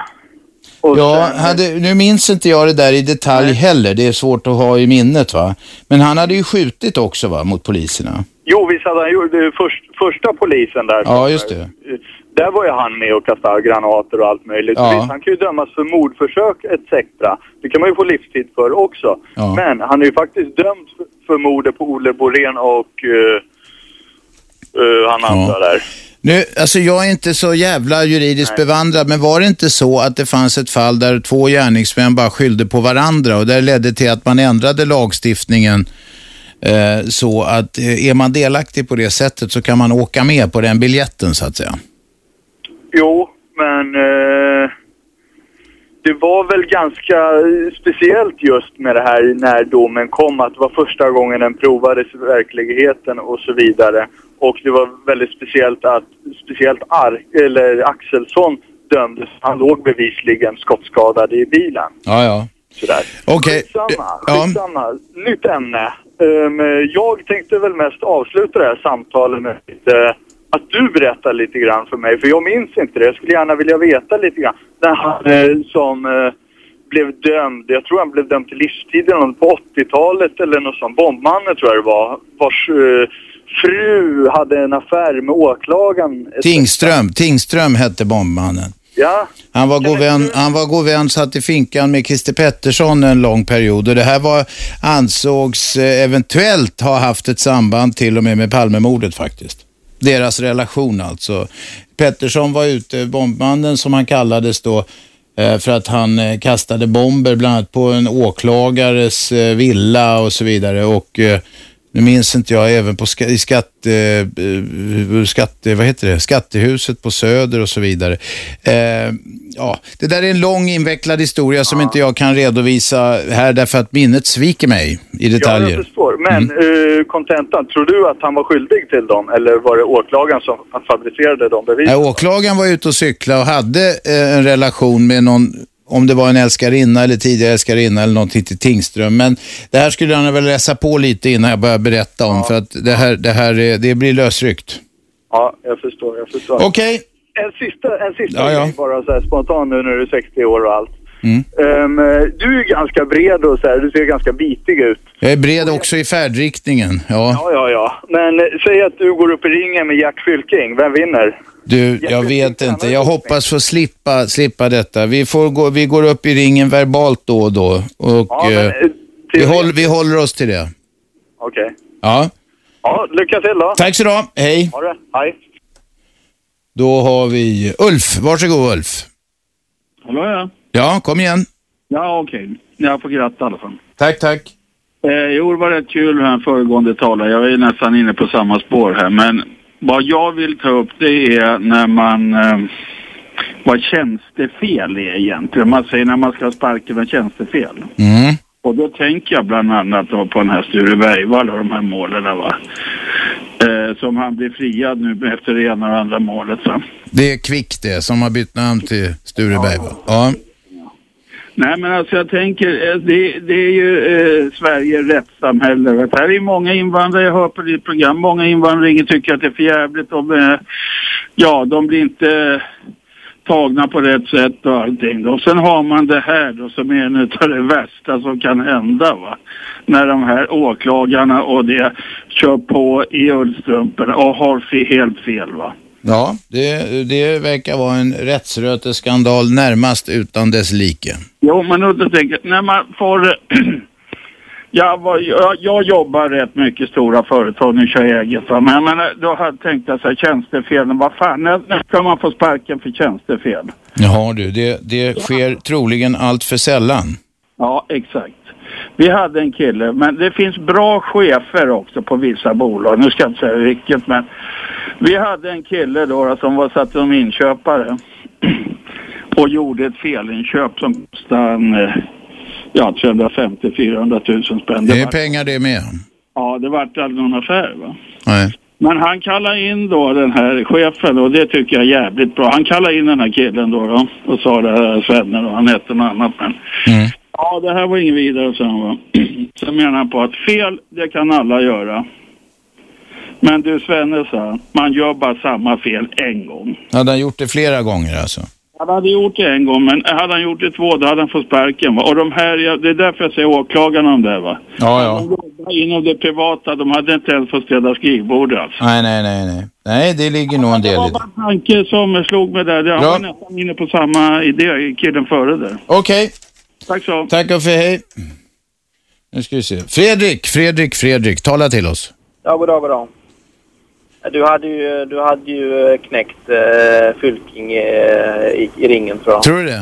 Ja, hade, nu minns inte jag det där i detalj heller. Det är svårt att ha i minnet va. Men han hade ju skjutit också va, mot poliserna.
Jo, visst hade han gjort det. Först, första polisen där.
Ja, just det.
Där var ju han med och kastade granater och allt möjligt.
Ja.
Visst, han kan ju dömas för mordförsök etc. Det kan man ju få livstid för också.
Ja.
Men han är ju faktiskt dömd för- för mordet på Olle Borén och eh, eh, han andra där.
Nu, alltså jag är inte så jävla juridiskt bevandrad, men var det inte så att det fanns ett fall där två gärningsmän bara skyllde på varandra och det ledde till att man ändrade lagstiftningen eh, så att eh, är man delaktig på det sättet så kan man åka med på den biljetten så att säga.
Jo, men eh, det var väl ganska speciellt just med det här när domen kom att det var första gången den provades i verkligheten och så vidare. Och det var väldigt speciellt att speciellt Ar- eller Axelsson dömdes. Han låg bevisligen skottskadad i bilen.
Ja, ja.
Sådär.
Okej.
Skitsamma,
Ja.
skitsamma. Nytt ämne. Ehm, jag tänkte väl mest avsluta det här samtalet med lite, att du berättar lite grann för mig, för jag minns inte det. Jag skulle gärna vilja veta lite grann. Den här eh, som eh, blev dömd, jag tror han blev dömd till livstiden på 80-talet eller något sånt. Bombmannen tror jag det var, vars eh, fru hade en affär med åklagaren.
Tingström, Tingström hette bombmannen.
Ja,
Han var, god vän, han var god vän, satt i finkan med Christer Pettersson en lång period och det här var, ansågs eh, eventuellt ha haft ett samband till och med med Palmemordet faktiskt. Deras relation alltså. Pettersson var ute, bombmannen som han kallades då, eh, för att han eh, kastade bomber bland annat på en åklagares eh, villa och så vidare och eh, nu minns inte jag, även på ska, i skatt, eh, eh, skatte, vad heter det? skattehuset på Söder och så vidare. Eh, ja, det där är en lång invecklad historia som inte jag kan redovisa här därför att minnet sviker mig i
Ja, jag
detaljer. Mm.
förstår. Men eh, kontentan, tror du att han var skyldig till dem? Eller var det åklagaren som fabricerade de bevisen?
Nej, åklagaren var ute och cyklade och hade eh, en relation med någon, om det var en älskarinna eller tidigare älskarinna eller någonting till Tingström. Men det här skulle han väl läsa på lite innan jag börjar berätta om för att det här, det här är, det blir lösryckt.
Ja, jag förstår. Jag förstår.
Okej.
En sista, en sista
Ja, ja.
grej bara så här spontan nu när du är 60 år och allt.
Mm.
Ehm, eh, du är ju ganska bred och så här, du ser ganska bitig ut.
Jag är bred också i färdriktningen. Ja.
Ja, ja, ja. Men eh, säg att du går upp i ringen med Gert Fylking, vem vinner?
Du, jag vet inte. Jag hoppas få slippa, slippa detta. Vi, får gå, vi går upp i ringen verbalt då och då. Och, eh, vi, håller, vi håller oss till det.
Okej.
Ja.
Ja, lycka till då.
Tack så du ha. Hej.
Ha det. Hej.
Då har vi Ulf. Varsågod Ulf.
Hallå ja.
Ja, kom igen.
Ja okej. Jag får gratta i alla fall.
Tack, tack.
Eh, jo det var rätt kul med den föregående talaren. Jag är ju nästan inne på samma spår här. Men vad jag vill ta upp det är när man... Eh, vad tjänstefel är egentligen. Man säger när man ska ha sparken med tjänstefel.
Mm.
Och då tänker jag bland annat då på den här Sture Bergvall och de här målen där, va. Eh, som han blir friad nu efter det ena och det andra målet. Va?
Det är Kvick det, som har bytt namn till Stureberg. va? Ja.
Nej men alltså jag tänker, eh, det, det är ju eh, Sverige rättssamhälle. vet. Här är många invandrare, jag hör på ditt program, många invandrare tycker att det är för jävligt. De, eh, ja, de blir inte tagna på rätt sätt och allting. Och sen har man det här då som är en utav det värsta som kan hända va. När de här åklagarna och det kör på i ullstrumporna och har fe- helt fel va.
Ja, det, det verkar vara en rättsröteskandal närmast utan dess like.
Jo, men då tänker jag, när man får... [CLEARS THROAT] jag, var, jag, jag jobbar rätt mycket i stora företag, nu kör jag eget. Va? Men jag menar, då hade jag tänkt att så här, tjänstefelen, vad fan, när, när ska man få sparken för tjänstefel?
Jaha du, det, det sker troligen allt för sällan.
Ja, exakt. Vi hade en kille, men det finns bra chefer också på vissa bolag. Nu ska jag inte säga vilket, men vi hade en kille då, då som var satt som inköpare [CLEARS THROAT] och gjorde ett felinköp som kostade en, eh, ja, 350-400 000 spänn.
Det är
var-
pengar det med.
Ja, det vart aldrig någon affär va.
Nej.
Men han kallar in då den här chefen och det tycker jag är jävligt bra. Han kallar in den här killen då, då och sa det här Svenne då, han hette något annat men. Ja, det här var inget vidare, sa han. va. [CLEARS THROAT] Sen menar han på att fel, det kan alla göra. Men du Svenne, sa han, man gör bara samma fel en gång.
Hade han gjort det flera gånger alltså?
Han hade gjort det en gång, men hade han gjort det två, då hade han fått sparken. Va? Och de här, jag- det är därför jag säger åklagarna om det här, va.
Ja, ja.
Inom det privata, de hade inte ens fått städa skrivbord alltså.
Nej, nej, nej, nej. Nej, det ligger nog en del i det.
Tanke som slog mig där, jag var nästan inne på samma idé, killen före där.
Okej.
Tack så.
Tack och för hej. Nu ska vi se. Fredrik, Fredrik, Fredrik, tala till oss.
Ja, goddag, goddag. Du hade ju, du hade ju eh, knäckt eh, Fylking eh, i, i ringen, tror jag.
Tror du det?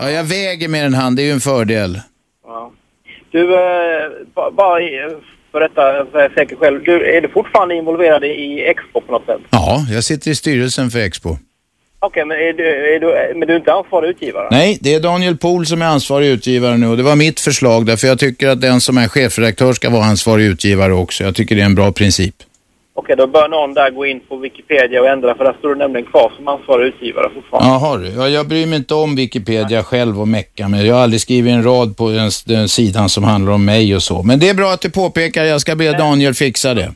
Ja, jag väger mer än han, det är ju en fördel.
Ja. Du, eh, ba- bara i- för detta, för jag är säker själv. Du, är du fortfarande involverad i Expo på något sätt?
Ja, jag sitter i styrelsen för Expo.
Okej, men, är du, är du, men du är inte ansvarig utgivare?
Nej, det är Daniel Pohl som är ansvarig utgivare nu och det var mitt förslag därför jag tycker att den som är chefredaktör ska vara ansvarig utgivare också. Jag tycker det är en bra princip.
Okej, då bör någon där gå in på Wikipedia och ändra, för där står du nämligen kvar som ansvarig utgivare fortfarande.
Jaha du, Ja, jag bryr mig inte om Wikipedia själv och mecka med. Jag har aldrig skrivit en rad på den, den sidan som handlar om mig och så. Men det är bra att du påpekar, jag ska be Daniel fixa det.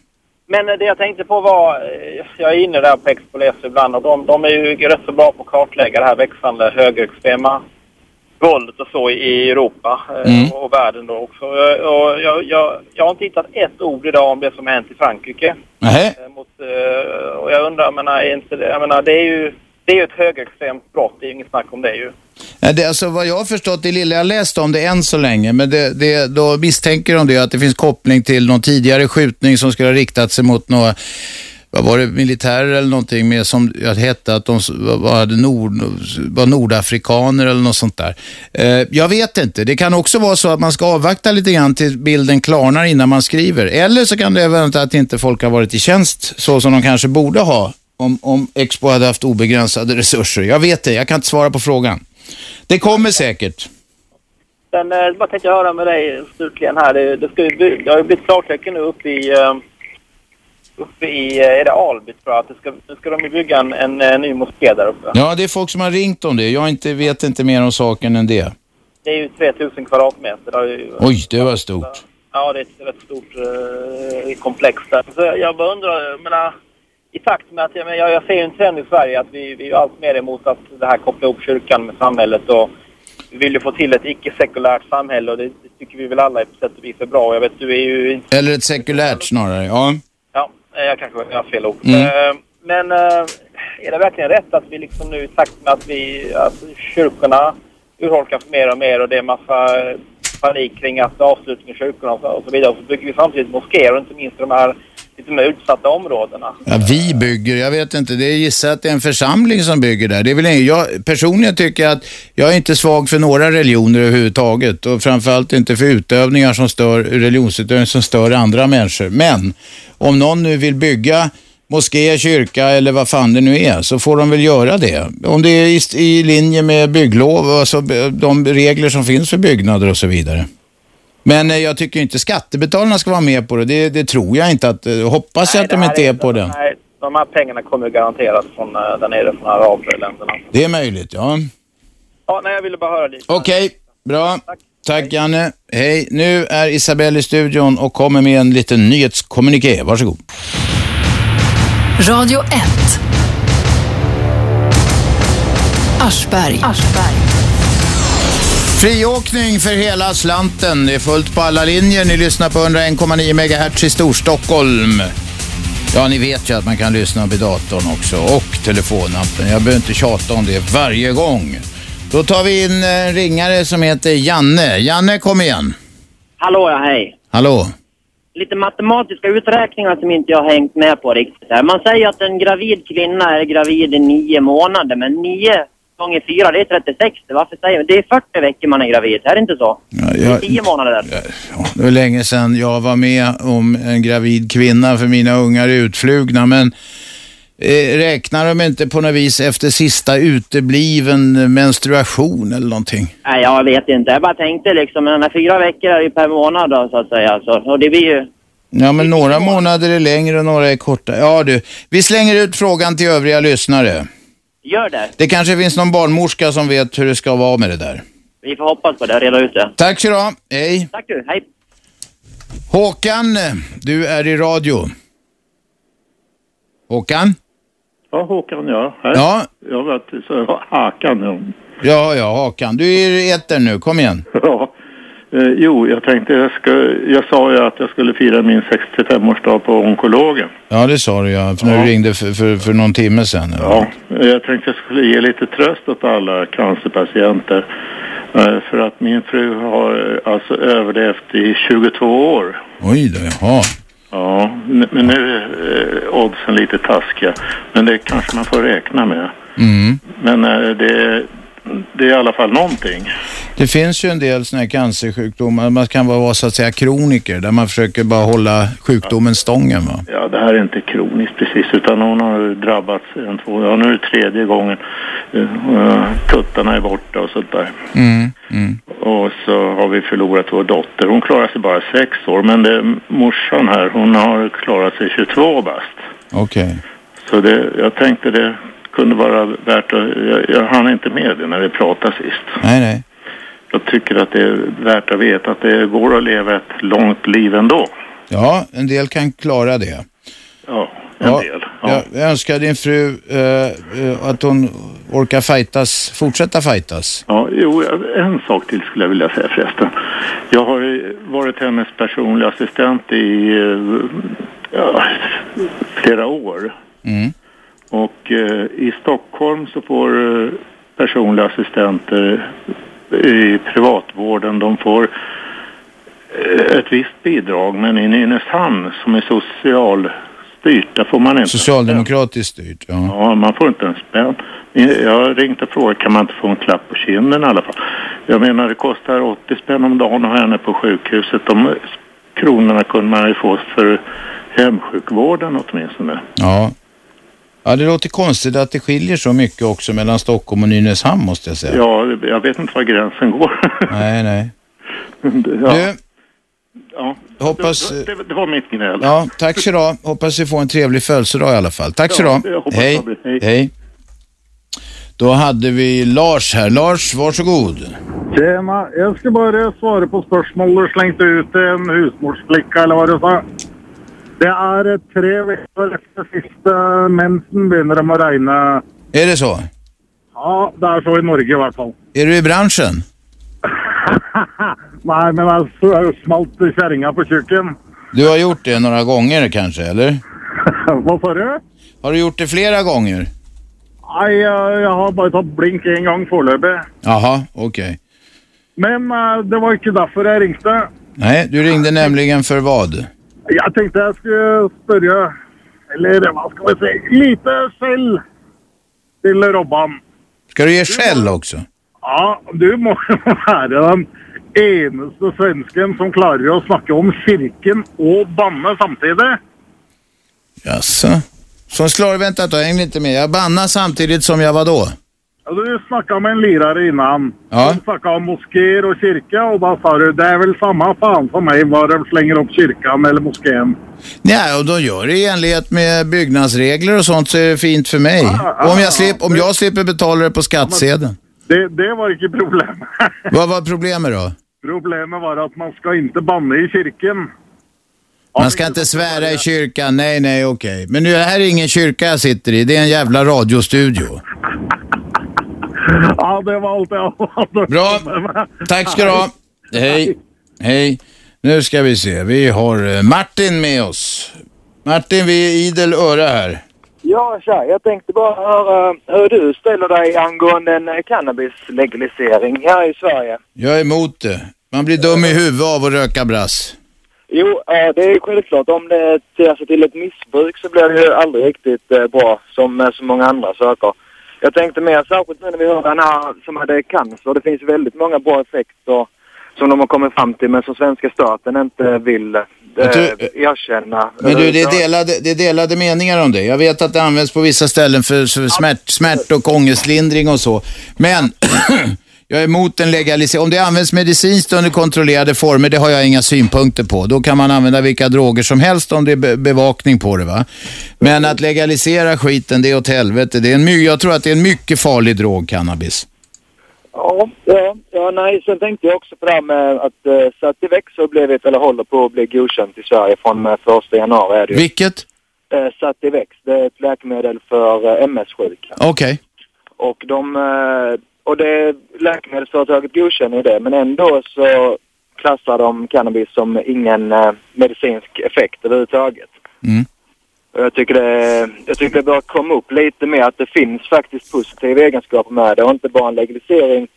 Men eh, det jag tänkte på var, eh, jag är inne där på Expoles ibland och de, de är ju rätt så bra på att kartlägga det här växande högerextrema våldet och så i Europa eh,
Mm.
och världen då också. Eh, Och jag, jag, jag har inte hittat ett ord idag om det som har hänt i Frankrike.
Nej.
Eh, Mot, eh, och jag undrar, jag menar, är inte det, jag menar, det är ju det är ju ett högerextremt brott, det är ju inget snack om det ju.
Ja, Det, alltså, vad jag har förstått, det lilla jag läst om det än så länge, men det, det, då misstänker de det att det finns koppling till någon tidigare skjutning som skulle ha riktat sig mot några, vad var det, militärer eller någonting med som jag hette att de s- var, var, nord, var nordafrikaner eller något sånt där. Eh, jag vet inte, det kan också vara så att man ska avvakta lite grann till bilden klarnar innan man skriver. Eller så kan det vänta att inte folk har varit i tjänst så som de kanske borde ha. Om, om Expo hade haft obegränsade resurser. Jag vet det, jag kan inte svara på frågan. Det kommer säkert.
Sen eh, bara tänkte jag höra med dig slutligen här. Det, det, ska ju bli, det har ju blivit klartecken nu uppe i, eh, uppe i eh, är det Alby tror jag. Att det ska, nu ska de ju bygga en, en, eh, ny moské där uppe.
Ja, det är folk som har ringt om det. Jag inte, vet inte mer om saken än det.
Det är ju 3000 kvadratmeter. Det är ju,
Oj, det var stort.
Ja, det är ett rätt stort eh, komplex där. Så jag bara undrar, jag menar, i takt med att jag, men jag, jag ser ju en trend i Sverige att vi, vi är ju allt mer emot att det här kopplar ihop kyrkan med samhället och vi vill ju få till ett icke-sekulärt samhälle och det, det tycker vi väl alla på sätt och vis är bra. Och Jag vet, du är ju inte
Eller ett sekulärt snarare. Ja.
Ja, eh, jag kanske har fel ord.
Mm.
Eh, Men eh, är det verkligen rätt att vi liksom nu i takt med att, vi, att kyrkorna urholkas mer och mer och det är massa eh, panik kring att avslutningen i kyrkorna och så- och så vidare. Och så bygger vi samtidigt moskéer och inte minst i de här lite mer utsatta områdena.
Ja, vi bygger, jag vet inte. Det är gissat att det är en församling som bygger där. Det är väl ingen, jag, personligen tycker jag att jag är inte svag för några religioner överhuvudtaget och framförallt inte för utövningar som stör, religionsutövning som stör andra människor. Men om någon nu vill bygga moské, kyrka eller vad fan det nu är, så får de väl göra det. Om det är i, i linje med bygglov, alltså b- de regler som finns för byggnader och så vidare. Men eh, jag tycker inte skattebetalarna ska vara med på det. Det, det tror jag inte att, eh, hoppas jag att de
här
inte är på det.
Nej, de här pengarna kommer ju garanterat från eh, där nere, från arabländerna.
Det är möjligt, ja.
Ja, nej, jag ville bara höra lite.
Okej, bra. Tack, Janne. Hej. Nu är Isabelle i studion och kommer med en liten nyhetskommuniké. Varsågod.
Radio 1. Aschberg.
Friåkning för hela slanten. Det är fullt på alla linjer. Ni lyssnar på 101,9 MHz i Storstockholm. Ja, ni vet ju att man kan lyssna på datorn också och telefonappen. Jag behöver inte tjata om det varje gång. Då tar vi in eh, en ringare som heter Janne. Janne, kom igen.
Hallå ja, hej.
Hallå?
Lite matematiska uträkningar som inte jag har hängt med på riktigt här. Man säger att en gravid kvinna är gravid i nio månader, men nio gånger fyra, det är 36. Varför säger man? Det är 40 veckor man är gravid, är det inte så? Det är
jag-
tio månader där.
Det var länge sedan jag var med om en gravid kvinna för mina ungar är utflugna, men eh, räknar de inte på något vis efter sista utebliven menstruation eller någonting?
Nej, jag vet inte. Jag bara tänkte liksom, men fyra veckor är ju per månad då, så att säga. Så, och det blir ju...
Ja, men några månader är längre och några är korta. Ja du, vi slänger ut frågan till övriga lyssnare.
Gör det.
Det kanske finns någon barnmorska som vet hur det ska vara med det där.
Vi får hoppas på det och reda ut det.
Tack så du ha. Hej.
Tack du, hej.
Håkan, du är i radio. Håkan?
Ja, Håkan ja. Här.
Ja.
Jag vet så Hakan ja. [LAUGHS]
Ja, ja, Håkan. Du är i etern nu. Kom igen.
Ja. Eh, jo, jag tänkte jag ska, jag sa ju att jag skulle fira min 65-årsdag på onkologen.
Ja, det sa du ja. För när du ringde för, för, för någon timme sedan.
Ja, Eh, jag tänkte jag skulle ge lite tröst åt alla cancerpatienter. Eh, För att min fru har eh, alltså överlevt i 22 år.
Oj då, jaha.
Ja, n- men nu är eh, oddsen lite taskiga. Men det kanske man får räkna med.
Mm.
Men eh, det, det är i alla fall någonting.
Det finns ju en del sådana här cancersjukdomar. Man kan vara så att säga kroniker där man försöker bara hålla sjukdomen stången va.
Ja, det här är inte kroniskt precis, utan hon har drabbats en, två, ja nu är det tredje gången. Eh, eh, Tuttarna är borta och sånt där.
Mm, mm.
Och så har vi förlorat vår dotter. Hon klarar sig bara sex år, men det, morsan här, hon har klarat sig 22 bast.
Okej.
Så det, jag tänkte det kunde vara värt att, jag, jag hann inte med det när vi pratade sist.
Nej, nej.
Jag tycker att det är värt att veta att det går att leva ett långt liv ändå.
Ja, en del kan klara det.
Ja, en del.
Jag, jag önskar din fru eh, eh, att hon orkar fightas, fortsätta fightas.
Ja, jo, en sak till skulle jag vilja säga förresten. Jag har ju varit hennes personliga assistent i eh, ja, flera år.
Mm.
Och eh, i Stockholm så får eh, personliga assistenter eh, i privatvården, de får eh, ett visst bidrag. Men i Nynäshamn som är socialstyrt, där får man inte
Socialdemokratiskt styrt, ja.
Ja, man får inte en spänn. Jag har ringt och frågat, kan man inte få en klapp på kinden i alla fall? Jag menar, det kostar 80 spänn om dagen att ha henne på sjukhuset. De kronorna kunde man ju få för hemsjukvården åtminstone.
Ja. Ja, det låter konstigt att det skiljer så mycket också mellan Stockholm och Nynäshamn måste jag säga.
Ja, jag vet inte var gränsen går.
Nej, nej.
[LAUGHS] ja.
Du,
ja.
Hoppas-
Det, det, det var mitt gnäll.
Ja, tack så du Hoppas vi får en trevlig födelsedag i alla fall. Tack så
Ja,
du
jag hoppas
Hej.
det blir.
Hej. Då hade vi Lars här. Lars, varsågod.
Tjena, jag ska bara svara på spørsmålet du slengte ut til en husmorsflikka, eller hva du sa. Det er eh, tre uker etter siste mensen begynner de å regne.
Är det så?
Ja, det er så i Norge i hvert fall.
Är du i branschen?
Nei, men jeg s- smalt kjerringa på kjøkken.
Du har gjort det några gånger kanske,
[LAUGHS]
eller?
Hva sa du?
Har du gjort det flera gånger?
Nei, eh, jeg har bare tatt blink én gang foreløpig.
Jaha, okej.
Men eh, det var ikke derfor jeg ringte.
Nej, du ringde nämligen för vad?
Jeg tenkte jeg skulle spørre, eller hva skal vi si, lite skjell til Robban.
Ska du ge skäll också?
Ja, du må [LAUGHS] jo være den eneste svensken som klarer å snakke om kirken og banne samtidig.
Jaså? Som slår, vänta då, häng lite med. Jag bannar samtidigt som jag var då.
Ja, du snakka med en lirare innan.
Ja.
Du snakka om moskeer og kirke, og da sa du det er vel samme faen for meg hva de slenger opp kirken eller moskeen.
Nej, och de gör det i enlighet med byggnadsregler och sånt så är det fint för mig.
Ah,
om, jag slip, om jag slipper betala det på skattsedeln.
Det, det var ikke problemet.
[LAUGHS] Vad var problemet då?
Problemet var at man skal ikke banne i kirken.
Man ska inte svära i kyrkan, nej nej okej. Men nu, det här är ingen kyrka jag sitter i, det är en jävla radiostudio.
[LAUGHS] Ja, det var allt jag hade.
Bra. Tack ska du ha. Hej. Hej. Nu ska vi se, vi har eh, Martin med oss. Martin, vi är idel öra här.
Ja, tja. Jag tänkte bara höra hur du ställer dig angående en eh, cannabislegalisering här i Sverige.
Jag är emot det. Man blir dum i huvudet av att röka brass.
Jo, eh, det är självklart. Om det ter sig till ett missbruk så blir det ju aldrig riktigt eh, bra som med så många andra saker. Jag tänkte mer särskilt nu när vi hör den här som hade cancer. Det finns väldigt många bra effekter som de har kommit fram till men som svenska staten inte vill eh, erkänna.
Men du, det är, delade, det är delade meningar om det. Jag vet att det används på vissa ställen för, för smärt, smärt och ångestlindring och så. Men [CLEARS THROAT] jag är emot en legalisering. Om det används medicinskt under kontrollerade former, det har jag inga synpunkter på. Då kan man använda vilka droger som helst om det är be- bevakning på det. va. Men att legalisera skiten, det är åt helvete. Det är en my- jag tror att det är en mycket farlig drog, cannabis.
Ja, ja, ja, nej, sen tänkte jag också på det här med att eh, så att i Växjö blev det, eller håller på att bli godkänt i Sverige från eh, första januari är det ju.
Vilket?
Eh, Sativex, det är ett läkemedel för eh, MS-sjuka.
Okej.
Och de, eh, och det, läkemedelsföretaget godkänner ju det, men ändå så klassar de cannabis som ingen eh, medicinsk effekt överhuvudtaget.
Mm.
Och jag tycker det, jag tycker det bör komma upp lite mer att det finns faktiskt positiva egenskaper med det och inte bara en legalisering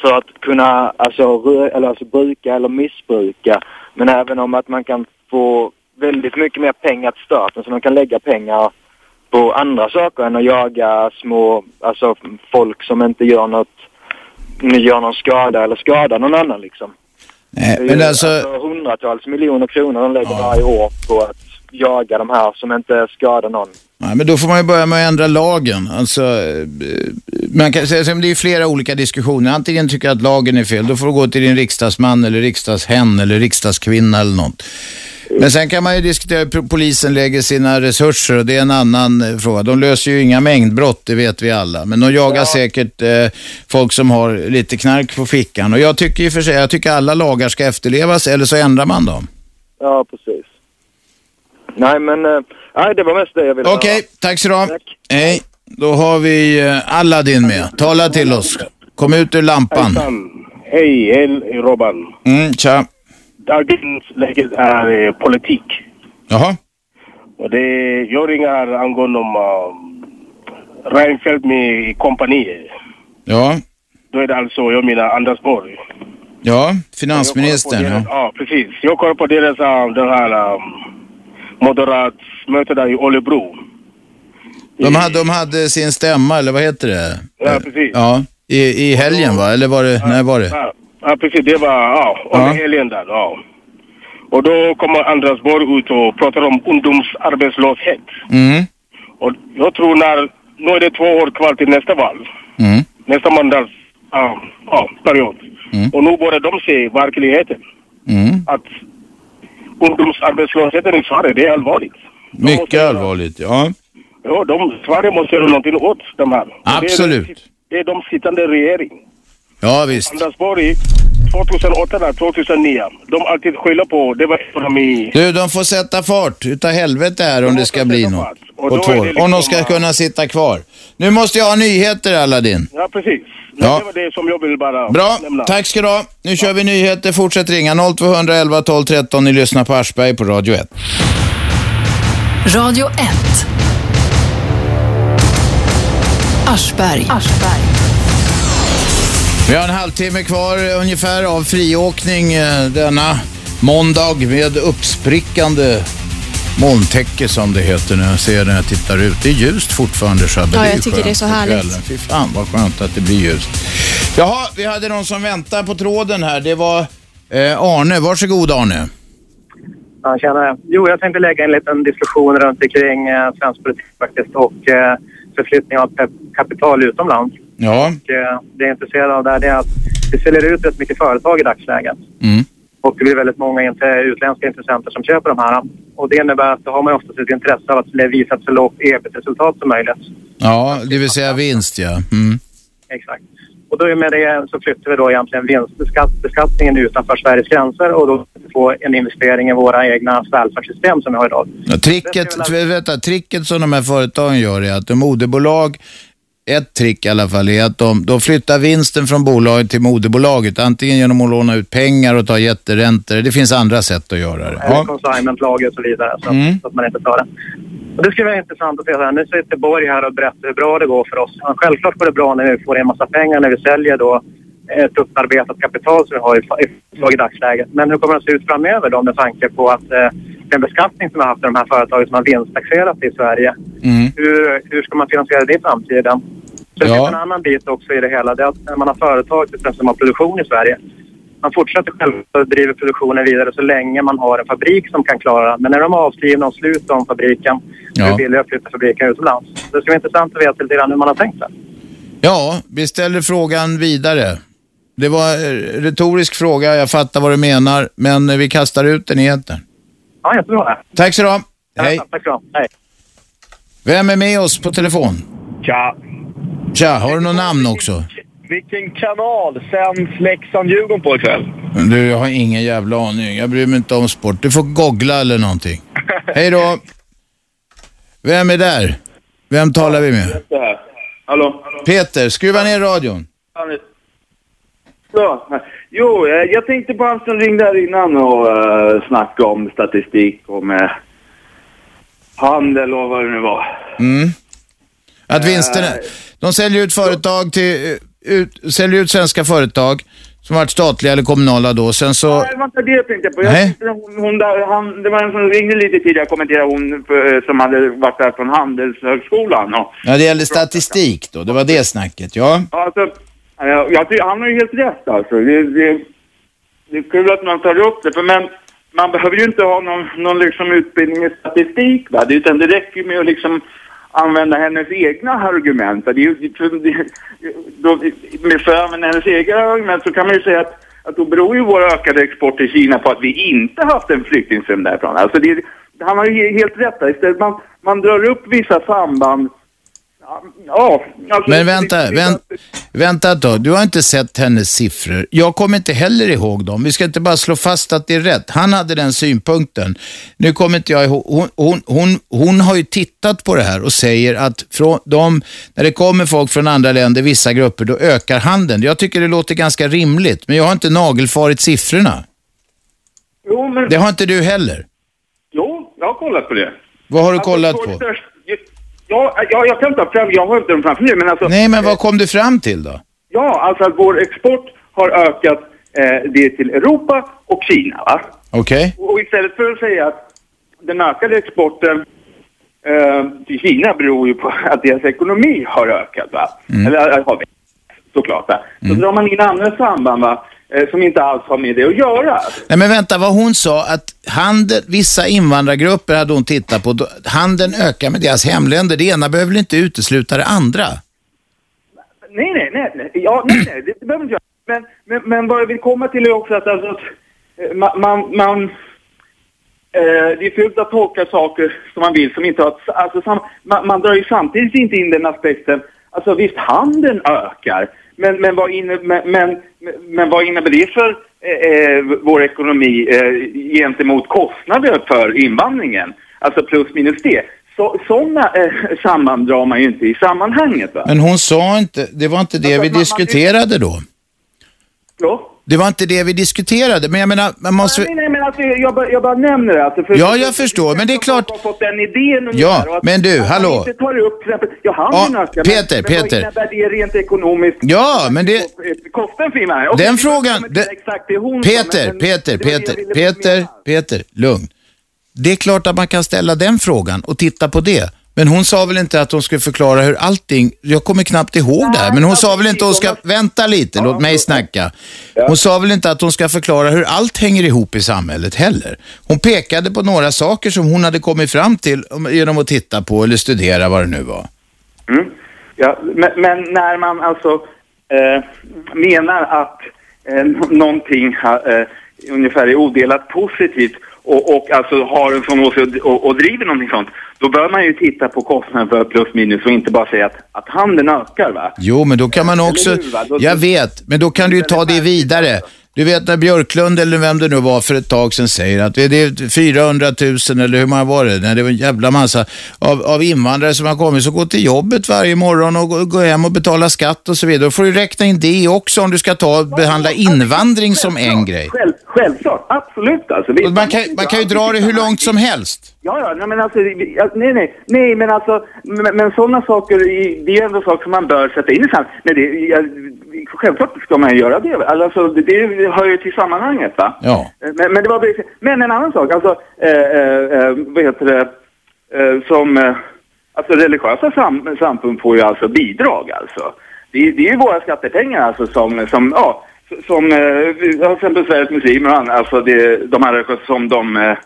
för att kunna alltså, rö- eller, alltså bruka eller missbruka. Men även om att man kan få väldigt mycket mer pengar till staten så de kan lägga pengar på andra saker än att jaga små, alltså folk som inte gör något, gör någon skada eller skadar någon annan liksom.
Nej,
Det är
men
ju
alltså,
hundratals miljoner kronor de lägger varje år på att jaga de här som inte skadar någon.
nej, men då får man ju börja med att ändra lagen. Alltså, eh, man kan säga, som det är ju flera olika diskussioner. Antingen tycker jag att lagen är fel, då får du gå till din riksdagsman eller riksdagshen eller riksdagskvinna eller något. Men sen kan man ju diskutera hur pro- polisen lägger sina resurser och det är en annan eh, fråga. De löser ju inga mängdbrott, det vet vi alla. Men de jagar säkert eh, folk som har lite knark på fickan. Och jag tycker ju för sig, jag tycker alla lagar ska efterlevas eller så ändrar man dem.
Ja, precis. Nej, men eh, nej, det var mest det jag ville
Okej, tack så du ha. Hej. Då har vi eh, Aladdin med. Tala till oss. Kom ut ur lampan.
Hejsan. Hej, hej Robban.
Mm, tja.
Dagens läge är eh, politik.
Jaha.
Och det, jag ringer angående om um, Reinfeldt med kompanier.
Ja,
Då är det alltså, jag menar Anders Borg.
ja. Finansministern.
Deras,
Ja.
ja, precis. Jag kollar på deras um, den här um, moderatmöte där i Örebro.
De, hade, de hade sin stämma, eller vad heter det?
Ja, precis.
Ja, i, i helgen va? Eller var det, när var det?
Ja, ja precis. Det var ja, under helgen där. Ja. Och då kommer Anders Borg ut och pratar om ungdomsarbetslöshet.
Mm,
Och jag tror när, nu är det två år kvar till nästa val,
mm.
nästa mandatperiod.
Mm.
Och nu börjar de se verkligheten.
Mm.
Att ungdomsarbetslösheten i Sverige, det är allvarligt.
Mycket allvarligt, ja.
Ja, de, Sverige måste göra någonting åt de här.
Absolut.
Det är, det är de sittande regering.
Ja, visst.
Anders Borg, 2008 där, 2009, de alltid skyller på, det var ekonomi.
Du, de får sätta fart utav helvete här om det ska bli något.
Och då är
På två
det liksom
år. Om de ska kunna sitta kvar. Nu måste jag ha nyheter, Aladdin.
Ja, precis. Men
Ja.
Det var det som jag ville bara
Bra,
nämna.
tack ska du ha. Nu kör vi nyheter. Fortsätt ringa 0211 12 13. Ni lyssnar på Aschberg på Radio 1.
Radio 1. Aschberg.
Vi har en halvtimme kvar eh, ungefär av friåkning eh, denna måndag med uppsprickande molntäcke som det heter när jag ser när jag tittar ut. Det är ljust fortfarande Shabbe.
Ja,
är
jag
ju
tycker
skönt
det är så
på
härligt.
kvällen. Fy fan vad skönt att det blir ljust. Jaha, vi hade någon som väntade på tråden här. Det var eh, Arne. Varsågod Arne.
Ja, tjena. Jo, jag tänkte lägga en liten diskussion runt omkring eh, svensk politik faktiskt och eh, förflyttning av pe- kapital utomlands.
Ja.
Och, eh, det jag är intresserad av där det är att vi säljer ut rätt mycket företag i dagsläget.
Mm.
Och det blir väldigt många inte- utländska intressenter som köper de här. Och det innebär att då har man oftast ett intresse av att visa ett så lågt ebit-resultat som möjligt.
Ja, det vill säga vinst ja. Mm.
Exakt. Och då med det så flyttar vi då egentligen vinstbeskattningen utanför Sveriges gränser och då får vi en investering i våra egna välfärdssystem som vi har idag.
Ja, tricket, vänta, tricket som de här företagen gör är att de moderbolag, ett trick i alla fall, är att de, de flyttar vinsten från bolaget till moderbolaget. Antingen genom att låna ut pengar och ta jätteräntor. Det finns andra sätt att göra det.
eller
Ja,
consignmentlager och så vidare. Så, att-
Mm.
så att man inte tar det. Och det skulle vara intressant att se. så här. Nu sitter Borg här och berättar hur bra det går för oss. Ja, självklart går det bra när vi får en massa pengar när vi säljer då ett upparbetat kapital som vi har i fa- i företag i dagsläget. Men hur kommer det att se ut framöver då med tanke på att eh, den beskattning som vi har haft av de här företagen som har vinsttaxerats i Sverige.
Mm.
Hur, hur ska man finansiera det i framtiden? Så det finns en annan bit också i det hela. Det är att när man har företag till exempel, som har produktion i Sverige man fortsätter själv att driva produktionen vidare så länge man har en fabrik som kan klara det. Men när de är avskrivna och slut om fabriken, då är
Ja.
det billigare att flytta fabriken utomlands. Det ska vara intressant att veta lite grann hur man har tänkt sig.
ja vi ställer frågan vidare. Det var en retorisk fråga, jag fattar vad du menar, men eh, vi kastar ut den i etern.
Ja, jättebra.
Tack så du ha. Hej.
Tack ska du ha. Hej.
Vem är med oss på telefon?
Tja.
Tja, har du något namn också?
Vilken kanal sänds Leksand-Djurgården på ikväll?
Du, jag har ingen jävla aning. Jag bryr mig inte om sport. Du får googla eller någonting. Hej då! Vem är där? Vem talar vi med?
Det här. Hallå?
Peter, skruva ner radion.
Anders. Så. Jo, eh, jag tänkte på han som ringde här innan och uh, snackade om statistik om eh, handel och vad det nu var.
Mm. Att vinsterna... De säljer ut företag till... eh, Ut, säljer ut svenska företag som varit statliga eller kommunala då. Sen så...
Nej, det var inte det jag tänkte på. Jag
Nej.
tänkte hon, hon där, han, det var en som ringde lite tidigare och kommenterade hon eh, som hade varit där från Handelshögskolan. Och,
Ja, det gäller statistik då. Det var det snacket, ja.
Ja, alltså, ja, jag, tycker- han har ju helt rätt alltså. Det, det, det är kul att man tar upp det, för men man behöver ju inte ha någon, någon liksom utbildning i statistik, va? Det, utan det räcker ju med att liksom använda hennes egna argument. va? Det, är ju- det, det, då, med för att använda hennes egna argument så kan man ju säga att, att då beror ju vår ökade export till Kina på att vi inte haft en flyktingström därifrån. Alltså det, han har ju he- helt rätt där. Istället man, man drar upp vissa samband. Ja, Ja, alltså,
Men vänta, vänt, vänta ett tag. Du har inte sett hennes siffror. Jag kommer inte heller ihåg dem. Vi ska inte bara slå fast att det är rätt. Han hade den synpunkten. Nu kommer inte jag ihåg. Hon, hon, hon, hon har ju tittat på det här och säger att från de, när det kommer folk från andra länder, vissa grupper, då ökar handeln. Jag tycker det låter ganska rimligt, men jag har inte nagelfarit siffrorna.
Jo, men...
Det har inte du heller.
Jo, jag har kollat på det.
Vad har du
Alltså,
kollat
vår
på?
störst- Ja, ja, jag kan ta fram, jag har inte dem framför mig, men alltså...
Nej, men vad kom du fram till då?
Ja, alltså att vår export har ökat eh, det till Europa och Kina, va?
Okej?
Och istället för att säga att den ökade exporten eh, till Kina beror ju på [LAUGHS] att deras ekonomi har ökat, va? Eller eh, har växt, såklart, va? Så drar man in andra samband, va? Eh, som inte alls har med det att göra.
Nej men vänta, vad hon sa att handel, vissa invandrargrupper hade hon tittat på, då- handeln ökar med deras hemländer. Det ena behöver väl inte utesluta det andra?
Nej, nej, nej. nej. Ja, nej, nej. Det, det behöver inte jag. Men, men, men vad jag vill komma till är också att, alltså, att eh, man... man, man eh, det är fult att tolka saker som man vill som inte har... ett- Alltså, sam, man, man drar ju samtidigt inte in den aspekten. Alltså visst, handeln ökar. Men, men, vad, inne, men, men, men vad innebär det för eh, eh, vår ekonomi eh, gentemot kostnader för invandringen? Alltså plus minus det. Så, sådana eh, [LAUGHS] samband drar man ju inte i sammanhanget. Va?
Men hon sa inte, det var inte det vi diskuterade då.
Ja.
Det var inte det vi diskuterade, men jag menar, man måste...
Nej, nej, men alltså, jag, bara, jag bara nämner det. Alltså,
Ja, jag förstår, men det är klart...
Jag har fått den idén ungefär.
Ja,
och att-
men du,
att man
hallå.
Inte tar upp, till exempel, ja, handeln
Ja,
ökar, men-
Peter,
men
Peter.
vad innebär det rent ekonomiskt?
Ja, men det...
Kosten för invandring? Okej,
Den
vi
frågan...
kommer till
Den,
Exakt, det är hon
Peter,
som- men-
Peter,
det var det jag
Peter,
ville-
Peter, Peter, lugn. Det är klart att man kan ställa den frågan och titta på det. Men hon sa väl inte att hon skulle förklara hur allting, jag kommer knappt ihåg det här, men hon sa väl inte att hon ska, vänta lite, låt mig snacka. Hon sa väl inte att hon ska förklara hur allt hänger ihop i samhället heller. Hon pekade på några saker som hon hade kommit fram till om- genom att titta på eller studera vad det nu var.
Mm. Ja, men, men när man alltså eh, menar att eh, n- någonting ha, eh, ungefär är odelat positivt och, och alltså har en sån åsikt och, och, och driver någonting sånt, då bör man ju titta på kostnaden för plus minus och inte bara säga att, att handeln ökar va.
Jo, men då kan man också...
Eller hur, va? Då-
Jag vet, men då kan du ju ta det vidare. Du vet när Björklund eller vem det nu var för ett tag sedan säger att det är 400 000 eller hur många var det? Nej, det var en jävla massa av, av invandrare som har kommit som går till jobbet varje morgon och går- går hem och betalar skatt och så vidare. Då får du räkna in det också om du ska ta och behandla invandring som en grej.
Själv, självklart, absolut alltså. Vi-
Och Man kan, man kan ju dra det hur långt som helst.
Ja, ja, nej, men alltså, vi- ja, nej, nej, nej, men alltså, men, men sådana saker, i- det är ändå saker som man bör sätta in i sammanhanget. Nej, det, ja, självklart ska man göra det, alltså, det, det hör ju till sammanhanget, va?
Ja.
Men, men, det var, precis- men en annan sak, alltså, eh, eh, eh, vad heter det, eh, som, eh, alltså religiösa sam, samfund får ju alltså bidrag alltså. Det, är- det är ju våra skattepengar alltså som, som ja, s- som, eh, vi- ja, till exempel Sveriges muslimer och andra, alltså det, de här religiösa som de, eh,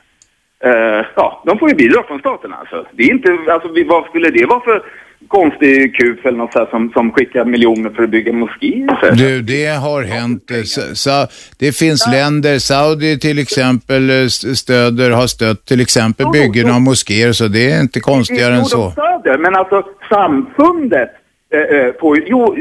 eh, ja, de får ju bidrag från staten alltså. Det är inte, alltså vi, vad skulle det vara för konstig kuf eller något så här som, som skickar miljoner för att bygga moskéer? så här?
Du, det har hänt. eh, Sa, sa, det finns länder, Saudi till exempel eh, st- stöder, har stött till exempel byggen av moskéer, så det är inte konstigare än
Jo, de
så.
stöder, men alltså samfundet eh, eh, får ju... Jo,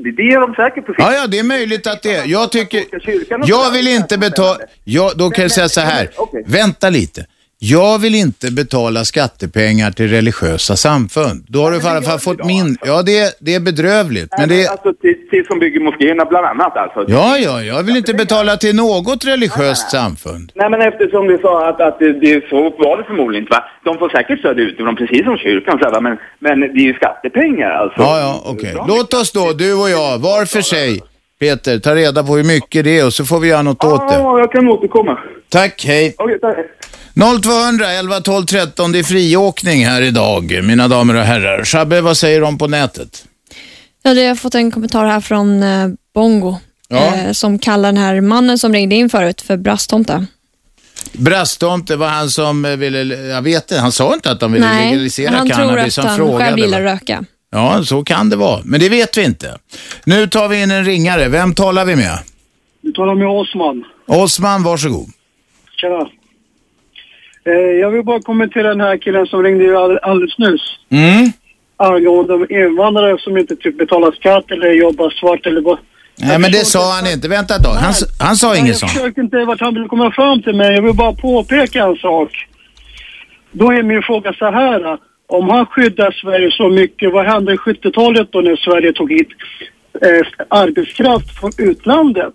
det, det är de säkert på
Ja, ja, det är möjligt att det är. Jag tycker...
kyrkan och
Jag vill inte betala... Jag, då kan jag säga så här. Vänta lite. Jag vill inte betala skattepengar till religiösa samfund. Då har du i alla fall fått min... Ja, det, det är bedrövligt. Men det...
Alltså till, till som bygger moskéerna bland annat alltså.
Ja, ja, jag vill inte betala till något religiöst samfund.
Nej men eftersom du sa att, att det, det, så var det förmodligen inte va? De får säkert stöd utifrån precis som kyrkan så här, va? men, men det är ju skattepengar alltså.
Ja, ja, okej. Låt oss då, du och jag, var för sig, Peter, ta reda på hur mycket det är och så får vi göra något åt det.
Ja, jag kan återkomma.
Tack, hej.
Okej, tack.
0200 11 12 13, det är friåkning här idag, mina damer och herrar. Shabbe, vad säger de på nätet?
Ja, det har jag fått en kommentar här från eh, Bongo
Ja.
eh, som kallar den här mannen som ringde in förut för brasttomte.
Brastomte var han som eh, ville, jag vet inte, han sa inte att de ville legalisera
han tror
cannabis.
att han själv gillar
va?
röka.
Ja, så kan det vara, men det vet vi inte. Nu tar vi in en ringare, vem talar vi med?
Du talar med Osman.
Osman, varsågod.
Tjena. Eh, jag vill bara kommentera den här killen som ringde ju all- alldeles nyss.
Mm.
Angående om invandrare som inte typ betalar skatt eller jobbar svart eller vad.
Nej, men det sa han inte. Vänta ett tag, han, s- han sa inget
Jag
sånt.
försökte inte vart han ville komma fram till men jag vill bara påpeka en sak. Då är min fråga så här. Om han skyddar Sverige så mycket, vad hände i 70-talet då när Sverige tog hit eh, arbetskraft från utlandet?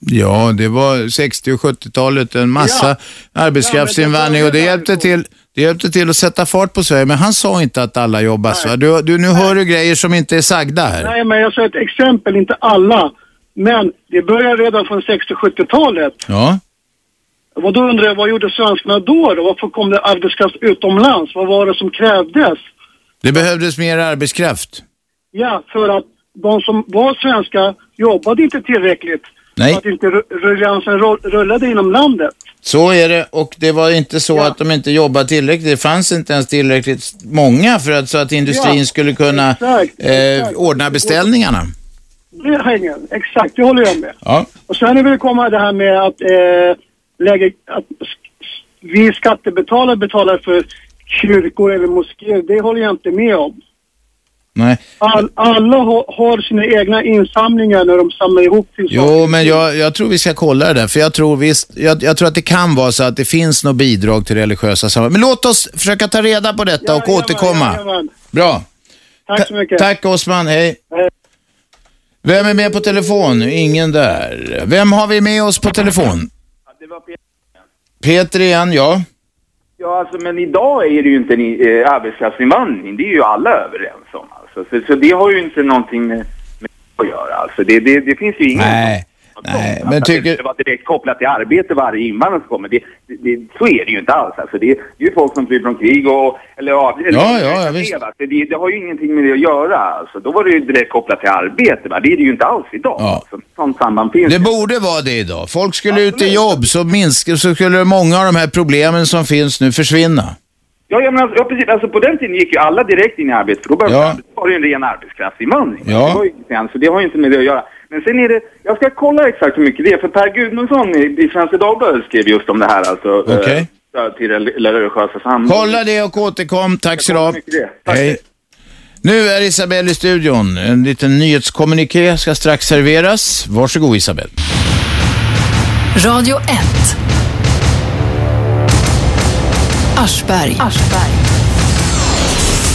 Ja, det var 60 och 70-talet, en massa arbetskraftsinvandring och det hjälpte, till, det hjälpte till att sätta fart på Sverige. Men han sa inte att alla jobbar så. Du, du, nu hör du grejer som inte är sagda här.
Nej, men jag sa ett exempel, inte alla. Men det började redan från 60-70-talet.
Ja.
Och då undrar jag, vad gjorde svenskarna då? då? Varför kom det arbetskraft utomlands? Vad var det som krävdes?
Det behövdes mer arbetskraft.
Ja, för att de som var svenska jobbade inte tillräckligt.
Nej.
För att inte ru- rulliansen rull- rullade inom landet.
Så är det och det var inte så att de inte jobbade tillräckligt. Det fanns inte ens tillräckligt många för att, så att industrin
Ja,
skulle kunna eh, ordna beställningarna.
Det hänger, exakt, det håller jag med.
Ja.
Och sen vill jag komma det här med att, eh, lägga, att s- vi skattebetalare betalar för kyrkor eller moskéer. Det håller jag inte med om.
Nej.
All, alla har, har sina egna insamlingar när de samlar ihop till
Jo, men jag, jag tror vi ska kolla det där, för jag tror visst, jag, jag tror att det kan vara så att det finns något bidrag till religiösa sammanhang. Men låt oss försöka ta reda på detta och återkomma.
Jajamän.
Bra.
Tack så mycket.
Tack Osman, hej. Vem är med på telefon? Ingen där. Vem har vi med oss på telefon? Peter igen, ja.
Ja, alltså, men idag är det ju inte en eh, arbetskraftsinvandring. Det är ju alla överens om. Alltså. Så, så det har ju inte någonting med, med att göra. Alltså. Det, det, det finns ju ingen...
Nej, nej, men tycker...
Alltså, Det var direkt kopplat till arbete varje invandrare som kommer. Det, det, det, så är det ju inte alls. Alltså, det, det är ju folk som flyr från krig och... Eller, ja, eller,
Ja, ja, ja,
det,
visst.
va? Så det, det har ju ingenting med det att göra. Alltså. Då var det ju direkt kopplat till arbete. Va? Det är det ju inte alls idag.
Ja.
Alltså, sånt samband finns
Det borde vara det idag. Folk skulle ut i jobb så, minsk, så skulle många av de här problemen som finns nu försvinna.
Ja, ja, men alltså, ja, precis. Alltså, på den tiden gick ju alla direkt in i arbetet, för då började
Ja.
det var det ju en ren arbetskraftsinvandring.
Ja.
Det var ju, inte sen, så det har ju inte med det att göra. Men sen är det, jag ska kolla exakt hur mycket det är, för Per Gudmundsson i, i Svenska Dagbladet skrev just om det här, alltså
Okej.
eh, stöd till rel- religiösa samfund.
Kolla det och återkom. Tack så du ha. Hej. Nu är Isabelle i studion. En liten nyhetskommuniké ska strax serveras. Varsågod Isabelle.
Radio 1. Aschberg.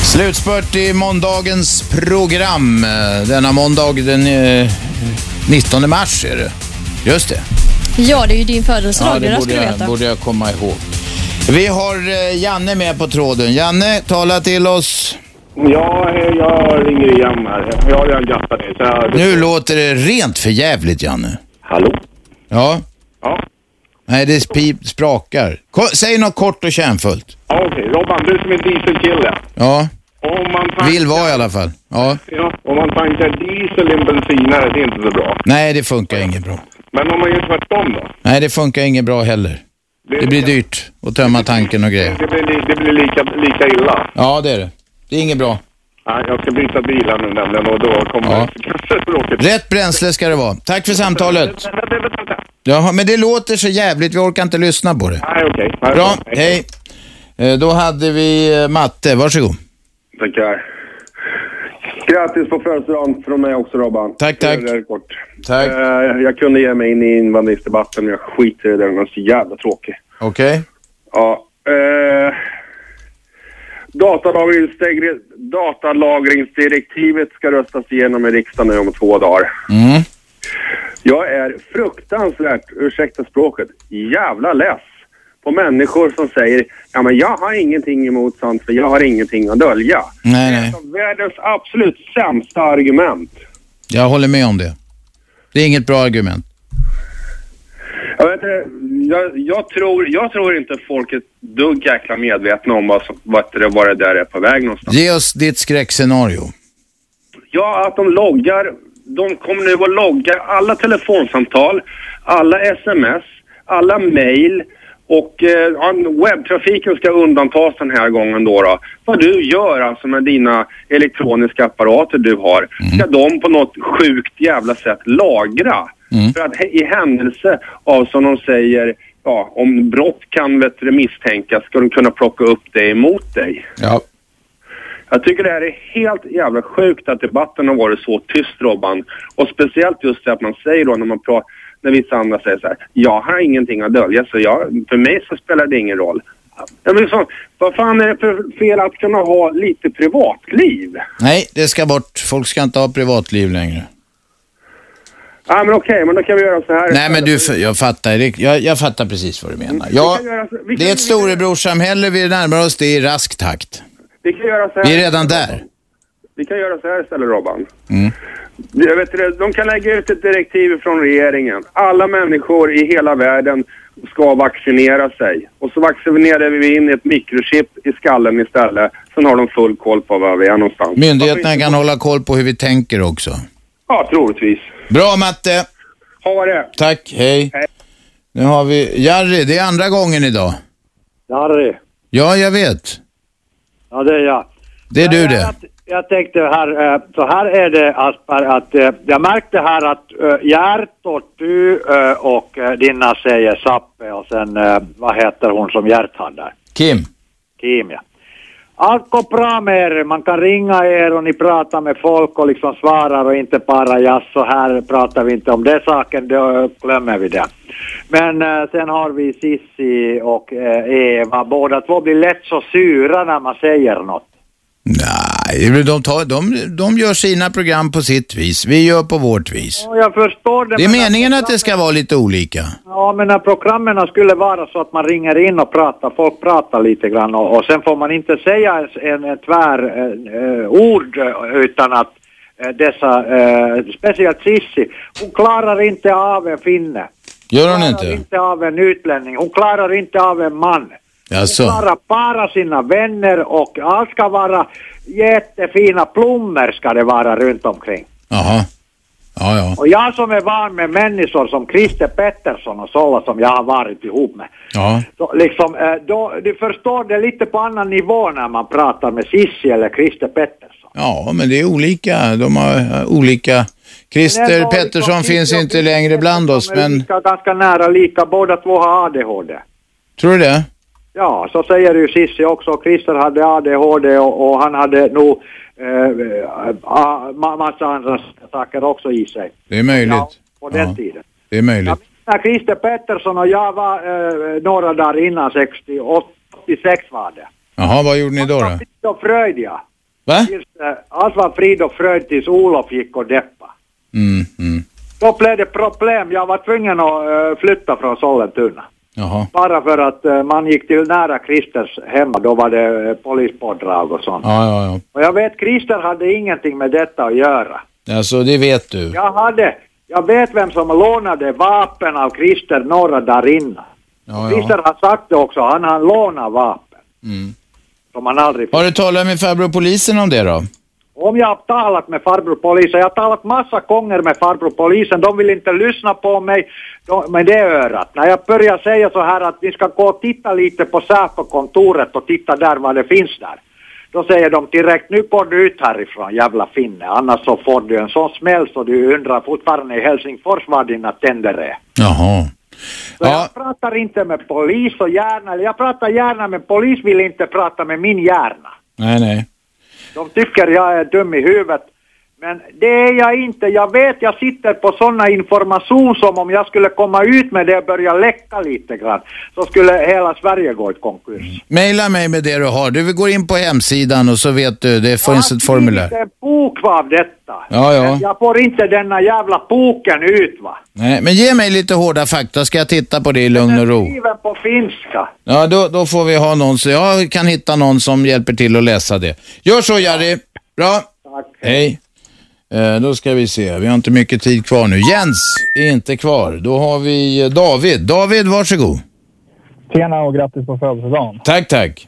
Slutspurt i måndagens program. Eh, Denna måndag den eh, 19 mars är det. Just det.
Ja, det är ju din födelsedag, det,
det
ska
borde
du
jag,
veta.
borde jag komma ihåg. Vi har eh, Janne med på tråden. Janne, tala till oss.
Ja, hej, jag ringer igen här. Jag har redan grattat dig. Så jag...
Nu låter det rent för jävligt, Janne.
Hallå?
Ja.
Ja.
Nej, det pip, sprakar. Ko- säg något kort och kärnfullt.
Ja, Okej, Robban, du som är dieselkille.
Ja,
Om man, tankar,
vill vara i alla fall. Ja.
ja, om man tankar diesel i en bensinare, det är inte så bra.
Nej, det funkar inget bra.
Men om man gör tvärtom då?
Nej, det funkar inget bra heller. Det blir dyrt att tömma tanken och grejer.
Det blir, li- det blir lika, lika illa.
Ja, det är det. Det är inget bra.
Nej, jag ska byta bil här nu nämligen och då kommer
Ja.
det kanske råka...
Rätt bränsle ska det vara. Tack för samtalet. Jaha, men det låter så jävligt. Vi orkar inte lyssna på det.
Nej, okej. Nej,
Bra, hej. Eh, Då hade vi eh, Matte. Varsågod.
Tackar. Grattis på födelsedagen från mig också Robban.
Tack, tack.
Det är kort.
Tack.
Eh, jag kunde ge mig in i invandringsdebatten men jag skiter i den. Den är så jävla tråkig.
Okej?
Ja. Eh, datalagringsdeg- datalagringsdirektivet ska röstas igenom i riksdagen nu om två dagar.
Mm.
Jag är fruktansvärt, ursäkta språket, jävla less på människor som säger ja men jag har ingenting emot sånt för jag har ingenting att dölja.
Nej, nej.
Världens absolut sämsta argument.
Jag håller med om det. Det är inget bra argument.
Jag, vet, inte, jag, jag, tror, jag tror inte folk är ett dugg jäkla medvetna om vad, som- vad det, vad det där är på väg någonstans.
Ge oss ditt skräckscenario.
Ja, att de loggar. De kommer nu att logga alla telefonsamtal, alla sms, alla mejl och eh, ja, webbtrafiken ska undantas den här gången då, då. Vad du gör alltså med dina elektroniska apparater du har, ska de på något sjukt jävla sätt lagra. För att he- i händelse av, som de säger, ja, om brott kan vet, du, misstänkas, ska de kunna plocka upp det emot dig.
Ja.
Jag tycker det här är helt jävla sjukt att debatten har varit så tyst, Robban. Och speciellt just det att man säger då när man pratar, när vissa andra säger så här, jag har ingenting att dölja så jag, för mig så spelar det ingen roll. Ja, men så, vad fan är det för fel att kunna ha lite privatliv?
Nej, det ska bort. Folk ska inte ha privatliv längre.
Ja men okej, men då kan vi göra så här.
Nej, men du, f- jag fattar, det- jag, jag fattar precis vad du menar. Ja, det är ett storebrorssamhälle, vi närmar oss det i rask takt.
Vi kan göra så här.
Vi är redan där.
Vi kan göra så här istället, Robban.
Mm.
Jag vet inte, de kan lägga ut ett direktiv från regeringen. Alla människor i hela världen ska vaccinera sig. Och så vaccinerar vi in ett mikrochip i skallen istället. Sen har de full koll på var vi är någonstans.
Myndigheterna kan hålla koll på hur vi tänker också.
Ja, troligtvis.
Bra Matte!
Ha det!
Tack, hej. Nu har vi Jari, det är andra gången idag.
Harry.
Ja, jag vet.
Ja, det är jag.
Det är du det.
Jag tänkte här, eh, så här är det Aspar, att eh, jag märkte här att eh, Gert och du eh, och eh, Dinna säger Sappe och sen eh, vad heter hon som Gert hade?
Kim.
Kim ja. Allt går bra med er, man kan ringa er och ni pratar med folk och liksom svarar och inte bara ja så här pratar vi inte om det saken, då glömmer vi det. Men eh, sen har vi Sissi och eh, Eva, båda två blir lätt så sura när man säger något.
Nej, de, tar, de, de gör sina program på sitt vis, vi gör på vårt vis.
Ja, jag förstår det.
Det är
men-
meningen att det ska vara lite olika.
Ja, men när programmen skulle vara så att man ringer in och pratar, folk pratar lite grann och, och sen får man inte säga ens en, en tvär eh, eh, ord eh, utan att eh, dessa, eh, speciellt Sissi, hon klarar inte av en finne,
Gör hon
klarar
inte?
inte av en utlänning, hon klarar inte av en man. Hon
Alltså.
klarar bara sina vänner och allt ska vara jättefina blommor ska det vara runt omkring.
Jaha. Ja, ja.
Och jag som är van med människor som Christer Pettersson och sådana som jag har varit ihop med.
Ja.
Så liksom, eh, då, du förstår det lite på annan nivå när man pratar med Sissi eller Christer Pettersson.
Ja, men det är olika. De har eh, olika. Christer
Men det var
Pettersson
liksom
finns
Christer
inte längre bland oss,
De är
men
lika, ganska nära lika, båda två har ADHD.
tror du det?
Ja, så säger ju Sissi också. Christer hade ADHD och, och han hade nog eh, a, ma- massa andra saker också i sig
Det är möjligt.
på den
Ja.
tiden.
Det är möjligt.
När Christer Pettersson och jag var eh, några dagar innan 68, 86 var det.
Jaha, vad gjorde ni då? då?
Frid och Fröjd ja.
Va?
Tills, eh, allt var frid och fröjd tills Olof gick och deppa.
Mm, mm.
Då blev det problem. Jag var tvungen att eh, flytta från Sollentuna.
Jaha.
Bara för att eh, man gick till nära Christers hemma, då var det eh, polispådrag och sånt.
Ja, ja,
Och jag vet, Christer hade ingenting med detta att göra.
ja. Alltså, det vet du.
Jag hade, jag vet vem som lånade vapen av Christer några dagar innan.
Ja,
Christer
ja.
har sagt det också, han, han lånar vapen.
Mm.
Som han aldrig...
Har du talat med farbror polisen om det då?
Om jag har talat med farbror polisen, jag har talat massa gånger med farbror polisen, de vill inte lyssna på mig de, med det örat. När jag börjar säga så här att ni ska gå och titta lite på Säpo-kontoret och titta där vad det finns där. Då säger de direkt, nu går du ut härifrån jävla finne, annars så får du en sån smäll så du undrar fortfarande i Helsingfors var dina tänder är.
Jaha.
Så jag pratar inte med polis och hjärna, eller jag pratar gärna men polis vill inte prata med min hjärna.
Nej, nej.
De tycker jag är dum i huvudet
Men det är jag inte. Jag vet jag sitter på sådana information som om jag skulle komma ut med det och börja läcka lite grann så skulle hela Sverige gå i
Mm.
konkurs.
Mejla mig med det du har. Du går in på hemsidan och så vet du, det finns ett formulär.
Det är bok av detta.
Ja, ja.
Men Jag får inte denna jävla boken ut va.
Nej, men ge mig lite hårda fakta ska jag titta på det i lugn och ro.
Skriven på finska.
Ja, då, då får vi ha någon, så jag kan hitta någon som hjälper till att läsa det. Gör så Jari. Bra. Hej. Eh, då ska vi se, vi har inte mycket tid kvar nu. Jens är inte kvar. Då har vi eh, David. David, varsågod.
Tjena och grattis på födelsedagen.
Tack, tack.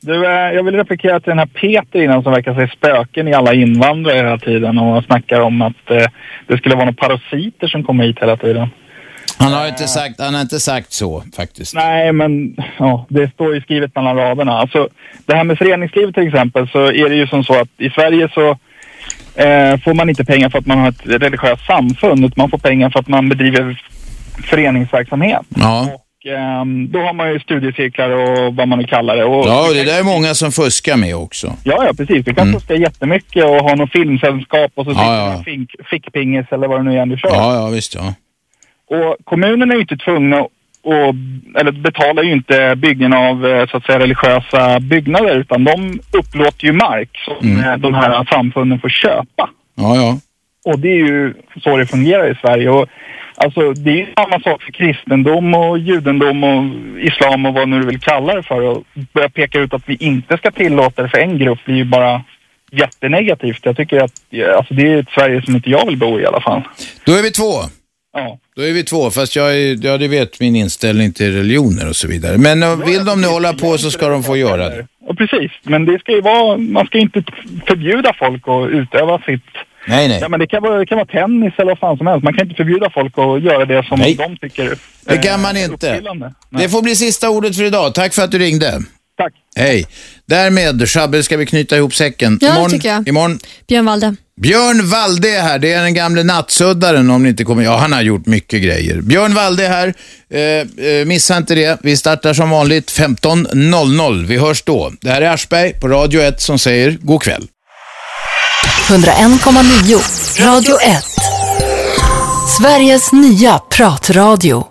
Du, eh, jag vill replikera till den här Peter innan som verkar se spöken i alla invandrare hela tiden och snackar om att eh, det skulle vara några parasiter som kommer hit hela tiden. [LAUGHS]
Han har inte sagt, han har inte sagt så faktiskt.
Nej, men ja, det står ju skrivet mellan raderna. Alltså, det här med föreningslivet till exempel så är det ju som så att i Sverige så eh, får man inte pengar för att man har ett religiöst samfund utan man får pengar för att man bedriver föreningsverksamhet.
Ja.
Och, eh, då har man ju studiecirklar och vad man nu kallar det. Och,
Ja, och det där är många som fuskar med också.
Ja, ja, precis. Du kan fuska jättemycket och ha någon filmsällskap och så sitter
Mm. ja.
ja. en fink, fickpingis eller vad det nu är du kör.
Ja, ja, visst ja.
Och kommunen är ju inte tvungna och, eller betalar ju inte byggen av eh, så att säga religiösa byggnader utan de upplåter ju mark som
Mm.
eh, de här samfunden får köpa.
Ja, ja.
Och det är ju så det fungerar i Sverige. Och, alltså, det är ju samma sak för kristendom och judendom och islam och vad nu du vill kalla det för. Och börja peka ut att vi inte ska tillåta det för en grupp blir ju bara jättenegativt. Jag tycker att ja, alltså, det är ett Sverige som inte jag vill bo i i alla fall.
Då är vi två.
Ja.
Då är vi två, fast jag är, ja, du vet min inställning till religioner och så vidare. Men eh, vill de nu hålla på så ska de få göra det.
Och precis, men det ska ju vara, man ska ju inte förbjuda folk att utöva sitt...
Nej, nej.
Ja, men det, kan vara, det kan vara tennis eller vad fan som helst. Man kan inte förbjuda folk att göra det som
Nej.
de tycker
Det kan man
är
inte.
uppfyllande. Nej.
Det får bli sista ordet för idag. Tack för att du ringde.
Tack.
Hej. Därmed, Shabbe, ska vi knyta ihop säcken.
Ja, det
imorgon,
tycker jag.
Imorgon,
Björn Walde.
Björn Valde är här. Det är den gamle nattsuddaren om ni inte kommer Ja, han har gjort mycket grejer. Björn Valde är här. Eh, eh, missa inte det. Vi startar som vanligt 15.00. Vi hörs då. Det här är Aschberg på Radio 1 som säger god kväll.
101,9. Radio 1. Sveriges nya pratradio.